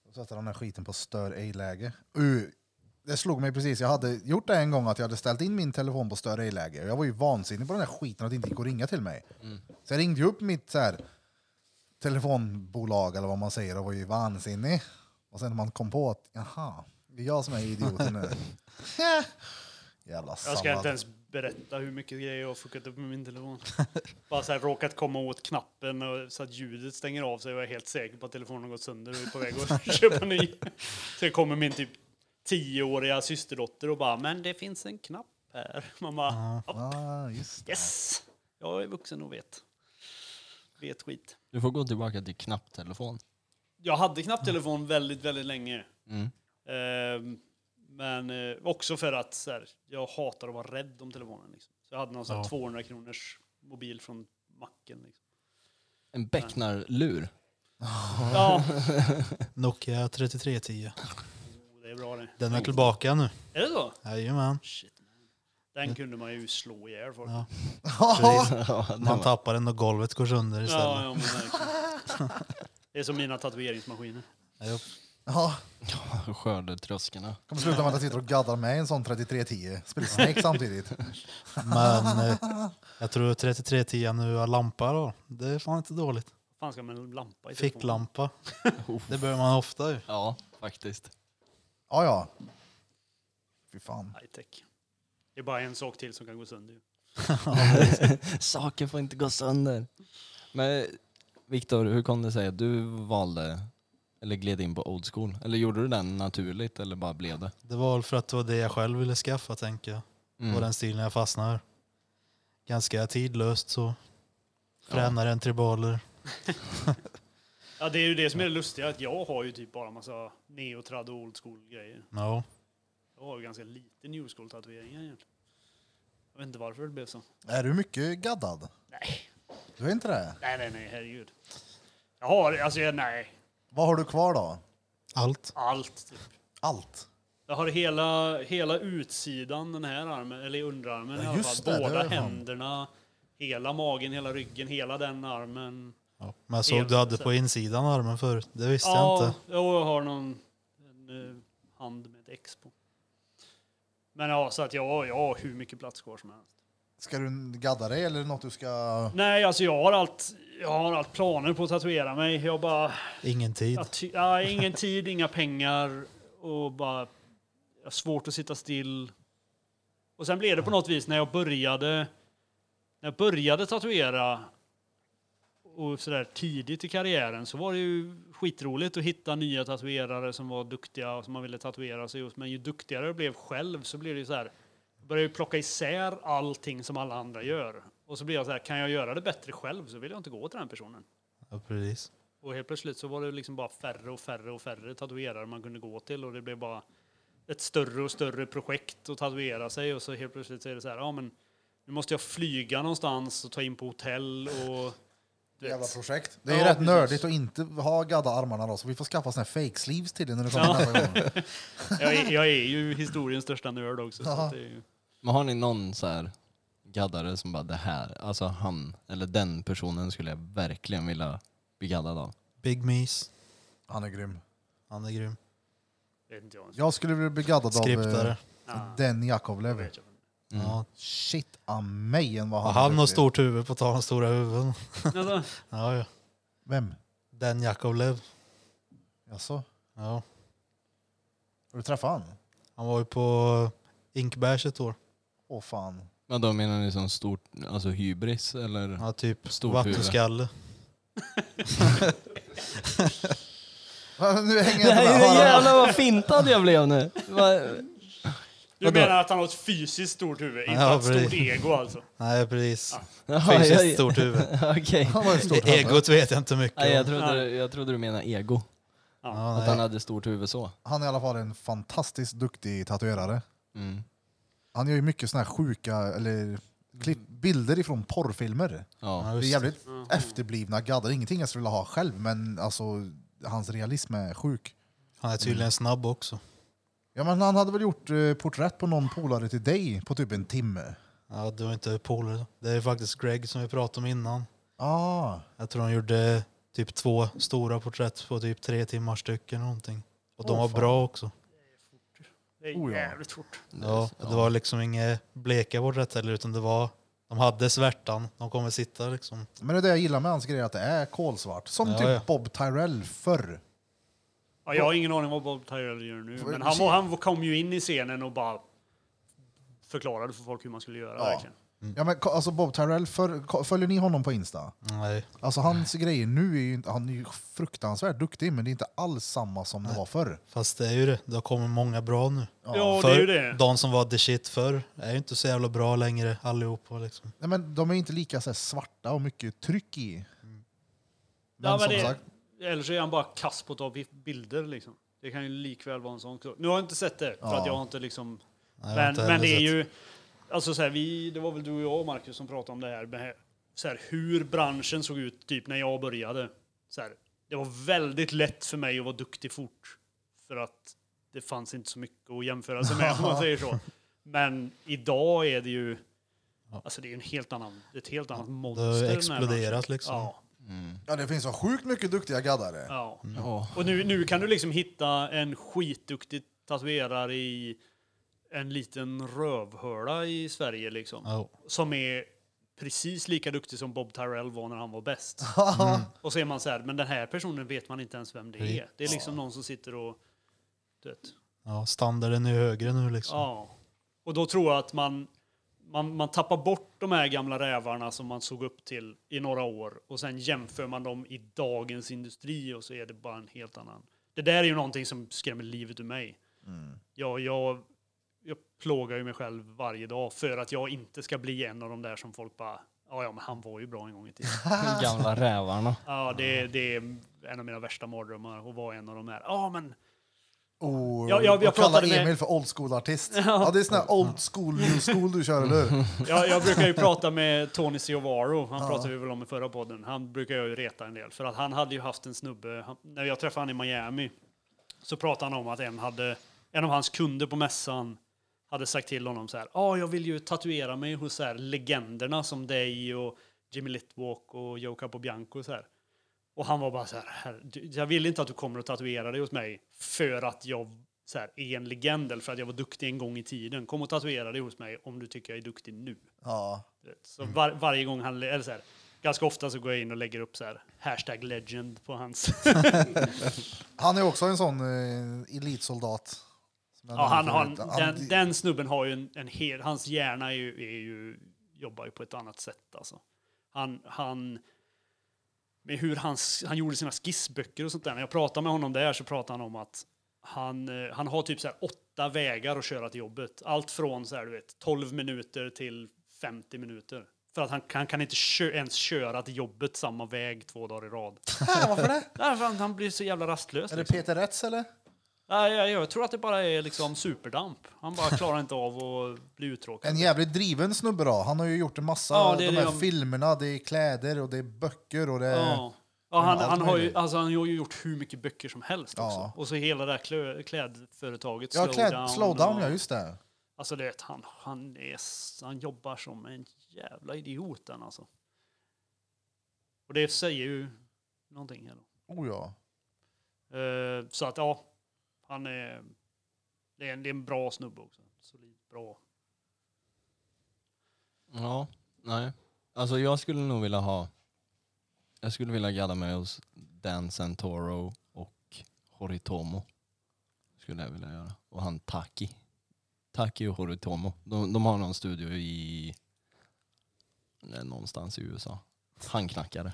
S1: Och sätta den här skiten på stör ej-läge. Uh, det slog mig precis, jag hade gjort det en gång att jag hade ställt in min telefon på stör ej-läge. Och Jag var ju vansinnig på den här skiten att det inte gick att ringa till mig.
S4: Mm.
S1: Så jag ringde ju upp mitt så här, telefonbolag eller vad man säger och var ju vansinnig. Och sen när man kom på att, jaha, det är jag som är idioten
S4: <laughs>
S1: nu. Eh, Jävla
S4: Jag ska inte
S1: sallad.
S4: ens berätta hur mycket grejer jag har fuckat upp med min telefon. <laughs> Bara så här råkat komma åt knappen och, så att ljudet stänger av sig och jag är helt säker på att telefonen har gått sönder och är på väg att <laughs> köpa en ny. Så kommer min typ tioåriga systerdotter och bara, men det finns en knapp här. <laughs> Man bara, hopp,
S1: Ah, just det.
S4: yes! Jag är vuxen och vet. Vet skit.
S7: Du får gå tillbaka till knapptelefon.
S4: Jag hade knapptelefon väldigt, väldigt länge.
S7: Mm.
S4: Ehm, men eh, också för att så här, jag hatar att vara rädd om telefonen. Liksom. Så jag hade någon sån här
S3: Ja.
S4: 200 kronors mobil från macken. Liksom.
S7: En becknarlur.
S4: Ja,
S3: <laughs>
S4: Oh,
S3: Nokia 3310.
S4: det är bra det.
S3: Den är tillbaka nu.
S4: Är det så?
S3: Jajamän.
S4: Shit. man. Den kunde man ju slå ihjäl folk.
S3: Ja,
S4: Ja,
S7: <laughs>
S3: Precis.
S7: Ja, den
S3: Man
S7: var-
S3: tappar den och golvet går sönder
S4: ja,
S3: istället.
S4: men verkligen.
S3: <laughs>
S4: Det är som mina tatueringsmaskiner.
S3: Ja,
S1: <laughs> Ja,
S7: Skördetröskorna.
S1: kommer sluta med att jag sitter och gaddar med en sån 3310. Spelar Snake samtidigt.
S3: Men eh, jag tror 3310 nu har lampa då. Det är fan inte dåligt.
S4: Fan ska man en lampa i telefonen?
S3: Ficklampa. <laughs> Det behöver man ofta ju.
S7: Ja, faktiskt.
S1: Ja, ja. Fy fan.
S4: High tech. Det är bara en sak till som kan gå sönder. ju.
S7: <laughs> Saker får inte gå sönder. Men Viktor, hur kom det sig att du valde eller gled in på old school? Eller gjorde du den naturligt eller bara blev det?
S3: Det var väl för att det var det jag själv ville skaffa tänker jag.
S7: Mm.
S3: På den stilen jag fastnar. Ganska tidlöst så. Fränare än tribaler.
S4: Ja, det är ju det som är det lustiga, att jag har ju typ bara massa neotrad och old school-grejer.
S3: Ja.
S4: Jag har ju ganska lite new school-tatueringar egentligen. Jag vet inte varför det blev så.
S1: Är du mycket gaddad?
S4: Nej.
S1: Du är inte det?
S4: Nej, nej, nej, herregud. Jag har, alltså jag, nej,
S1: Vad har du kvar då?
S3: Allt.
S4: allt typ.
S1: Allt.
S4: Jag har hela, hela utsidan, den här armen, eller underarmen i
S1: Ja,
S4: alla
S1: just
S4: fall.
S1: det, det
S4: Båda
S1: har jag fan.
S4: händerna, hela magen, hela ryggen, hela den armen.
S3: Ja. Men jag såg
S4: Helt
S3: du hade
S4: säkert.
S3: på insidan armen förut. Det visste jag
S4: Ja,
S3: inte.
S4: jo, jag har någon en, eh, hand med ett X på. Men ja, så att jag, jag har hur mycket plats kvar som helst.
S1: Ska du gadda dig eller är det något du ska...
S4: Nej, alltså jag har allt, jag har allt planer på att tatuera mig. Jag bara,
S3: Ingen tid.
S4: jag ty, ja, ingen tid, inga pengar och bara jag har svårt att sitta still. Och sen blev det på något vis när jag började, när jag började tatuera och sådär tidigt i karriären så var det ju skitroligt att hitta nya tatuerare som var duktiga och som man ville tatuera sig hos. Men ju duktigare jag blev själv så blev det ju så här. Jag började ju plocka isär allting som alla andra gör. Och så blev jag så här, kan jag göra det bättre själv så vill jag inte gå till den personen.
S3: Ja, precis.
S4: Och helt plötsligt så var det liksom bara färre och färre och färre tatuerare man kunde gå till och det blev bara ett större och större projekt att tatuera sig och så helt plötsligt så är det så här, ja men nu måste jag flyga någonstans och ta in på hotell och du
S1: Jävla
S4: vet.
S1: projekt. Det är ju
S4: Ja,
S1: rätt
S4: precis.
S1: nördigt att inte ha gadda armarna då, så vi får skaffa såna här fake sleeves till dig när du kommer
S4: Ja.
S1: nästa gång.
S4: Jag är, jag är ju historiens största nörd också. Så
S1: Ja.
S4: att det är ju...
S7: Men har ni någon så här gaddare som bara det här, alltså han eller den personen skulle jag verkligen vilja bli gaddad av?
S3: Big Mies.
S1: Han är grym.
S3: Han är grym.
S4: vet inte jag ens.
S1: Jag skulle bli gaddad av
S3: Skriptare.
S1: eh, mm.
S4: Ah,
S1: den
S4: jag
S1: Jakovlev.
S4: vet inte.
S3: Ja.
S1: Shit, amen vad
S3: Ja,
S1: han
S3: han
S1: är
S3: har
S1: duktig.
S3: stort huvud på tal om stora huvuden.
S4: Alltså,
S3: Ja, ja.
S1: Vem?
S3: Den Jakovlev.
S1: Jaså?
S3: Ja.
S1: Har du träffat han?
S3: Han var ju på eh, Inkbärs ett år.
S1: Åh fan. <laughs>
S7: Men då menar ni som stort, alltså hybris eller?
S3: Ja, typ
S7: Stort
S3: vattenskalle.
S1: Nu hänger jag inte med.
S7: Nej,
S1: Har han-
S7: jävlar vad fintad jag blev nu! Va-
S4: du
S7: Vadå?
S4: menar att han har ett fysiskt stort huvud, inte
S3: Ja,
S4: ett stort
S3: precis.
S4: ego alltså?
S3: Nej, precis.
S7: Jaha,
S3: Fysiskt
S7: jag-
S3: stort
S7: <laughs>
S3: huvud. E-
S7: Okej.
S1: Han var ju
S3: <laughs>
S1: stort huvud.
S3: Egot vet jag inte mycket
S7: Nej, jag,
S3: om.
S7: trodde, jag trodde du menade ego.
S4: Ja.
S3: Ja,
S7: Att han
S3: nej.
S7: hade stort huvud så.
S1: Han är i alla fall en fantastiskt duktig tatuerare.
S7: Mm.
S1: Han gör ju mycket såna här sjuka, eller klipp, bilder ifrån porrfilmer.
S7: Ja.
S1: Det är
S3: Ja, Mm. just Mm.
S1: jävligt
S4: Mhm.
S1: efterblivna gaddar. Ingenting jag skulle vilja ha själv, men alltså hans realism är sjuk.
S3: Han är
S1: Mm.
S3: tydligen snabb också.
S1: Ja, men han hade väl gjort eh, porträtt på någon polare till dig på typ en timme?
S3: Ja, du är inte polare. Det är faktiskt Greg som vi pratade om innan.
S1: Ah,
S3: Jag tror han gjorde typ två stora porträtt på typ tre timmar styck eller någonting. Och de
S1: Åh,
S3: var
S1: fan.
S3: bra också.
S4: Det
S1: Oh,
S4: är
S1: ja.
S4: jävligt fort.
S3: Ja, det var liksom inga bleka porträtt heller utan det var, de hade svärtan, de kommer sitta liksom.
S1: men det är det jag gillar med hans grejer, att det är kolsvart. Som
S3: Ja,
S1: typ
S3: ja.
S1: Bob Tyrell förr.
S4: Ja, jag har ingen aning vad Bob Tyrell gör nu, men han, var- han kom ju in i scenen och bara förklarade för folk hur man skulle göra.
S1: Ja.
S4: Verkligen.
S3: Mm.
S1: Ja, men, ko- alltså Bob Tyrell, förr, ko- följer ni honom på Insta?
S3: Nej,
S1: Alltså hans grejer nu är ju inte, han är ju fruktansvärt duktig, men det är inte alls samma som det var förr.
S3: fast det är ju det, det har kommit många bra nu.
S4: Ja, det är ju det.
S3: De som var the shit förr är ju inte så jävla bra längre allihopa liksom.
S1: Nej, men de är inte lika så här, svarta och mycket tryck i. Men,
S4: Ja, men
S1: som
S4: det-
S1: sagt,
S4: Eller så är han bara kass på att ta bilder. Liksom. Det kan ju likväl vara en sån. Nu har jag inte sett det, för
S1: Ja.
S4: att jag har inte liksom...
S3: Nej, jag har
S4: men,
S3: inte
S4: men
S3: heller
S4: det är
S3: sett.
S4: ju... Alltså så här, vi, det var väl du och jag, Marcus, som pratade om det här. Med, så här hur branschen såg ut typ när jag började. Så här, det var väldigt lätt för mig att vara duktig fort. För att det fanns inte så mycket att jämföra sig med,
S3: <laughs>
S4: om man säger så. Men idag är det ju... Alltså det är ju en helt annan, ett helt annat monster. i den här
S3: exploderat
S4: branschen.
S3: liksom.
S4: Ja,
S1: ja, det finns så sjukt mycket duktiga gaddare.
S4: ja.
S7: Ja.
S4: Och nu, nu kan du liksom hitta en skitduktig tatuerare i en liten rövhöla i Sverige liksom.
S3: Ja.
S4: Som är precis lika duktig som Bob Tyrell var när han var bäst. Och så är man så här, men den här personen vet man inte ens vem det är. Det är liksom någon som sitter och... Du vet,
S3: ja, standarden är ju högre nu liksom.
S4: ja. Och då tror jag att man, man, man tappar bort de här gamla rävarna som man såg upp till i några år och sen jämför man dem i dagens industri och så är det bara en helt annan. Det där är ju någonting som skrämmer livet ur mig. Jag, jag, jag plågar ju mig själv varje dag för att jag inte ska bli en av de där som folk bara Ja, ja, men han var ju bra en gång i tiden.
S3: <laughs>
S7: De gamla rävarna.
S4: Ja, det, det är en av mina värsta mardrömmar att vara en av de här. Ja, men
S1: Oh,
S4: Ja, jag- jag
S1: och kalla
S4: pratade med-
S1: Emil för old school-artist. Ja. det är sån här old school, new school du kör, eller
S4: <laughs>
S1: hur?
S4: Jag, jag brukar ju prata med Tony Siovaro, han pratade vi väl om i förra podden. Han brukar jag ju reta en del, för att han hade ju haft en snubbe, han, när jag träffade han i Miami, så pratade han om att en, hade, en av hans kunder på mässan hade sagt till honom så här, ja, jag vill ju tatuera mig hos så här legenderna som dig och Jimmy Litwalk och Joe Capobianco så här. Och han var bara så här, "Herre, du- jag vill inte att du kommer och tatuerar dig hos mig för att jag så här, är en legend eller för att jag var duktig en gång i tiden. Kom och tatuera dig hos mig om du tycker jag är duktig nu.
S1: Ja.
S4: Du vet. Så var, varje gång han, eller så här, ganska ofta så går jag in och lägger upp så här, hashtag legend på hans.
S1: Han är också en sån eh, elitsoldat. Som jag
S4: ja, han
S1: nämnde
S4: har,
S1: förut.
S4: den, den snubben har ju en, en hel, hans hjärna är ju, är ju, jobbar ju på ett annat sätt alltså. Han, han, med hur han, s- han gjorde sina skissböcker och sånt där. När jag pratade med honom där så pratade han om att han, eh, han har typ så här åtta vägar att köra till jobbet. Allt från så här, du vet, 12 minuter till 50 minuter. För att han, han kan inte kö, ens köra till jobbet samma väg två dagar i rad.
S1: Äh, varför det?
S4: Nej, för han, han blir så jävla
S1: <laughs>
S4: rastlös.
S1: Är det
S4: liksom.
S1: Peter Rätz eller?
S4: Nej, jag, jag tror att det bara är liksom superdamp. Han bara klarar inte av att bli uttråkad.
S1: En jävligt driven snubbe då. Han har ju gjort en massa,
S4: Ja, det är
S1: de
S4: det
S1: här
S4: jag-
S1: filmerna, det är kläder och det är böcker och det är...
S4: Ja. Ja, han,
S1: allt
S4: han, har ju,
S1: möjligt.
S4: alltså, han har ju gjort hur mycket böcker som helst
S1: Ja.
S4: också. Och så hela det här klö, klädföretaget.
S1: Ja, kläd, slowdown,
S4: och-
S1: ja just det.
S4: Alltså du vet, han, han, är, s- han jobbar som en jävla idiot den alltså. Och det säger ju någonting här då.
S1: Oh ja.
S4: Eh, så att ja, han är, det är, en, det är en bra snubbe också. Solid, bra.
S7: Ja, nej. Alltså jag skulle nog vilja ha... Jag skulle vilja gadda mig hos Dan Santoro och Horitomo. Skulle jag vilja göra. Och han Taki. Taki och Horitomo. De, de har någon studio i... nej, Någonstans i USA. Handknackare.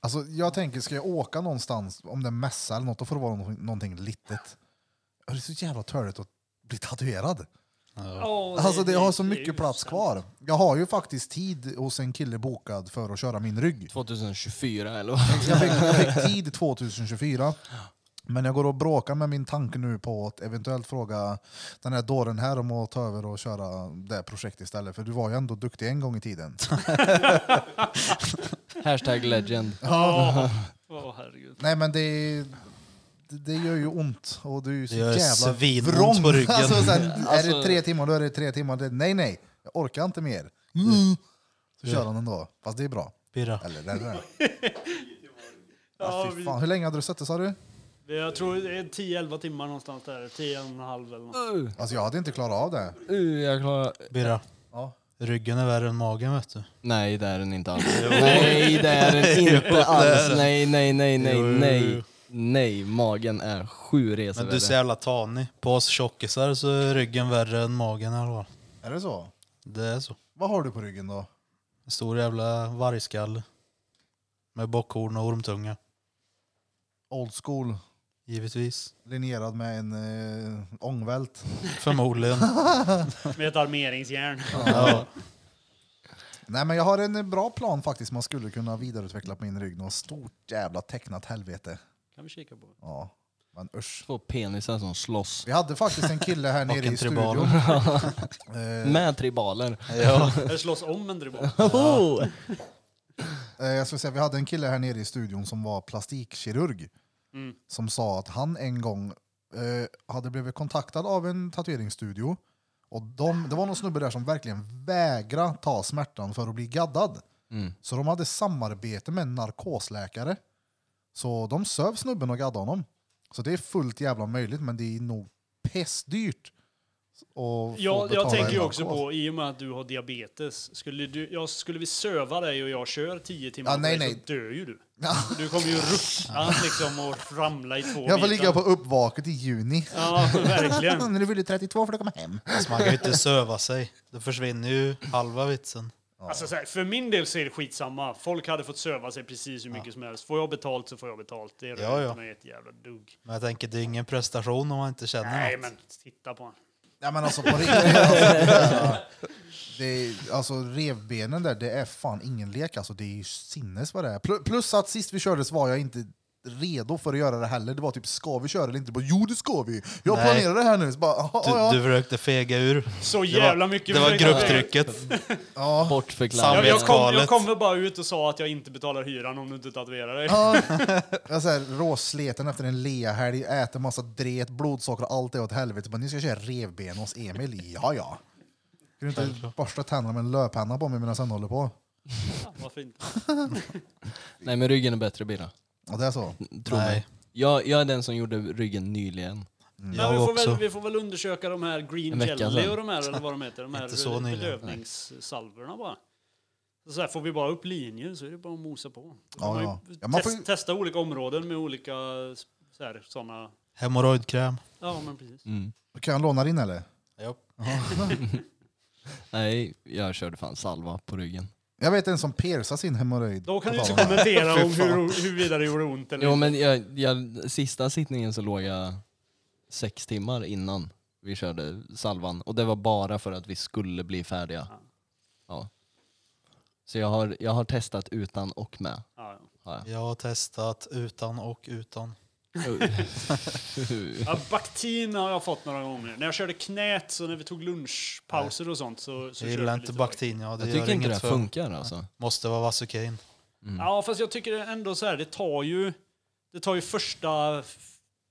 S1: Alltså jag tänker, ska jag åka någonstans, om det är mässa eller något, då får det vara nå- någonting litet. Ja, Det är så jävla törligt att bli tatuerad.
S4: Ja,
S1: Alltså det har så
S4: det är
S1: mycket
S4: ju
S1: plats
S4: sämst.
S1: kvar. Jag har ju faktiskt tid hos en kille bokad för att köra min rygg.
S7: 2024 eller vad?
S1: Jag fick, jag fick tid 2024. Men jag går och bråkar med min tanke nu på att eventuellt fråga den här dåren här om att ta över och köra det här projektet istället. För du var ju ändå duktig en gång i tiden.
S7: Hashtag legend.
S4: Ja, Åh, herregud.
S1: Nej men det, är- det, det gör ju ont. Och du är ju så
S3: Det gör
S1: jävla
S3: svinont
S1: vrång. <laughs>
S3: på ryggen.
S1: Alltså, så här, är
S7: Alltså-
S1: det tre timmar då är det tre timmar. Det, nej nej, jag orkar inte mer.
S3: Mm.
S1: Mm. Så kör han ändå. Fast det är bra.
S3: Birra.
S1: Eller det är det.
S4: Ja,
S1: Fy
S4: vi,
S1: fan. Hur länge hade du sett det sa du?
S4: jag tror det är 10-11 timmar någonstans där. 10,5 eller något.
S7: Uh,
S1: Alltså jag hade inte klarat av det.
S7: uh, jag klarar...
S3: Birra.
S1: Ja.
S3: Ryggen är värre än magen vet du.
S7: Nej, det är den inte
S3: <laughs>
S7: alls. nej, det är den inte alls. Nej, nej, nej, nej,
S3: Jo, jo,
S7: nej.
S3: jo.
S7: Nej, magen är sju resor
S3: Men du är så jävla tanig. På oss tjockisar så är ryggen värre än magen i alla fall.
S1: Är det så?
S3: Det är så.
S1: Vad har du på ryggen då?
S3: En stor jävla vargskalle. Med bockhorn och ormtunga.
S1: Old school.
S3: Givetvis.
S1: linjerad med en eh, ångvält.
S3: Förmodligen.
S4: Med ett armeringsjärn.
S3: ja.
S1: Nej, men jag har en eh, bra plan faktiskt. Man skulle kunna vidareutveckla på min rygg. Något stort jävla tecknat helvete.
S4: <laughs> Kan vi kika på.
S1: Ja, men usch.
S7: Två penisar som slåss.
S1: Vi hade faktiskt en kille här
S3: <laughs> Och
S1: nere
S3: en
S1: i
S3: tribal.
S1: studion. Eh,
S7: Med
S3: <laughs>
S7: tribaler.
S3: ja.
S4: Eller slåss om
S1: <laughs>
S4: en dribble.
S7: Oh.
S1: eh, jag skulle säga, vi hade en kille här nere i studion som var plastikkirurg.
S4: Mm.
S1: Som sa att han en gång eh, hade blivit kontaktad av en tatueringsstudio. Och de, det var någon snubbe där som verkligen vägrade ta smärtan för att bli gaddad.
S7: Mm.
S1: Så de hade samarbete med en narkosläkare. Så de söv snubben och gaddade honom. Så det är fullt jävla möjligt, men det är nog pestdyrt. att få
S4: Jag,
S1: betala
S4: jag tänker
S1: en
S4: ju också
S1: narkos.
S4: på, i och med att du har diabetes, skulle, du, jag, skulle vi söva dig och jag kör 10 timmar
S1: Ja,
S4: på
S1: nej,
S4: dig
S1: nej.
S4: så dör ju du. Du kommer ju ruttna liksom och ramla i två
S1: Jag får
S4: bitar.
S1: ligga på uppvaket i juni.
S4: Ja, <laughs>
S1: <laughs>
S4: verkligen.
S1: När du fyller 32 får du komma hem.
S3: Fast Man kan ju inte söva sig. Då försvinner ju halva vitsen.
S4: Alltså, så här, för min del så är det skitsamma. Folk hade fått söva sig precis hur mycket som helst. Får jag betalt så får jag betalt. Det rör
S3: Ja, ja.
S4: inte mig ett jävla dugg.
S3: Men jag tänker, det är ingen prestation om man inte känner
S4: Nej,
S3: något.
S4: men titta på honom.
S1: Ja, men <laughs> alltså på riktigt. Alltså, det där, det är, alltså revbenen där, det är fan ingen lek. Alltså, det är ju sinnes vad det är. Pl- Plus att sist vi kördes var jag inte redo för att göra det heller. Det var typ, ska vi köra eller inte? Bara, jo, det ska vi. Jag
S3: Nej.
S1: planerar det här nu. Så bara, "Jaha, ja, ja.
S3: Du, du försökte fega ur.
S4: Så
S3: Det var-
S4: jävla mycket.
S3: Det var
S4: försökte jag-
S3: grupptrycket.
S4: <laughs>
S1: ja.
S7: Bortförklarat.
S4: Jag, jag, kom, jag
S3: Samvetskalet.
S4: kommer bara ut och sa att jag inte betalar hyran om du inte tatuerar <laughs> dig.
S1: Ja. Jag såhär, råsleten efter en leahelg, äter massa dret, blodsocker och allt är åt helvete. Men ni ska köra revben hos Emil? Ja, ja. Kan du inte borsta tänderna med en löppenna på mig medan han håller på?
S4: Varför inte?
S7: Nej, men ryggen är bättre, Birra.
S1: Ja, det är så.
S7: Tro
S3: Nej.
S7: mig. Jag, jag är den som gjorde ryggen nyligen.
S4: Men vi,
S3: Jag
S4: får väl,
S3: också.
S4: vi får väl undersöka de här green
S7: En vecka
S4: jelly
S7: sedan.
S4: och de här, eller vad de heter, de här
S3: Inte så nyligen.
S4: bedövningssalvorna bara. Så här får vi bara upp linjer så är det bara att mosa på.
S1: Ja,
S4: man
S1: ja.
S4: Ju
S1: Ja, man får
S4: test,
S1: ju-
S4: Testa olika områden med olika så här, såna.
S3: Hemorrojdkräm.
S4: Ja, men precis.
S7: Mm.
S1: Kan jag låna din eller?
S3: Ja.
S7: Nej, jag körde fan salva på ryggen.
S1: Jag vet en som piercar sin hemorrojd.
S4: Då kan
S1: på
S4: du inte
S1: tal om det.
S3: <laughs>
S4: kommentera om
S1: Fy fan.
S4: hur, huruvida det gjorde ont eller
S7: Jo
S4: inte.
S7: men jag, jag, sista sittningen så låg jag sex timmar innan vi körde salvan och det var bara för att vi skulle bli färdiga.
S4: Ja.
S7: Ja. Så jag har, jag har testat utan och
S3: <laughs>
S7: med.
S4: Ja, ja.
S7: Har jag.
S3: Jag har testat utan och utan.
S4: Ja, baktin har jag fått några gånger. När jag körde knät, så när vi tog lunchpauser och sånt så, så
S3: Jag
S4: körde
S3: gillar
S4: vi
S3: inte
S4: lite
S3: baktin. Ja, det
S7: jag
S3: gör
S7: tycker inte det här
S3: inget för.
S7: funkar alltså.
S3: Måste vara Vassukein.
S4: Ja, fast jag tycker ändå så här, det tar ju, det tar ju första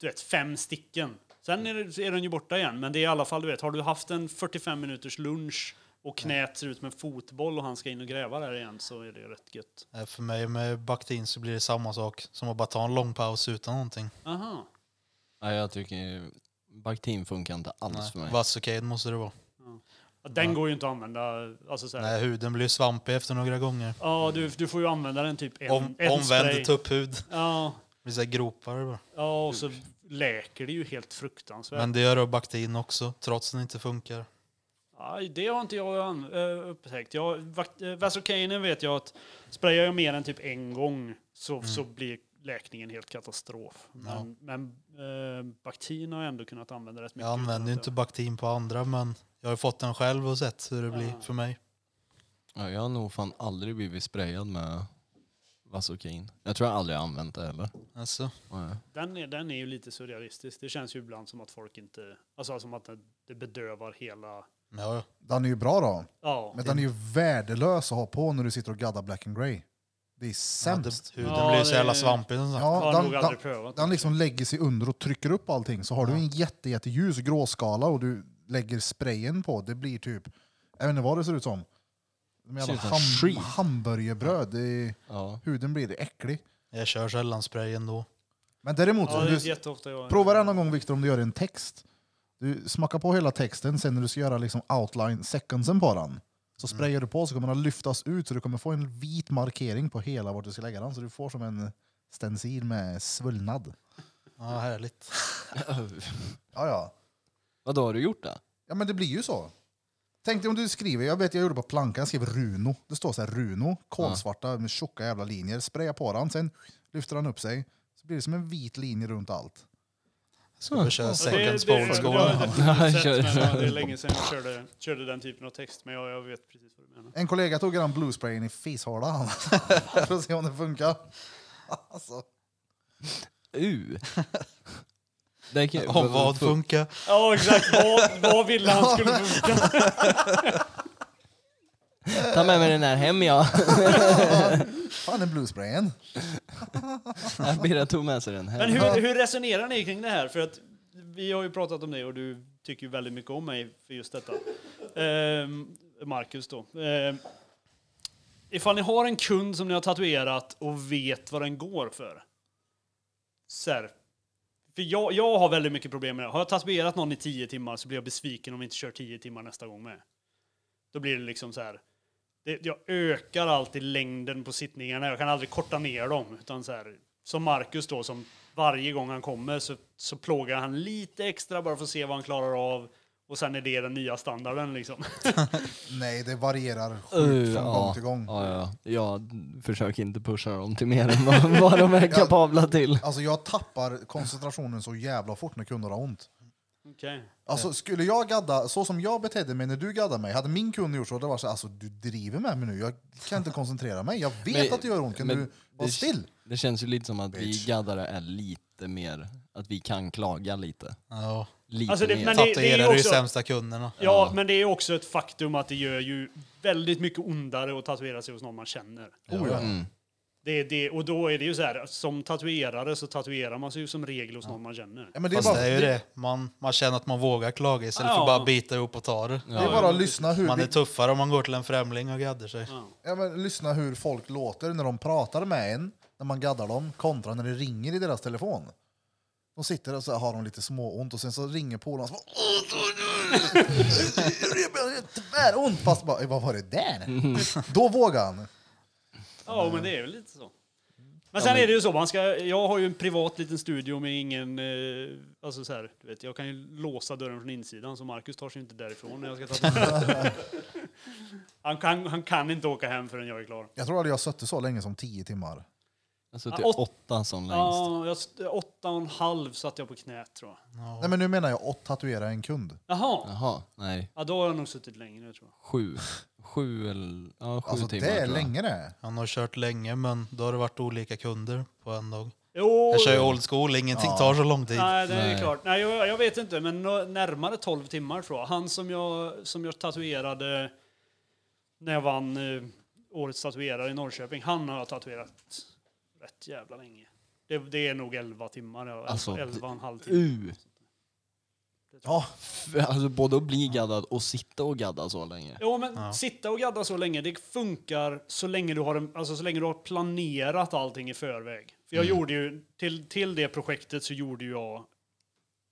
S4: du vet, fem sticken. Sen är, det, är den ju borta igen, men det är i alla fall, du vet, har du haft en 45 minuters lunch och knät ser ut som en fotboll och han ska in och gräva där igen så är det rätt gött.
S3: Eh, För mig med baktin så blir det samma sak som att bara ta en lång paus utan någonting.
S4: Aha.
S7: Nej, jag tycker baktin funkar inte alls
S3: Nej,
S7: för mig.
S3: Vassukein måste det vara.
S4: Ja, Den går ju inte att använda, alltså så här,
S3: Nej, huden blir svampig efter några gånger.
S4: ja du, du får ju använda den typ en,
S3: Om,
S4: en
S3: omvänd tupphud. Det
S4: Ja,
S3: blir så här gropar bara.
S4: ja, och så läker det ju helt fruktansvärt.
S3: Men det gör baktin också, trots att den inte funkar.
S4: Aj, det har inte jag an- eh, upptäckt. Jag, vak- eh, Vasocainen vet jag att sprayar jag mer än typ en gång så, så blir läkningen helt katastrof. Men, men eh, Bactin har jag ändå kunnat använda rätt mycket.
S3: Jag
S4: utan
S3: använder ju
S4: att
S3: inte
S4: det-
S3: baktin på andra, men jag har ju fått den själv och sett hur det
S4: Ja.
S3: blir för mig.
S7: Ja, jag har nog fan aldrig blivit sprayad med vasokain. Jag tror jag aldrig har använt det heller.
S3: Alltså,
S7: Nej.
S4: Den är, den är ju lite surrealistisk. Det känns ju ibland som att folk inte... Alltså som att det, det bedövar hela...
S3: ja, ja.
S1: Den är ju bra då.
S4: Ja.
S1: Men den är ju värdelös att ha på när du sitter och gaddar black and grey. Det är
S3: Ja,
S1: sämst.
S3: det, huden
S4: Ja,
S3: blir ju
S4: det
S3: så jävla
S4: är-
S3: svampig som sagt.
S1: Ja,
S4: Har
S1: den-
S4: nog
S1: den-
S4: aldrig prövat.
S1: Den liksom lägger sig under och trycker upp allting. Så har du en jätte, jätte ljus gråskala och du lägger sprayen på, det blir typ... Jag vet inte vad det ser ut som. De jävla
S7: Ser ut som
S1: ham,
S7: skit.
S1: hamburgerbröd. Det är,
S3: <laughs>
S7: Ja.
S1: huden blir äcklig.
S3: Jag kör sällan spray ändå.
S1: Men däremot,
S4: Ja,
S1: om
S4: det
S1: du,
S4: är jätteofta jag...
S1: prova det någon gång Viktor om du gör en text. Du smakar på hela texten, sen när du ska göra liksom outline secondsen på den så sprayar du på så kommer den lyftas ut så du kommer få en vit markering på hela vart du ska lägga den. Så du får som en stencil med svullnad.
S3: Ja, härligt.
S1: Ja, ja.
S7: Vadå, har du gjort det?
S1: Ja men det blir ju så. Tänk dig om du skriver, jag vet jag gjorde på plankan, jag skrev Runo. Det står så här Runo, kolsvarta med tjocka jävla linjer. Spraya på den, sen lyfter den upp sig. Så blir det som en vit linje runt allt.
S3: Jag ska bara köra
S4: Ja, det-
S3: seconds på
S4: det- det- det har jag <laughs>
S3: oldschoolen.
S4: definitivt
S7: Ja,
S4: sett,
S7: kör.
S4: men Det är länge sedan jag körde, körde den typen av text, men jag, jag vet precis vad du menar.
S1: En kollega tog den bluesprayen i fishålan <laughs> för att se om det funkar. Alltså,
S7: U! Det
S3: <laughs>
S7: kan,
S3: Om vad funkar.
S4: Ja, exakt. Vad, vad ville han <laughs> skulle funka?
S7: Ta med mig den här hem <laughs> ja.
S1: fan den bluesprayen.
S7: Birra tog med sig den hem.
S4: Men hur, hur resonerar ni kring det här? För att vi har ju pratat om det och du tycker ju väldigt mycket om mig för just detta. Ehm, Marcus då. Ehm, ifall ni har en kund som ni har tatuerat och vet vad den går för. Så här, för jag, jag har väldigt mycket problem med det. Har jag tatuerat någon i tio timmar så blir jag besviken om vi inte kör tio timmar nästa gång med. Då blir det liksom så här. Det, jag ökar alltid längden på sittningarna. Jag kan aldrig korta ner dem. Utan så här, som Marcus då, som varje gång han kommer så, så plågar han lite extra bara för att se vad han klarar av. Och sen är det den nya standarden liksom.
S1: Nej, det varierar sjukt
S7: Uh,
S1: från
S7: ja.
S1: gång till gång.
S7: Ja, ja. Jag försöker inte pusha dem till mer än vad, vad de är kapabla till.
S1: Alltså jag tappar koncentrationen så jävla fort när kunder har ont.
S4: Okej.
S1: Alltså skulle jag gadda, så som jag betedde mig när du gaddade mig, hade min kund gjort så, det var så här, alltså du driver med mig nu, jag kan inte koncentrera mig, jag vet
S7: Men-
S1: att det gör ont, kan
S7: men
S1: du vara
S7: det-
S1: still?
S7: Det känns ju lite som att vi
S1: Bitch.
S7: gaddare är lite mer, att vi kan klaga lite.
S3: Ja,
S7: Lite
S4: Alltså det-
S7: mer.
S4: men det- är ju
S3: tatuerar är ju
S4: också-
S3: sämsta kunderna.
S4: Ja, men det är också ett faktum att det gör ju väldigt mycket ondare att tatuera sig hos någon man känner.
S1: Oh, ja.
S7: Mm.
S4: Det är det, och då är det ju så här, som tatuerare så tatuerar man sig ju som regel hos någon man känner.
S1: Ja, men det är
S3: Fast
S1: bara,
S3: det är ju det. Man, man känner att man vågar klaga istället för
S4: Ja.
S3: att bara bita ihop och ta det.
S1: det är bara att lyssna hur,
S3: Man är
S1: vi,
S3: tuffare om man går till en främling och gaddar sig.
S1: ja, men, lyssna hur folk låter när de pratar med en, när man gaddar dem, kontra när det ringer i deras telefon. De sitter och så har de lite småont och sen så ringer polaren och så bara "Åh, <laughs> det är Tväront! Fast bara, vad var det där?
S3: Mm.
S1: Då vågar han.
S4: Ja, men det är väl lite så. Men sen är det ju så, man ska, jag har ju en privat liten studio med ingen, eh, alltså så här, du vet, jag kan ju låsa dörren från insidan så Marcus tar sig inte därifrån när jag ska ta han, kan, han kan inte åka hem förrän jag är klar.
S1: Jag tror aldrig jag suttit så länge som tio timmar.
S7: Jag har suttit
S4: Ja, åt-
S7: Alltså, typ åtta som längst.
S4: Ja, jag, st- åtta och en halv satt jag på knät tror jag.
S1: Nej men nu menar jag att tatuera en kund.
S4: Jaha,
S7: Jaha, nej.
S4: ja, då har jag nog suttit längre tror jag.
S7: Sju. Sju eller... Ja, sju
S1: Alltså
S7: timmar
S1: det är
S7: tror jag.
S1: länge det.
S3: Han har kört länge men då har det varit olika kunder på en dag.
S4: Jo,
S3: Jag kör ju old school, ingenting tar så lång tid.
S4: Nej, det är
S7: Nej.
S4: klart. Nej, jag, jag vet inte, men nå- närmare 12 timmar tror jag. Han som jag, som jag tatuerade när jag vann eh, Årets tatuerare i Norrköping, han har jag tatuerat rätt jävla länge. Det, det är nog 11 timmar, ja.
S7: Alltså,
S4: 11 och en halv timme.
S7: U. Ja, <laughs> f- alltså både att bli gaddad och sitta och gadda så länge.
S4: Jo, men sitta och gadda så länge, det funkar så länge du har, en, alltså, så länge du har planerat allting i förväg. För jag gjorde ju, till, till det projektet så gjorde jag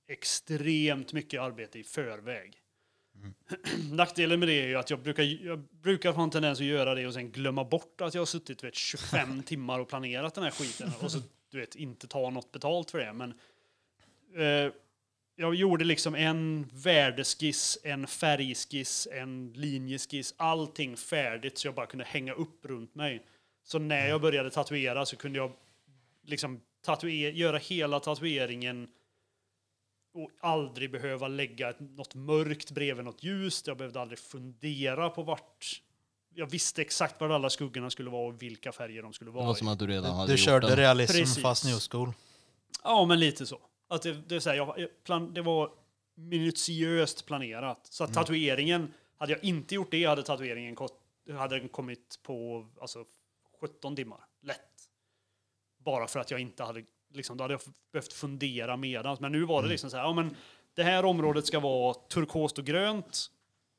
S4: extremt mycket arbete i förväg. <clears throat> Nackdelen med det är ju att jag brukar, jag brukar ha en tendens att göra det och sen glömma bort att jag har suttit vet, 25 timmar och planerat den här skiten och så du vet, inte ta något betalt för det. Men eh, jag gjorde liksom en värdeskiss, en färgskiss, en linjeskiss, allting färdigt så jag bara kunde hänga upp runt mig. Så när jag började tatuera så kunde jag liksom tatue- göra hela tatueringen och aldrig behöva lägga ett, något mörkt bredvid något ljust. Jag behövde aldrig fundera på vart... Jag visste exakt var alla skuggorna skulle vara och vilka färger de skulle
S7: Det
S4: vara
S7: var
S4: i.
S7: som att du redan hade
S3: Du
S7: gjort
S3: körde
S7: den.
S3: realism
S4: Precis.
S3: fast new school.
S4: Ja, men lite så. Att det, det, är så här, jag, jag plan, det var minutiöst planerat. Så att tatueringen, hade jag inte gjort det hade tatueringen kott, hade den kommit på alltså, 17 timmar. Lätt. Bara för att jag inte hade, liksom, då hade jag f- behövt fundera medans. Men nu var det liksom så här, ja men det här området ska vara turkost och grönt.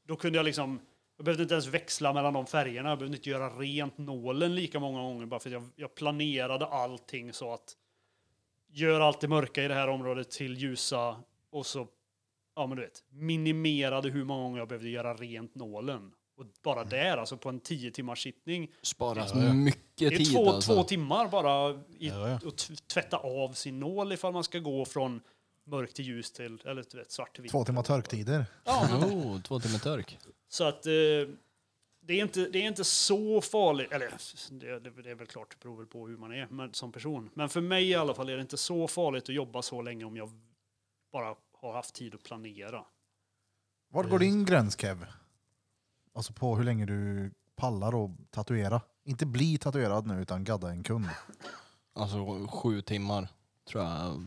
S4: Då kunde jag liksom, jag behövde inte ens växla mellan de färgerna. Jag behövde inte göra rent nålen lika många gånger bara för att jag, jag planerade allting så att gör allt det mörka i det här området till ljusa och så, ja men du vet, minimerade hur många gånger jag behövde göra rent nålen. Och bara där, alltså på en 10 timmars sittning,
S7: Sparat
S3: Ja, ja.
S7: mycket
S4: det är
S7: tid
S4: två,
S7: alltså.
S4: två timmar bara i,
S3: Ja, ja.
S4: och t- tvätta av sin nål ifall man ska gå från mörkt till ljus till, eller du vet, svart till vitt.
S1: Två timmar törktider.
S4: Ja, men
S7: Oh, två timmar törk.
S4: Så att eh, det, är inte, det är inte så farligt. Eller det, det, det är väl klart, det beror väl på hur man är men, som person. Men för mig i alla fall är det inte så farligt att jobba så länge om jag bara har haft tid att planera.
S1: Var går din gräns Kev? Alltså på hur länge du pallar att tatuera. Inte bli tatuerad nu utan gadda en kund.
S7: Alltså sju timmar, tror jag.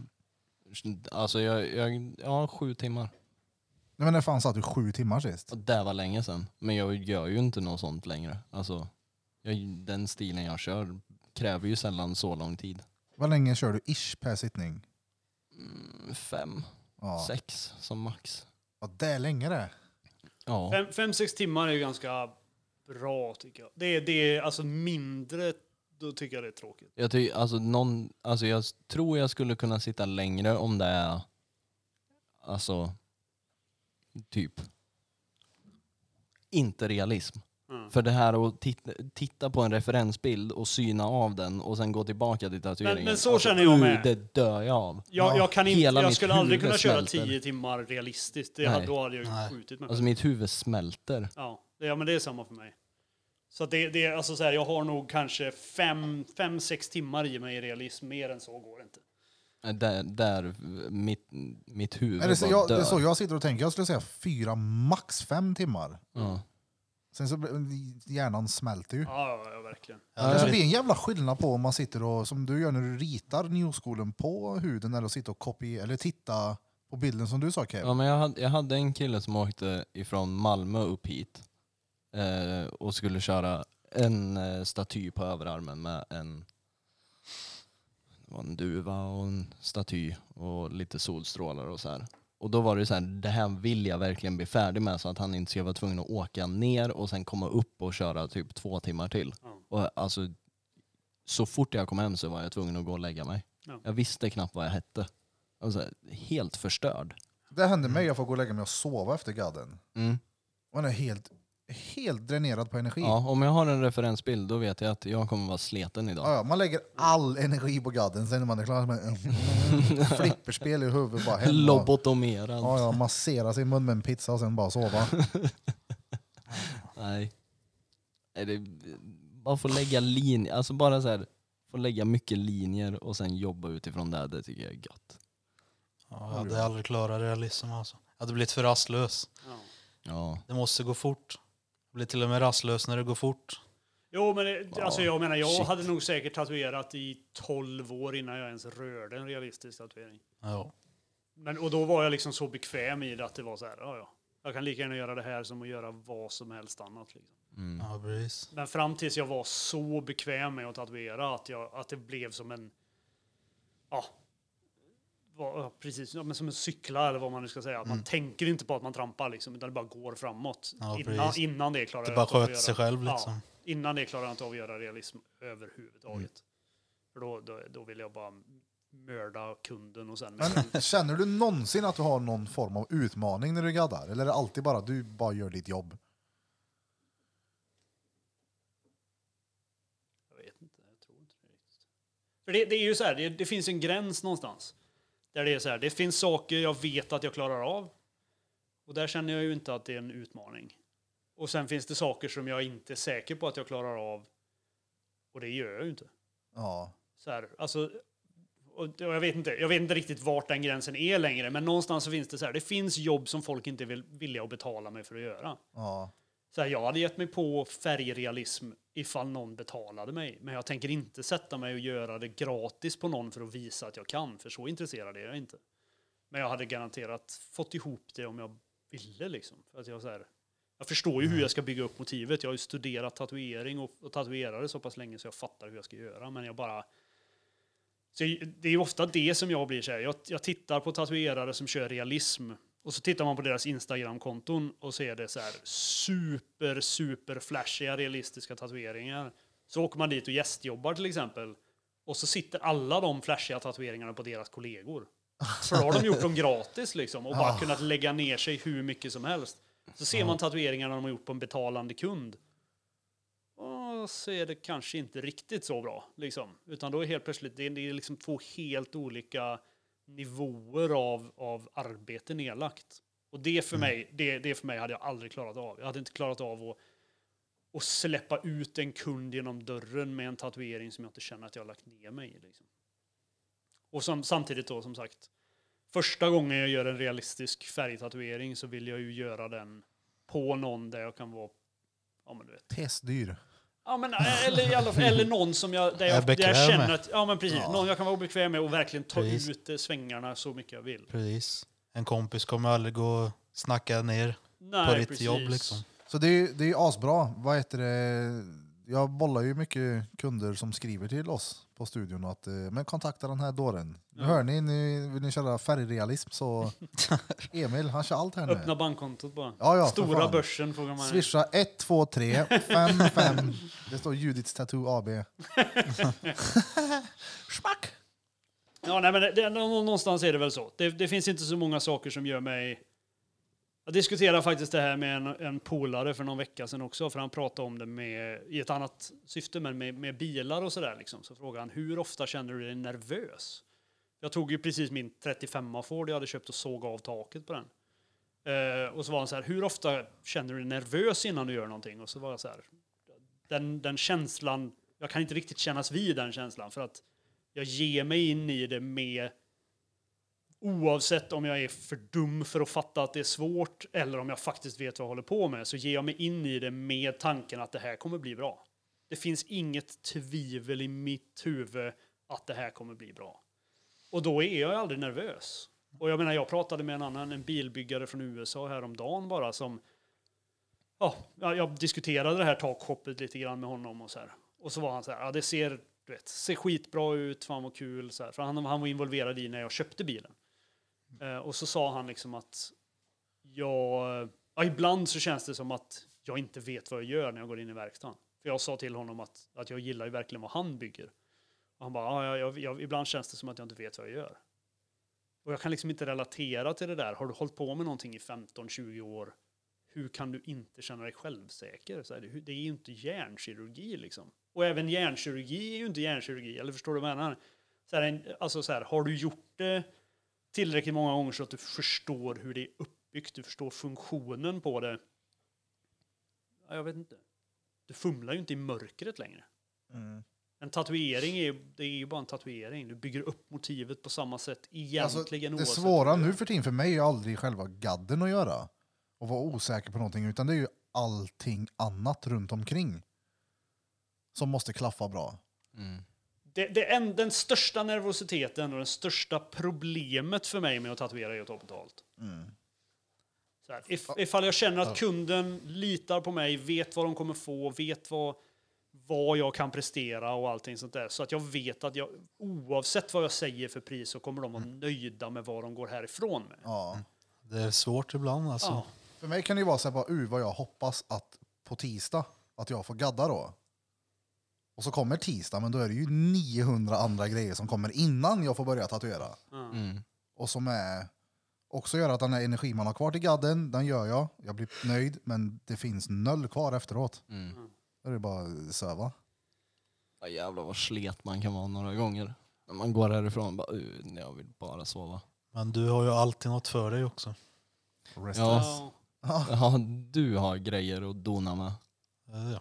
S7: Alltså jag, jag ja sju timmar.
S1: Nej men när fan satt du sju timmar sist?
S7: Och det var länge sedan. Men jag gör ju inte något sånt längre. Alltså, jag, den stilen jag kör kräver ju sällan så lång tid.
S1: Vad länge kör du ish per sittning?
S7: Fem,
S1: Ja,
S7: sex som max.
S1: ja det är länge det.
S7: Ja.
S4: Fem, fem, sex timmar är ju ganska bra tycker jag. Det, är- det är alltså mindre, då tycker jag det är tråkigt.
S7: Jag, ty, alltså, någon, alltså, jag s- tror jag skulle kunna sitta längre om det är... Alltså... Typ. Inte realism.
S4: Mm.
S7: För det här att titta, titta på en referensbild och syna av den och sen gå tillbaka till tatueringen.
S4: men så känner jag
S7: uh,
S4: med.
S7: Det dör jag av.
S4: Jag, jag, kan inte,
S7: hela
S4: jag
S7: mitt
S4: skulle aldrig kunna
S7: huvud
S4: köra
S7: smälter.
S4: tio timmar realistiskt. Det,
S7: Nej.
S4: hade- då hade jag ju
S3: Nej.
S4: skjutit mig.
S7: Alltså mitt huvud smälter.
S4: Ja, det, ja men det är samma för mig. Så att det, det är alltså så här, jag har nog kanske fem, fem, sex timmar i mig i realism. Mer än så går det inte.
S7: Nej, Äh, Där, där mitt, mitt huvud
S1: Nej, det, är så,
S7: bara
S1: jag, det
S7: dör.
S1: är så jag sitter och tänker. Jag skulle säga fyra, max fem timmar.
S7: Ja.
S1: Sen så blir- hjärnan smälter ju.
S4: Ja, ja, ja verkligen.
S1: Alltså, Det kanske blir en jävla skillnad på om man sitter och, som du gör när du ritar newschoolen på huden eller sitter och kopiera, eller titta på bilden som du sa Kev.
S7: Ja, men jag, hade, jag hade en kille som åkte ifrån Malmö upp hit eh, och skulle köra en eh, staty på överarmen med en, det var en duva och en staty och lite solstrålar och så här. Och då var det så här, det här vill jag verkligen bli färdig med så att han inte ska vara tvungen att åka ner och sen komma upp och köra typ två timmar till.
S4: Ja.
S7: Och alltså, så fort jag kom hem så var jag tvungen att gå och lägga mig.
S4: Ja.
S7: Jag visste knappt vad jag hette. Alltså, helt förstörd.
S1: Det hände mig, jag får gå och lägga mig och sova efter gadden.
S7: Mm.
S1: Man är helt, helt dränerad på energi. Ja.
S7: Ja, om jag har en referensbild då vet jag att jag kommer vara sleten idag.
S1: Ja, man lägger all energi på gadden, sen när man är klar med <laughs> flipperspel i huvudet bara hem. och-
S7: Lobotomerad.
S1: Ja, ja, massera sin mun med en pizza och sen bara sova.
S7: Nej. Nej det, man får lägga linjer, alltså bara så här, får lägga mycket linjer och sen jobba utifrån det, det tycker jag är gött.
S3: Ja, jag hade aldrig klarat realism alltså. Jag hade blivit för rastlös.
S4: Ja.
S7: Ja.
S3: Det måste gå fort. Jag blir till och med rastlös när det går fort.
S4: Jo, men det, alltså jag menar, jag
S7: shit.
S4: hade nog säkert tatuerat i 12 år innan jag ens rörde en realistisk tatuering.
S7: Mm.
S3: Ja.
S4: Men, och då var jag liksom så bekväm i det att det var så här, ja, ja. Jag kan lika gärna göra det här som att göra vad som helst annat. Liksom.
S7: Mm.
S3: Ja, precis.
S4: Men fram tills jag var så bekväm med att tatuera att, jag, att det blev som en... Ja, var, ja, precis. Ja, men som en cykla eller vad man nu ska säga. Att Man tänker inte på att man trampar liksom, utan det bara går framåt.
S3: Mm. Ja,
S4: innan,
S3: precis.
S4: innan det klarar
S3: Det
S4: jag
S3: bara
S4: inte av att
S3: sköter sig
S4: göra-
S3: själv
S4: Ja,
S3: liksom.
S4: innan det klarar jag inte av att göra realism överhuvudtaget.
S3: Mm.
S4: För då, då, då vill jag bara mörda kunden och sen...
S1: Men känner du någonsin att du har någon form av utmaning när du gaddar? Eller är det alltid bara att du bara gör ditt jobb?
S4: Jag vet inte, jag tror inte det riktigt. För det, det är ju så här, det, det finns en gräns någonstans. Där det är så här, det finns saker jag vet att jag klarar av. Och där känner jag ju inte att det är en utmaning. Och sen finns det saker som jag inte är säker på att jag klarar av. Och det gör jag ju inte.
S1: Ja.
S4: Så här, alltså, och det- och jag, vet inte, jag vet inte riktigt vart den gränsen är längre, men någonstans så finns det så här, det finns jobb som folk inte vill vilja att betala mig för att göra.
S1: ja.
S4: Så här, jag hade gett mig på färgrealism ifall någon betalade mig. Men jag tänker inte sätta mig och göra det gratis på någon för att visa att jag kan, för så intresserad är jag inte. Men jag hade garanterat fått ihop det om jag ville. Liksom. För att jag, så här, jag förstår ju hur jag ska bygga upp motivet. Jag har ju studerat tatuering och, och tatuerare så pass länge så jag fattar hur jag ska göra. Men jag bara... Så det är ju ofta det som jag blir så här. Jag, jag tittar på tatuerare som kör realism och så tittar man på deras Instagram-konton och ser det så här super, super flashiga realistiska tatueringar. Så åker man dit och gästjobbar till exempel och så sitter alla de flashiga tatueringarna på deras kollegor. För då har de gjort dem gratis liksom och bara kunnat lägga ner sig hur mycket som helst. Så ser man tatueringarna de har gjort på en betalande kund och så är det kanske inte riktigt så bra. Liksom. Utan då är helt plötsligt, det är, det är liksom två helt olika nivåer av, av arbete nedlagt. Och det för, mig, det, det för mig hade jag aldrig klarat av. Jag hade inte klarat av att, att släppa ut en kund genom dörren med en tatuering som jag inte känner att jag har lagt ner mig i. Liksom. Och som, samtidigt då, som sagt, första gången jag gör en realistisk färgtatuering så vill jag ju göra den på någon där jag kan vara, ja men du vet,
S1: Pestdyr.
S4: Ja, men, eh, eller, i alla fall, eller någon som jag, där
S3: Är
S4: jag, där jag
S3: bekväm
S4: känner
S3: med.
S4: att ja, men precis, någon jag kan vara obekväm med och verkligen ta
S3: Precis.
S4: ut eh, svängarna så mycket jag vill.
S3: Precis. En kompis kommer aldrig gå och snacka ner
S4: Nej,
S3: ditt jobb, liksom.
S1: Så det är ju det är ju asbra. Vad heter det? Jag bollar ju mycket kunder som skriver till oss på studion att eh, men kontakta den här dåren. Nu Hör ni, ni, vill ni köra färgrealism
S4: <laughs>
S1: så Emil han kör allt här nu.
S4: Öppna bankkontot bara.
S1: Ja, ja, för
S4: Stora
S1: fan.
S4: börsen frågar man.
S1: Swisha 123 55. Det står Judiths Tattoo AB. Smack!
S4: Ja, nej, men det, det, nå- någonstans är det väl så. Det, det finns inte så många saker som gör mig... Jag diskuterade faktiskt det här med en, en polare för någon vecka sedan också, för han pratade om det med, i ett annat syfte, men med, med bilar och sådär. Liksom. Så frågade han, hur ofta känner du dig nervös? Jag tog ju precis min 35a Ford jag hade köpt och såg av taket på den. Eh, och så var han så här, hur ofta känner du dig nervös innan du gör någonting? Och så var jag så här, den, den känslan, jag kan inte riktigt kännas vid den känslan, för att jag ger mig in i det med oavsett om jag är för dum för att fatta att det är svårt eller om jag faktiskt vet vad jag håller på med så ger jag mig in i det med tanken att det här kommer bli bra. Det finns inget tvivel i mitt huvud att det här kommer bli bra. Och då är jag aldrig nervös. Och jag menar, jag pratade med en annan, en bilbyggare från USA häromdagen bara som ja, jag jag diskuterade det här takhoppet lite grann med honom och så här. Och så var han så här, ja det ser, du vet, ser skitbra ut, fan vad kul, så här. För han, han var involverad i när jag köpte bilen. Eh, och så sa han liksom att jag, ja, ibland så känns det som att jag inte vet vad jag gör när jag går in i verkstaden. För jag sa till honom att, att jag gillar ju verkligen vad han bygger. Och han bara, ja, jag, jag, jag, ibland känns det som att jag inte vet vad jag gör. Och jag kan liksom inte relatera till det där. Har du hållit på med någonting i 15-20 år, hur kan du inte känna dig självsäker? Så här, det- det är ju inte hjärnkirurgi liksom. Och även hjärnkirurgi är ju inte hjärnkirurgi, eller förstår du vad jag menar? Så här, en- alltså så här, har du gjort det tillräckligt många gånger så att du förstår hur det är uppbyggt, du förstår funktionen på det. Ja, jag vet inte. Du fumlar ju inte i mörkret längre.
S1: Mm.
S4: En tatuering är ju, det är ju bara en tatuering. Du bygger upp motivet på samma sätt egentligen.
S1: Alltså, det
S4: oavsett
S1: svåra
S4: vad du
S1: nu
S4: gör.
S1: för tiden för mig är aldrig själva gadden att göra och vara osäker på någonting, utan det är ju allting annat runt omkring som måste klaffa bra.
S7: Mm.
S4: Det, det är en, den största nervositeten och det största problemet för mig med att tatuera är att ta betalt. Så här, if, ifall jag känner att kunden litar på mig, vet vad de kommer få, vet vad, vad jag kan prestera och allting sånt där. Så att jag vet att jag, oavsett vad jag säger för pris så kommer de vara nöjda med vad de går härifrån med.
S1: Ja.
S3: Det är svårt ibland alltså.
S4: Ja.
S1: För mig kan det ju vara så här, bara, uh, vad jag hoppas att på tisdag att jag får gadda då. Och så kommer tisdag, men då är det ju 900 andra grejer som kommer innan jag får börja tatuera.
S7: Mm.
S1: Och som är också gör att den här energi man har kvar till gadden, den gör jag. Jag blir nöjd, men det finns noll kvar efteråt.
S7: Mm.
S1: Då är det bara att söva.
S7: Ja, jävlar vad slet man kan vara några gånger. När man går härifrån och bara, "Uh, nej, jag vill bara sova.
S3: Men du har ju alltid något för dig också.
S1: Rest Ah,
S7: Ja,
S4: Ja.
S7: ja, du har grejer att dona med.
S3: Eh, Ja.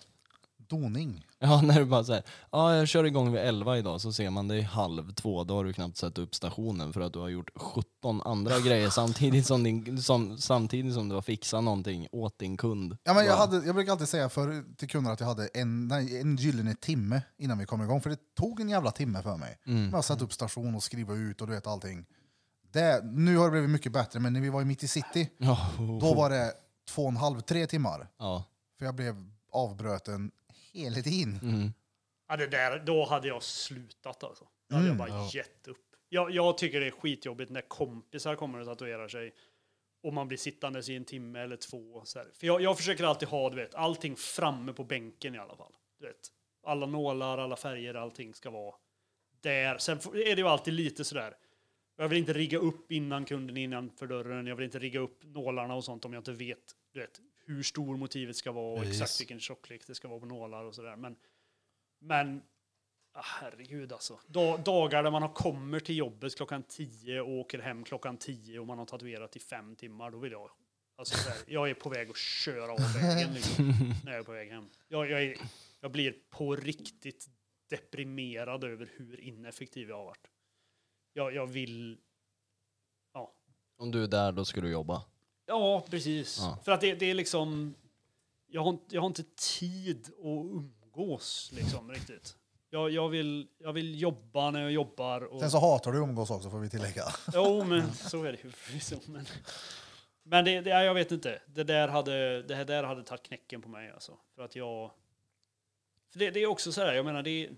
S1: Doning.
S7: <laughs> Ja, när du bara säger ja jag kör igång vid 11 idag så ser man det är halv två, då har du knappt satt upp stationen för att du har gjort 17
S1: <laughs>
S7: andra grejer samtidigt som, din, som, samtidigt som du har fixat någonting åt din kund.
S1: Ja, men jag,
S7: Bara,
S1: hade, jag brukar alltid säga för, till kunder att jag hade en, nej, en gyllene timme innan vi kom igång. För det tog en jävla timme för mig.
S7: Mm.
S1: Jag har satt upp station och skriva ut och du vet allting. Det, nu har det blivit mycket bättre, men när vi var i mitt i city,
S7: Ja,
S1: då var det två och en halv, tre timmar.
S7: ja,
S1: För jag blev avbröten hela tiden.
S7: mm,
S4: Ja, det där, då hade jag slutat alltså. Då hade jag bara gett upp. Jag, jag tycker det är skitjobbigt när kompisar kommer och tatuerar sig och man blir sittandes i en timme eller två. Så här. För jag, jag försöker alltid ha du vet, allting framme på bänken i alla fall. Du vet, alla nålar, alla färger, allting ska vara där. Sen får- är det ju alltid lite sådär. Jag vill inte rigga upp innan kunden är innanför dörren. Jag vill inte rigga upp nålarna och sånt om jag inte vet, du vet hur stor motivet ska vara och
S3: Ja,
S4: exakt
S3: just.
S4: vilken tjocklek det ska vara på nålar och sådär. Men, men ah, herregud alltså. Da, dagar där man har kommer till jobbet klockan 10 och åker hem klockan 10 och man har tatuerat i fem timmar, då vill jag... Alltså, så här, jag är på väg att köra av vägen liksom, när jag är på väg hem. Jag, jag, är, jag blir på riktigt deprimerad över hur ineffektiv jag har varit. Jag, jag vill... Ja,
S7: om du är där då ska du jobba.
S4: ja precis.
S7: Ja.
S4: För att det, det är liksom... Jag har, inte- jag har inte tid att umgås liksom riktigt. Jag, jag, vill, jag vill jobba när jag jobbar. Och,
S1: Sen så hatar du umgås också, får vi tillägga.
S4: Jo, men så är det ju förvisso. Men, men det, det, ja, jag vet inte. Det där hade, det här där hade tagit knäcken på mig alltså. För att jag... För det, det är också så här, jag menar, det är,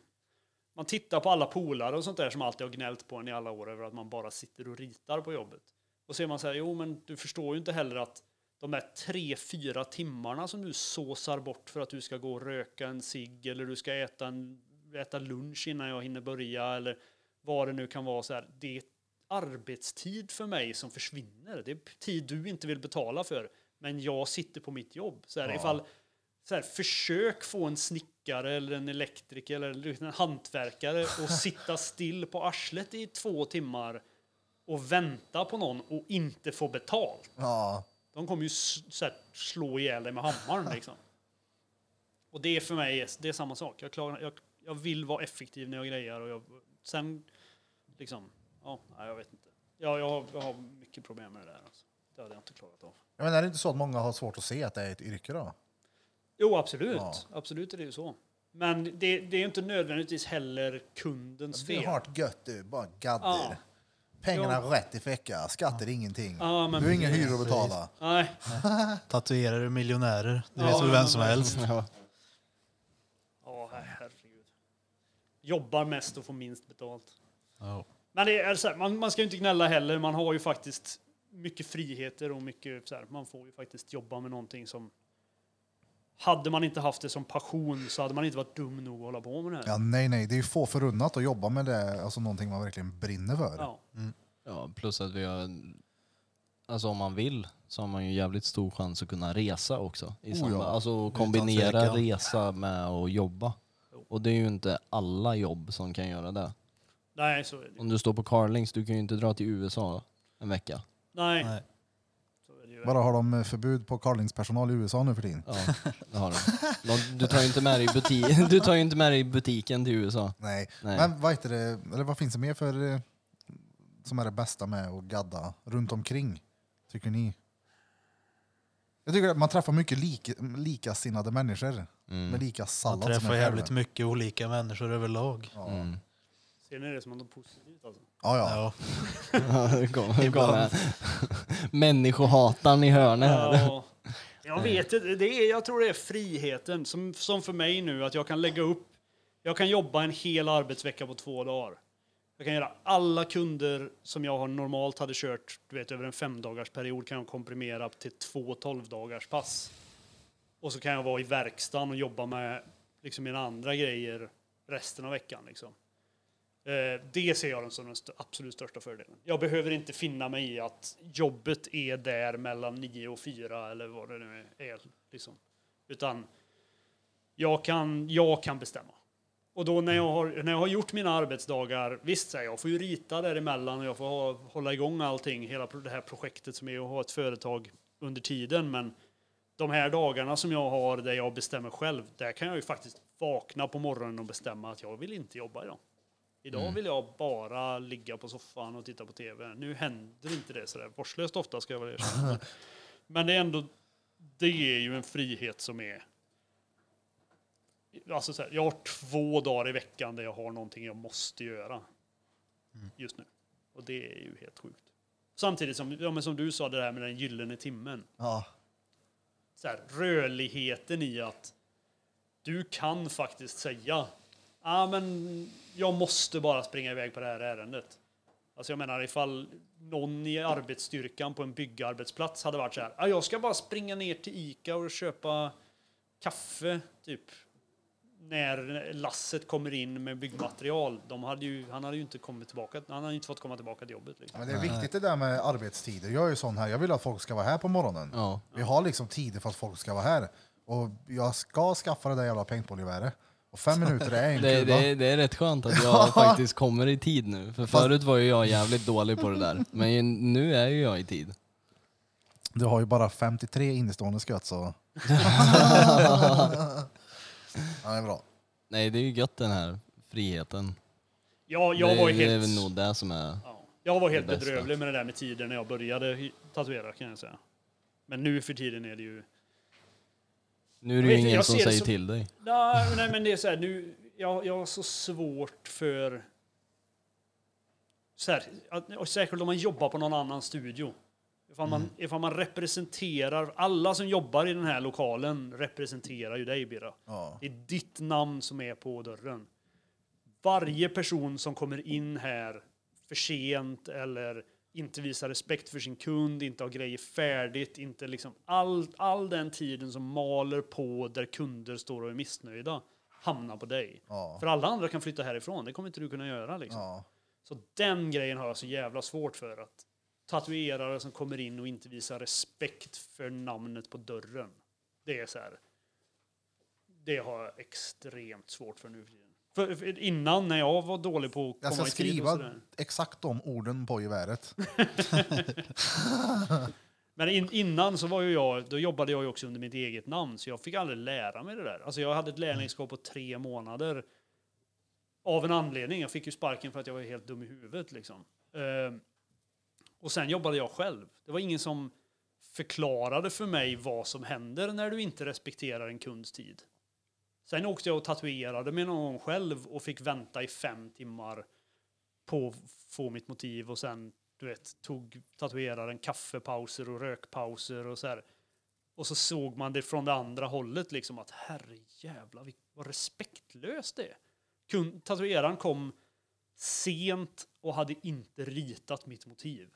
S4: man tittar på alla polare och sånt där som alltid har gnällt på en i alla år över att man bara sitter och ritar på jobbet. Och ser man så här, jo men du förstår ju inte heller att de här tre, fyra timmarna som du såsar bort för att du ska gå och röka en cigg eller du ska äta, en, äta lunch innan jag hinner börja eller vad det nu kan vara så här. Det är arbetstid för mig som försvinner. Det är tid du inte vill betala för, men jag sitter på mitt jobb. Så här, ifall, så här, försök få en snickare eller en elektriker eller en hantverkare och sitta still på arslet i två timmar och vänta på någon och inte få betalt.
S1: Ja.
S4: De kommer ju s- så här, slå ihjäl dig
S1: <laughs>
S4: med hammaren liksom. Och det är för mig det är samma sak. Jag, klarar, jag, jag vill vara effektiv när jag grejer och jag, sen liksom, ja, nej, jag vet inte. Ja, jag, har, jag har mycket problem med det där. Alltså. Det hade jag inte klarat av.
S1: Jag menar, är det inte så att många har svårt att se att det är ett yrke då?
S4: Jo, absolut.
S1: Ja.
S4: Absolut är det ju så. Men det, det är ju inte nödvändigtvis heller kundens
S1: Det
S4: fel.
S1: är hart gött du, bara gadder.
S4: Ja.
S1: Pengarna rätt i ficka, skatter ingenting.
S4: Ja, men
S1: du har inga hyror att betala.
S4: Nej,
S3: Tatuerare miljonärer, det
S4: Ja,
S3: vet väl
S4: men-
S3: vem som helst.
S7: Ja.
S4: ja herregud. Jobbar mest och får minst betalt.
S3: Ja.
S4: Men det är så här, man, man ska ju inte gnälla heller. Man har ju faktiskt mycket friheter och mycket så här, man får ju faktiskt jobba med någonting som hade man inte haft det som passion så hade man inte varit dum nog att hålla på med det här.
S1: Ja, nej, nej, det är ju få förunnat att jobba med det, alltså någonting man verkligen brinner för.
S4: Ja.
S7: Ja, plus att vi har... Alltså om man vill så har man ju jävligt stor chans att kunna resa också. I
S1: Oh
S7: samband,
S1: ja,
S7: Alltså
S1: utan
S7: kombinera
S1: tvekan.
S7: resa med att jobba. Och det är ju inte alla jobb som kan göra det.
S4: Nej, så är det ju.
S7: Om du står på Carlings, du kan ju inte dra till USA en vecka.
S4: Nej,
S3: Nej.
S4: så är det ju.
S1: Bara har de eh, förbud på Carlingspersonal i USA nu för tiden?
S7: Ja, det har du. De- Du tar ju inte med dig, i buti- <laughs> du tar ju inte med dig i butiken till USA.
S1: Nej.
S7: Nej.
S1: Men vad heter det, eller vad finns det mer för eh, som är det bästa med att gadda runt omkring? Tycker ni? Jag tycker att man träffar mycket lik, likasinnade människor
S7: Mm.
S1: med lika
S3: Man
S1: sallad
S3: träffar
S1: jag
S3: jävligt
S1: själv.
S3: mycket olika människor överlag.
S1: Ja.
S7: Mm.
S4: Ser ni det som något positivt alltså?
S1: Ja, ja.
S3: Ja.
S7: Ja, <laughs> det kom- det kom
S4: <laughs>
S7: här. Människohataren i hörnet här.
S4: Ja, jag vet inte. Det är, jag tror det är friheten som, som för mig nu, att jag kan lägga upp. Jag kan jobba en hel arbetsvecka på två dagar. Jag kan göra alla kunder som jag har normalt hade kört du vet, över en femdagarsperiod kan jag komprimera till två tolvdagars pass. Och så kan jag vara i verkstaden och jobba med liksom, mina andra grejer resten av veckan. Liksom. Eh, Det ser jag som den st- absolut största fördelen. Jag behöver inte finna mig i att jobbet är där mellan 9 och 4 eller vad det nu är. Liksom. Utan jag kan, jag kan bestämma. Och då när jag, har, när jag har gjort mina arbetsdagar, visst säger jag, jag får ju rita däremellan och jag får ha, hålla igång allting, hela pro- det här projektet som är att ha ett företag under tiden, men de här dagarna som jag har där jag bestämmer själv, där kan jag ju faktiskt vakna på morgonen och bestämma att jag vill inte jobba idag. Idag vill jag bara ligga på soffan och titta på tv. Nu händer inte det sådär vårdslöst ofta ska jag väl erkänna. Men det är ändå, det är ju en frihet som är... Alltså så här, jag har två dagar i veckan där jag har någonting jag måste göra just nu. Och det är ju helt sjukt. Samtidigt som, ja, men som du sa, det där med den gyllene timmen
S1: ja.
S4: så här, rörligheten i att du kan faktiskt säga ah, men jag måste bara springa iväg på det här ärendet. Alltså jag menar ifall någon i arbetsstyrkan på en byggarbetsplats hade varit så här, ah, jag ska bara springa ner till Ica och köpa kaffe, typ. När lasset kommer in med byggmaterial, de hade ju, han hade ju inte kommit tillbaka, han hade inte fått komma tillbaka till jobbet. Liksom.
S1: Men det är viktigt det där med arbetstider. Jag är ju sån här, jag vill att folk ska vara här på morgonen.
S7: Ja.
S1: Vi har liksom tider för att folk ska vara här. Och jag ska skaffa det där jävla paintballgeväret. Och fem minuter är en
S7: <laughs> <laughs> Det,
S1: kula.
S7: det, det är rätt skönt att
S4: <laughs>
S7: jag faktiskt kommer i tid nu. För förut var ju jag jävligt dålig på det där. Men ju- nu är ju jag i tid.
S1: Du har ju bara 53 innestående skott
S7: <laughs>
S1: så... ja, det är bra.
S7: Nej, det är ju gött den här friheten.
S4: Ja, jag var ju
S7: det, det är
S4: helt...
S7: väl nog det som är...
S4: Ja. Jag var helt
S7: Det bästa.
S4: bedrövlig med det där med tiden när jag började hy- tatuera kan jag säga. Men nu för tiden är det ju...
S7: Nu är det
S4: Jag
S7: ju
S4: vet inte,
S7: ingen
S4: jag
S7: som
S4: ser det
S7: säger
S4: som-
S7: till dig.
S4: Nej, men- nej men det är så här, nu... Jag, jag har så svårt för... Så här, att, och särskilt om man jobbar på någon annan studio. Ifall man,
S7: Mm.
S4: ifall man representerar... Alla som jobbar i den här lokalen representerar ju dig, Birra.
S1: Ja.
S4: Det är ditt namn som är på dörren. Varje person som kommer in här för sent eller inte visar respekt för sin kund, inte har grejer färdigt, inte liksom all, all den tiden som maler på där kunder står och är missnöjda hamnar på dig.
S1: Ja.
S4: För alla andra kan flytta härifrån, det kommer inte du kunna göra. Liksom.
S1: Ja.
S4: Så den grejen har jag så jävla svårt för. att Tatuerare som kommer in och inte visar respekt för namnet på dörren. Det är så här. Det har jag extremt svårt för nu för tiden. För, för innan när jag var dålig på att komma
S1: Jag ska
S4: i tid och
S1: skriva
S4: sådär.
S1: exakt de orden på geväret.
S4: Men in, innan så var ju jag, då jobbade jag ju också under mitt eget namn, så jag fick aldrig lära mig det där. Alltså jag hade ett lärlingskap på tre månader av en anledning. Jag fick ju sparken för att jag var helt dum i huvudet liksom. Ehm, och sen jobbade jag själv. Det var ingen som förklarade för mig vad som händer när du inte respekterar en kunds tid. Sen åkte jag och tatuerade mig någon gång själv och fick vänta i fem timmar på att få mitt motiv och sen du vet, tog tatueraren kaffepauser och rökpauser och så här. Och så såg man det från det andra hållet liksom att herre jävla vad respektlöst det är. Kun, tatueraren kom sent och hade inte ritat mitt motiv.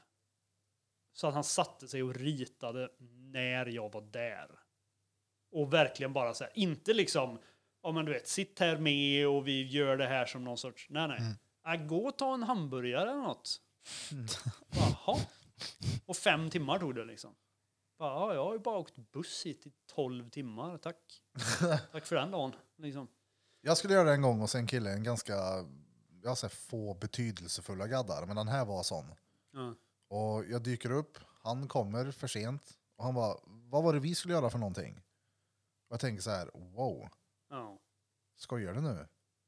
S4: Så att han satte sig och ritade när jag var där. Och verkligen bara så här, inte liksom, ja men du vet, sitt här med och vi gör det här som någon sorts, nej nej. Äh, gå och ta en hamburgare eller något. Jaha. Och fem timmar tog det liksom. Bara, ja, jag har ju bara åkt buss hit i tolv timmar, tack. tack för den dagen. Liksom.
S1: Jag skulle göra det en gång och sen kille, en ganska, jag säger få betydelsefulla gaddar, men den här var sån.
S4: Ja.
S1: Och jag dyker upp, han kommer för sent. Och han bara, vad var det vi skulle göra för någonting? Och jag tänker så här, wow,
S4: Ja.
S1: skojar du nu? <laughs>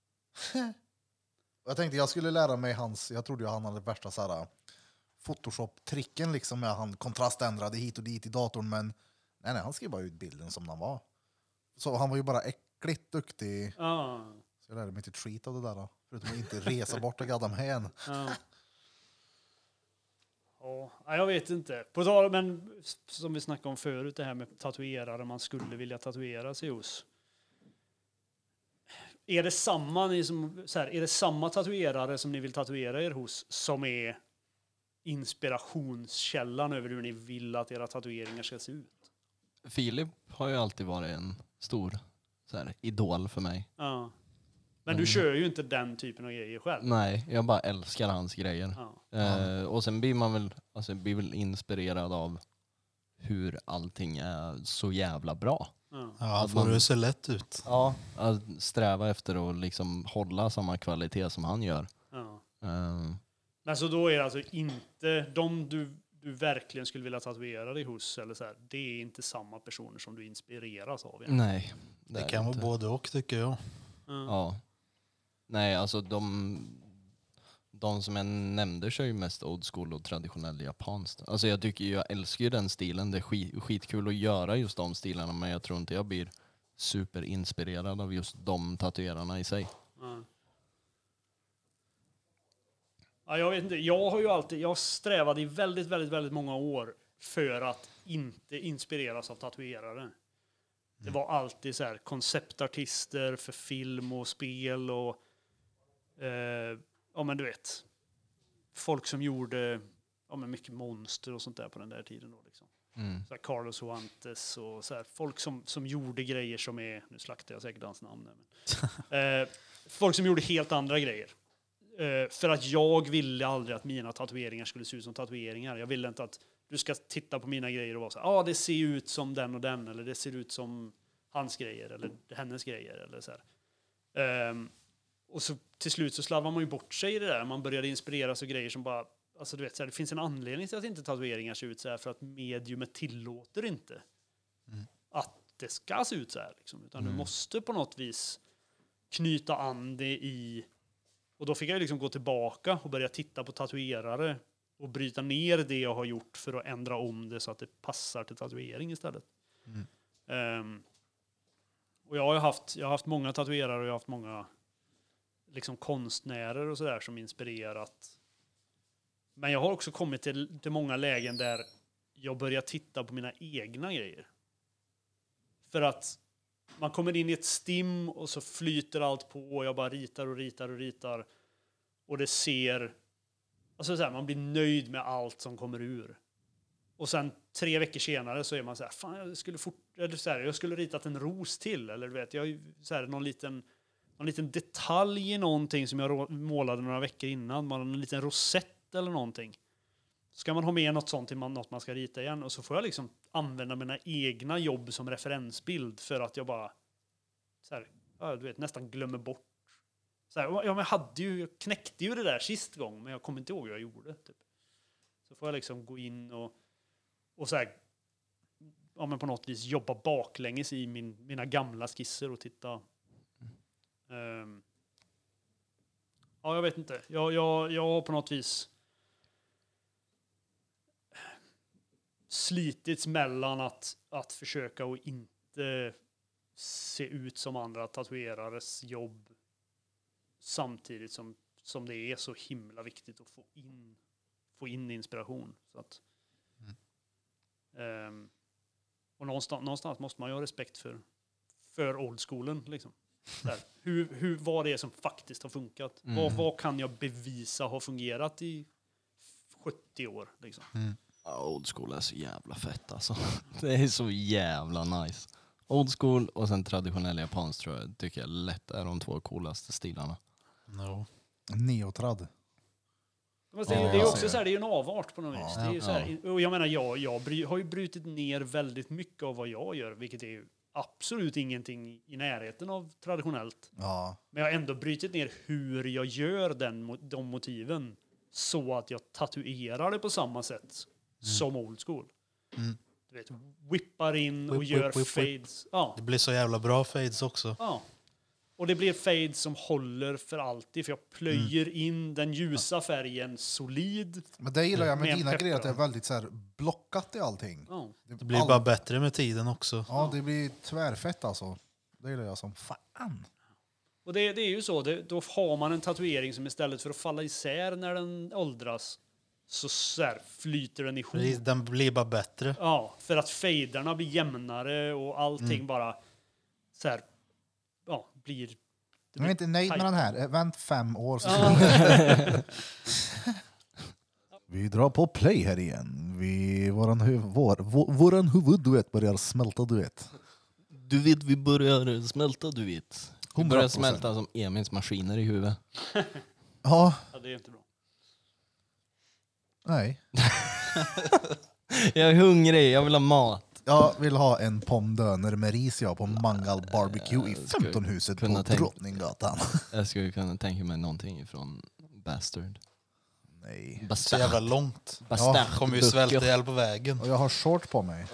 S1: och jag tänkte jag skulle lära mig hans, jag trodde ju han hade värsta så här eh, Photoshop-tricken liksom med han kontraständrade hit och dit i datorn men nej nej, han skrev bara ut bilden som den var. Så han var ju bara äckligt duktig.
S4: Ja.
S1: Så jag lärde mig inte ett skit av det där då. Förutom att inte resa bort och gadda med en.
S4: Ja. Ja, nej, jag vet inte. På tal men s- som vi snackade om förut, det här med tatuerare man skulle vilja tatuera sig hos. Är det samma, ni som, så här, är det samma tatuerare som ni vill tatuera er hos som är inspirationskällan över hur ni vill att era tatueringar ska se ut?
S7: Filip har ju alltid varit en stor så här, idol för mig.
S4: Ja. Men du
S7: Mm.
S4: kör ju inte den typen av grejer själv.
S7: Nej, jag bara älskar hans grejer.
S4: Ja.
S7: Eh, och sen blir man väl, alltså, blir väl inspirerad av hur allting är så jävla bra.
S4: Ja.
S3: Ja,
S7: Att
S3: får
S7: man-
S3: det se lätt ut.
S7: Ja. Att sträva efter att liksom hålla samma kvalitet som han gör.
S4: Ja.
S7: Eh,
S4: Men så då är det alltså inte de du, du verkligen skulle vilja tatuera dig hos, eller så här, det är inte samma personer som du inspireras av? egentligen.
S7: nej.
S3: Det
S7: är
S3: kan vara
S7: inte.
S3: både och tycker jag.
S4: Mm.
S7: Ja. Nej, alltså de, de som jag nämnde kör ju mest old school och traditionell japanskt. Alltså jag, tycker, ju- jag älskar ju den stilen, det är skit, skitkul att göra just de stilarna men jag tror inte jag blir superinspirerad av just de tatuerarna i sig.
S4: Ja. Ja, jag vet inte, jag har ju alltid, jag strävade i väldigt, väldigt, väldigt många år för att inte inspireras av tatuerare. Det var alltid så här konceptartister för film och spel och eh, ja men du vet, folk som gjorde ja, men mycket monster och sånt där på den där tiden. Då, liksom.
S7: Mm.
S4: så här Carlos Huantes och så här, folk som, som gjorde grejer som är, nu slaktar jag säkert hans namn. här, Men, eh, folk som gjorde helt andra grejer. Eh, för att jag ville aldrig att mina tatueringar skulle se ut som tatueringar. Jag ville inte att du ska titta på mina grejer och vara så här, ah, det ser ut som den och den, eller det ser ut som hans grejer, eller hennes grejer, eller så här. Ehm, och så till slut så slarvar man ju bort sig i det där. Man började inspireras av grejer som bara... Alltså du vet, så här, det finns en anledning till att inte tatueringar ser ut så här för att mediumet tillåter inte att det ska se ut så här. Liksom, utan du måste på något vis knyta an det i... Och då fick jag ju liksom gå tillbaka och börja titta på tatuerare och bryta ner det jag har gjort för att ändra om det så att det passar till tatuering istället. Ehm, och jag har ju haft, jag har haft många tatuerare och jag har haft många liksom konstnärer och sådär som inspirerat. Men jag har också kommit till, till många lägen där jag börjar titta på mina egna grejer. För att man kommer in i ett stim och så flyter allt på och jag bara ritar och ritar och ritar. Och det ser... Alltså så här, man blir nöjd med allt som kommer ur. Och sen tre veckor senare så är man så här, fan jag skulle, fort, eller så här, jag skulle ritat en ros till. Eller du vet, jag har ju så här, någon liten någon liten detalj i någonting som jag rå- målade några veckor innan. Man har en liten rosett eller någonting. Ska man ha med något sånt till man, något man ska rita igen? Och så får jag liksom använda mina egna jobb som referensbild för att jag bara så här, ja, du vet, nästan glömmer bort. Så här, ja, men jag, hade ju, jag knäckte ju det där sist gång, men jag kommer inte ihåg hur jag gjorde. Typ. Så får jag liksom gå in och, och så här, ja, men på något vis jobba baklänges i min, mina gamla skisser och titta Ehm. ja, jag vet inte. Jag, jag, jag har på något vis slitits mellan att, att försöka och inte se ut som andra tatuerares jobb samtidigt som, som det är så himla viktigt att få in, få in inspiration. Så att, Ehm. och någonstans, någonstans måste man ju ha respekt för, för old schoolen. Liksom. Där. Hur, hur, vad det är som faktiskt har funkat.
S7: Mm.
S4: Vad, vad kan jag bevisa har fungerat i 70 år? Liksom.
S7: Ja, Old school är så jävla fett alltså. <laughs> Det är så jävla nice. Old school och sen traditionell japansk tror jag tycker jag lätt är de två coolaste stilarna.
S3: No.
S1: Neotrad.
S4: Fast Det är,
S7: Ja,
S4: det är
S7: jag
S4: också
S7: ser
S4: så här, det är ju en avart på något vis.
S1: Ja,
S4: det är ju
S7: ja.
S4: så här, och jag menar, jag, jag bry, har ju brutit ner väldigt mycket av vad jag gör, vilket är ju absolut ingenting i närheten av traditionellt.
S1: Ja.
S4: Men jag har ändå brutit ner hur jag gör den, mo- de motiven så att jag tatuerar det på samma sätt som old school.
S3: Mm.
S4: Du vet, whippar in och
S3: Whip,
S4: gör
S3: whip, whip, whip.
S4: fades. Ja.
S3: Det blir så jävla bra fades också.
S4: Ja. Och det blir fades som håller för alltid, för jag plöjer in den ljusa färgen solid.
S1: Men det gillar jag med
S4: Med en
S1: dina
S4: pepp,
S1: grejer, att det är
S4: ja.
S1: väldigt så här blockat i allting.
S4: Ja.
S3: Det blir bara bättre med tiden också.
S1: Ja, det blir tvärfett alltså. Det gillar jag som fan.
S4: Och det, det är ju så, det, då har man en tatuering som istället för att falla isär när den åldras, så, så här flyter den ihop.
S3: Precis, Den blir bara bättre.
S4: Ja, för att fejderna blir jämnare och allting bara så här, ja, blir...
S1: Jag är inte nöjd med
S4: tajt.
S1: den här. Eh, Vänt fem år. Så
S4: Ja, <laughs>
S1: Vi drar på play här igen. Vi, våran, huv, vår, vår, våran huvudduett börjar smälta, du vet.
S7: Du vet, vi börjar smälta, du vet. Vi
S1: 100%.
S7: börjar smälta som Emils maskiner i huvudet.
S1: Ja,
S4: det är inte bra.
S1: nej.
S7: Jag är hungrig, jag vill ha mat.
S1: Jag vill ha en pomdöner med ris jag på Mangal Barbecue i 15-huset
S7: kunna
S1: på
S7: tänkt.
S1: Drottninggatan. <laughs>
S7: Jag skulle kunna tänka mig någonting från Bastard.
S1: Nej.
S3: Så jävla
S7: Bastard.
S3: långt.
S7: Bastard.
S3: Kommer ju svälta ihjäl på vägen.
S1: Och jag har short på mig.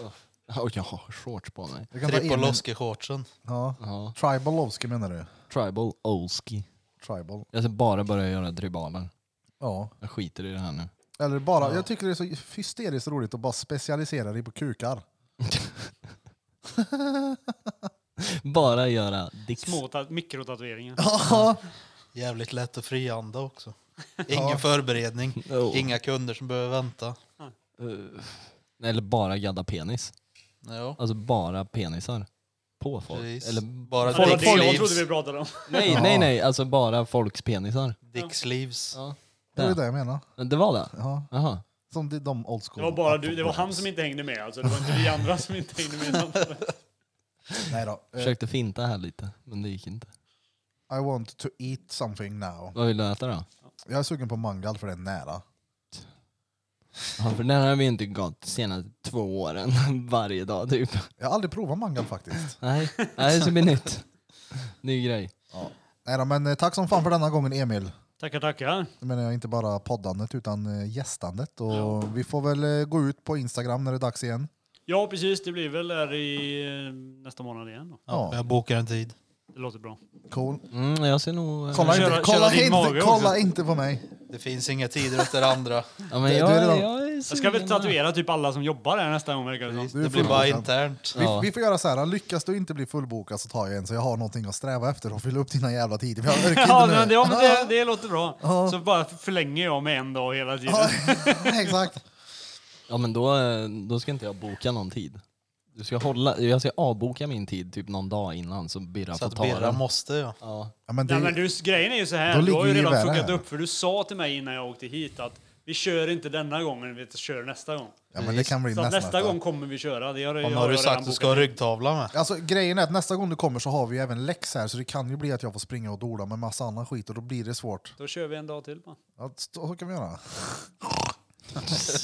S7: Och jag har shorts på mig.
S1: Jag kan ta in en-
S3: Tripoloski-shortsen.
S1: Ja.
S7: Ja.
S1: Tribal Lovsky menar du?
S7: Tribal Olski.
S1: Tribal.
S7: Jag ska bara börja göra tribaler.
S1: Ja.
S7: Jag skiter i det här <laughs> nu.
S1: Eller bara, jag tycker det är så hysteriskt roligt att bara specialisera dig på kukar.
S7: Bara göra dicks.
S4: Små ta- mikrotatueringar.
S3: Jävligt lätt att frianda också. Ingen förberedning,
S7: Oh.
S3: inga kunder som behöver vänta.
S7: Eh, Eller bara gadda penis.
S3: Ja,
S7: Alltså bara penisar. På folk.
S3: precis.
S7: Eller
S3: Bara
S4: Ja, det var
S3: Dick
S4: det jag trodde
S3: Sleeves.
S4: vi pratade om.
S7: Nej, nej, nej. Alltså bara folks penisar.
S3: Dick Sleeves.
S7: Ja.
S1: Det är
S7: Där.
S1: det jag menar.
S7: Det var det?
S1: Ja.
S7: Jaha.
S1: Som de- de old
S4: Det
S1: school.
S4: var bara du, det var han som inte hängde med alltså. Det var inte vi andra som inte hängde med.
S1: Nej då. Eh,
S7: Försökte finta här lite, men det gick inte.
S1: I want to eat something now.
S7: Vad vill du äta då?
S1: Jag är sugen på mangal för det är nära.
S7: Ja, för den här har vi inte gått de senaste två åren. <laughs> Varje dag typ.
S1: Jag har aldrig provat mangal faktiskt.
S7: Nej, nej det ska bli nytt. Ny grej.
S1: Nej då, men eh, tack som fan för denna gången Emil.
S4: Tackar, tackar.
S1: Jag menar inte bara poddandet utan eh, gästandet. Och Vi får väl eh, gå ut på Instagram när det är dags igen.
S4: Ja, precis. Det blir väl där i eh, nästa månad igen. Då.
S3: Ja,
S1: Ja.
S3: Jag bokar en tid.
S4: Det låter bra.
S1: Cool.
S7: Mm, jag ser nog... eh,
S1: Kolla,
S4: Köra-
S1: inte,
S4: köra
S1: kolla,
S4: din
S1: inte,
S4: mage
S1: kolla
S4: också.
S1: inte på mig.
S3: Det finns inga tider efter andra.
S7: <laughs> Ja, men
S1: Du-
S7: jag,
S1: du är redan-
S7: jag, är
S4: Jag ska väl
S7: sugen.
S4: tatuera typ alla som jobbar här nästa gång verkar det
S1: Du
S4: som.
S1: är
S3: Det blir bara
S1: fullbokad.
S3: internt.
S7: Ja.
S1: Vi, vi får göra så här, lyckas du inte bli fullbokad så tar jag en så jag har någonting att sträva efter och fylla upp dina jävla tider. för Jag orkar
S4: Ja,
S1: inte
S4: men,
S1: nu.
S4: ja, men det, det låter bra.
S1: Ja.
S4: Så bara förlänger jag med en dag hela tiden.
S1: Ja, Exakt.
S7: Ja men då, eh, då ska inte jag boka någon tid. Du ska hålla, jag ska avboka min tid typ någon dag innan så Birra
S3: Så
S7: får
S3: att
S7: ta
S3: Birra
S7: den.
S3: måste ja.
S7: Ja. <laughs>
S1: Ja, men det,
S4: Nej, men du, grejen är ju så här,
S1: Då
S4: du har
S1: ligger
S4: ju
S1: vi i
S4: redan
S1: världen
S4: fuckat
S1: här.
S4: upp för du sa till mig innan jag åkte hit att vi kör inte denna gången, vi kör nästa gång.
S1: ja, men det kan bli
S4: Så
S1: nästa,
S4: att nästa gång kommer vi köra. Det har,
S3: Om
S4: jag
S3: har du
S4: redan
S3: sagt att du
S4: bokat
S3: ska ha ryggtavla med?
S1: Alltså, grejen är att nästa gång du kommer så har vi ju även läx här så det kan ju bli att jag får springa och dola med massa annan skit och då blir det svårt.
S4: Då kör vi en dag till bara.
S1: Ja, så kan vi göra.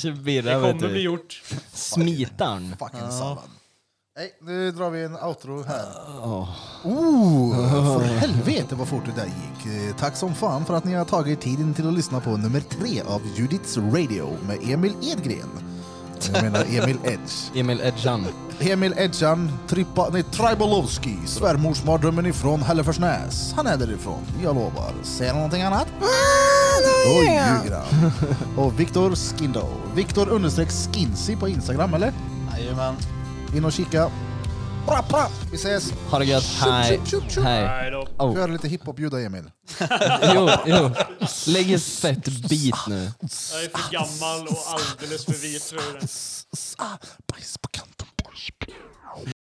S7: Birra
S4: Det
S7: vet
S4: kommer bli
S7: du,
S4: gjort.
S7: smitarn.
S1: Fucking sallad. Nej, nu drar vi en outro här.
S7: Ja.
S1: Oh, för helvete vad fort det där gick. Eh, Tack som fan för att ni har tagit tiden till att lyssna på nummer tre av Judiths Radio med Emil Edgren. Jag menar Emil Edge.
S7: Emil Edjan.
S1: Emil Edjan, Trippa, nej, Tribalowski, svärmorsmardrömmen ifrån Hälleforsnäs. Han är därifrån, jag lovar. Säger han någonting annat? Då ljuger han. Och Viktor Skindo. Viktor understreck Skinsy på Instagram, eller?
S3: Jajamän.
S1: In och kika. Bra, bra. Vi ses!
S7: Ha det gött, hej.
S1: Tjup, tjup, tjup, tjup.
S7: Hej.
S4: Nej då.
S1: Får jag
S7: Oh.
S1: höra lite hiphop-ljud av Emil?
S7: Jo, jo. Lägg ett fett beat nu.
S4: Jag är för gammal och alldeles för vit för det.
S1: Bajs på kanten.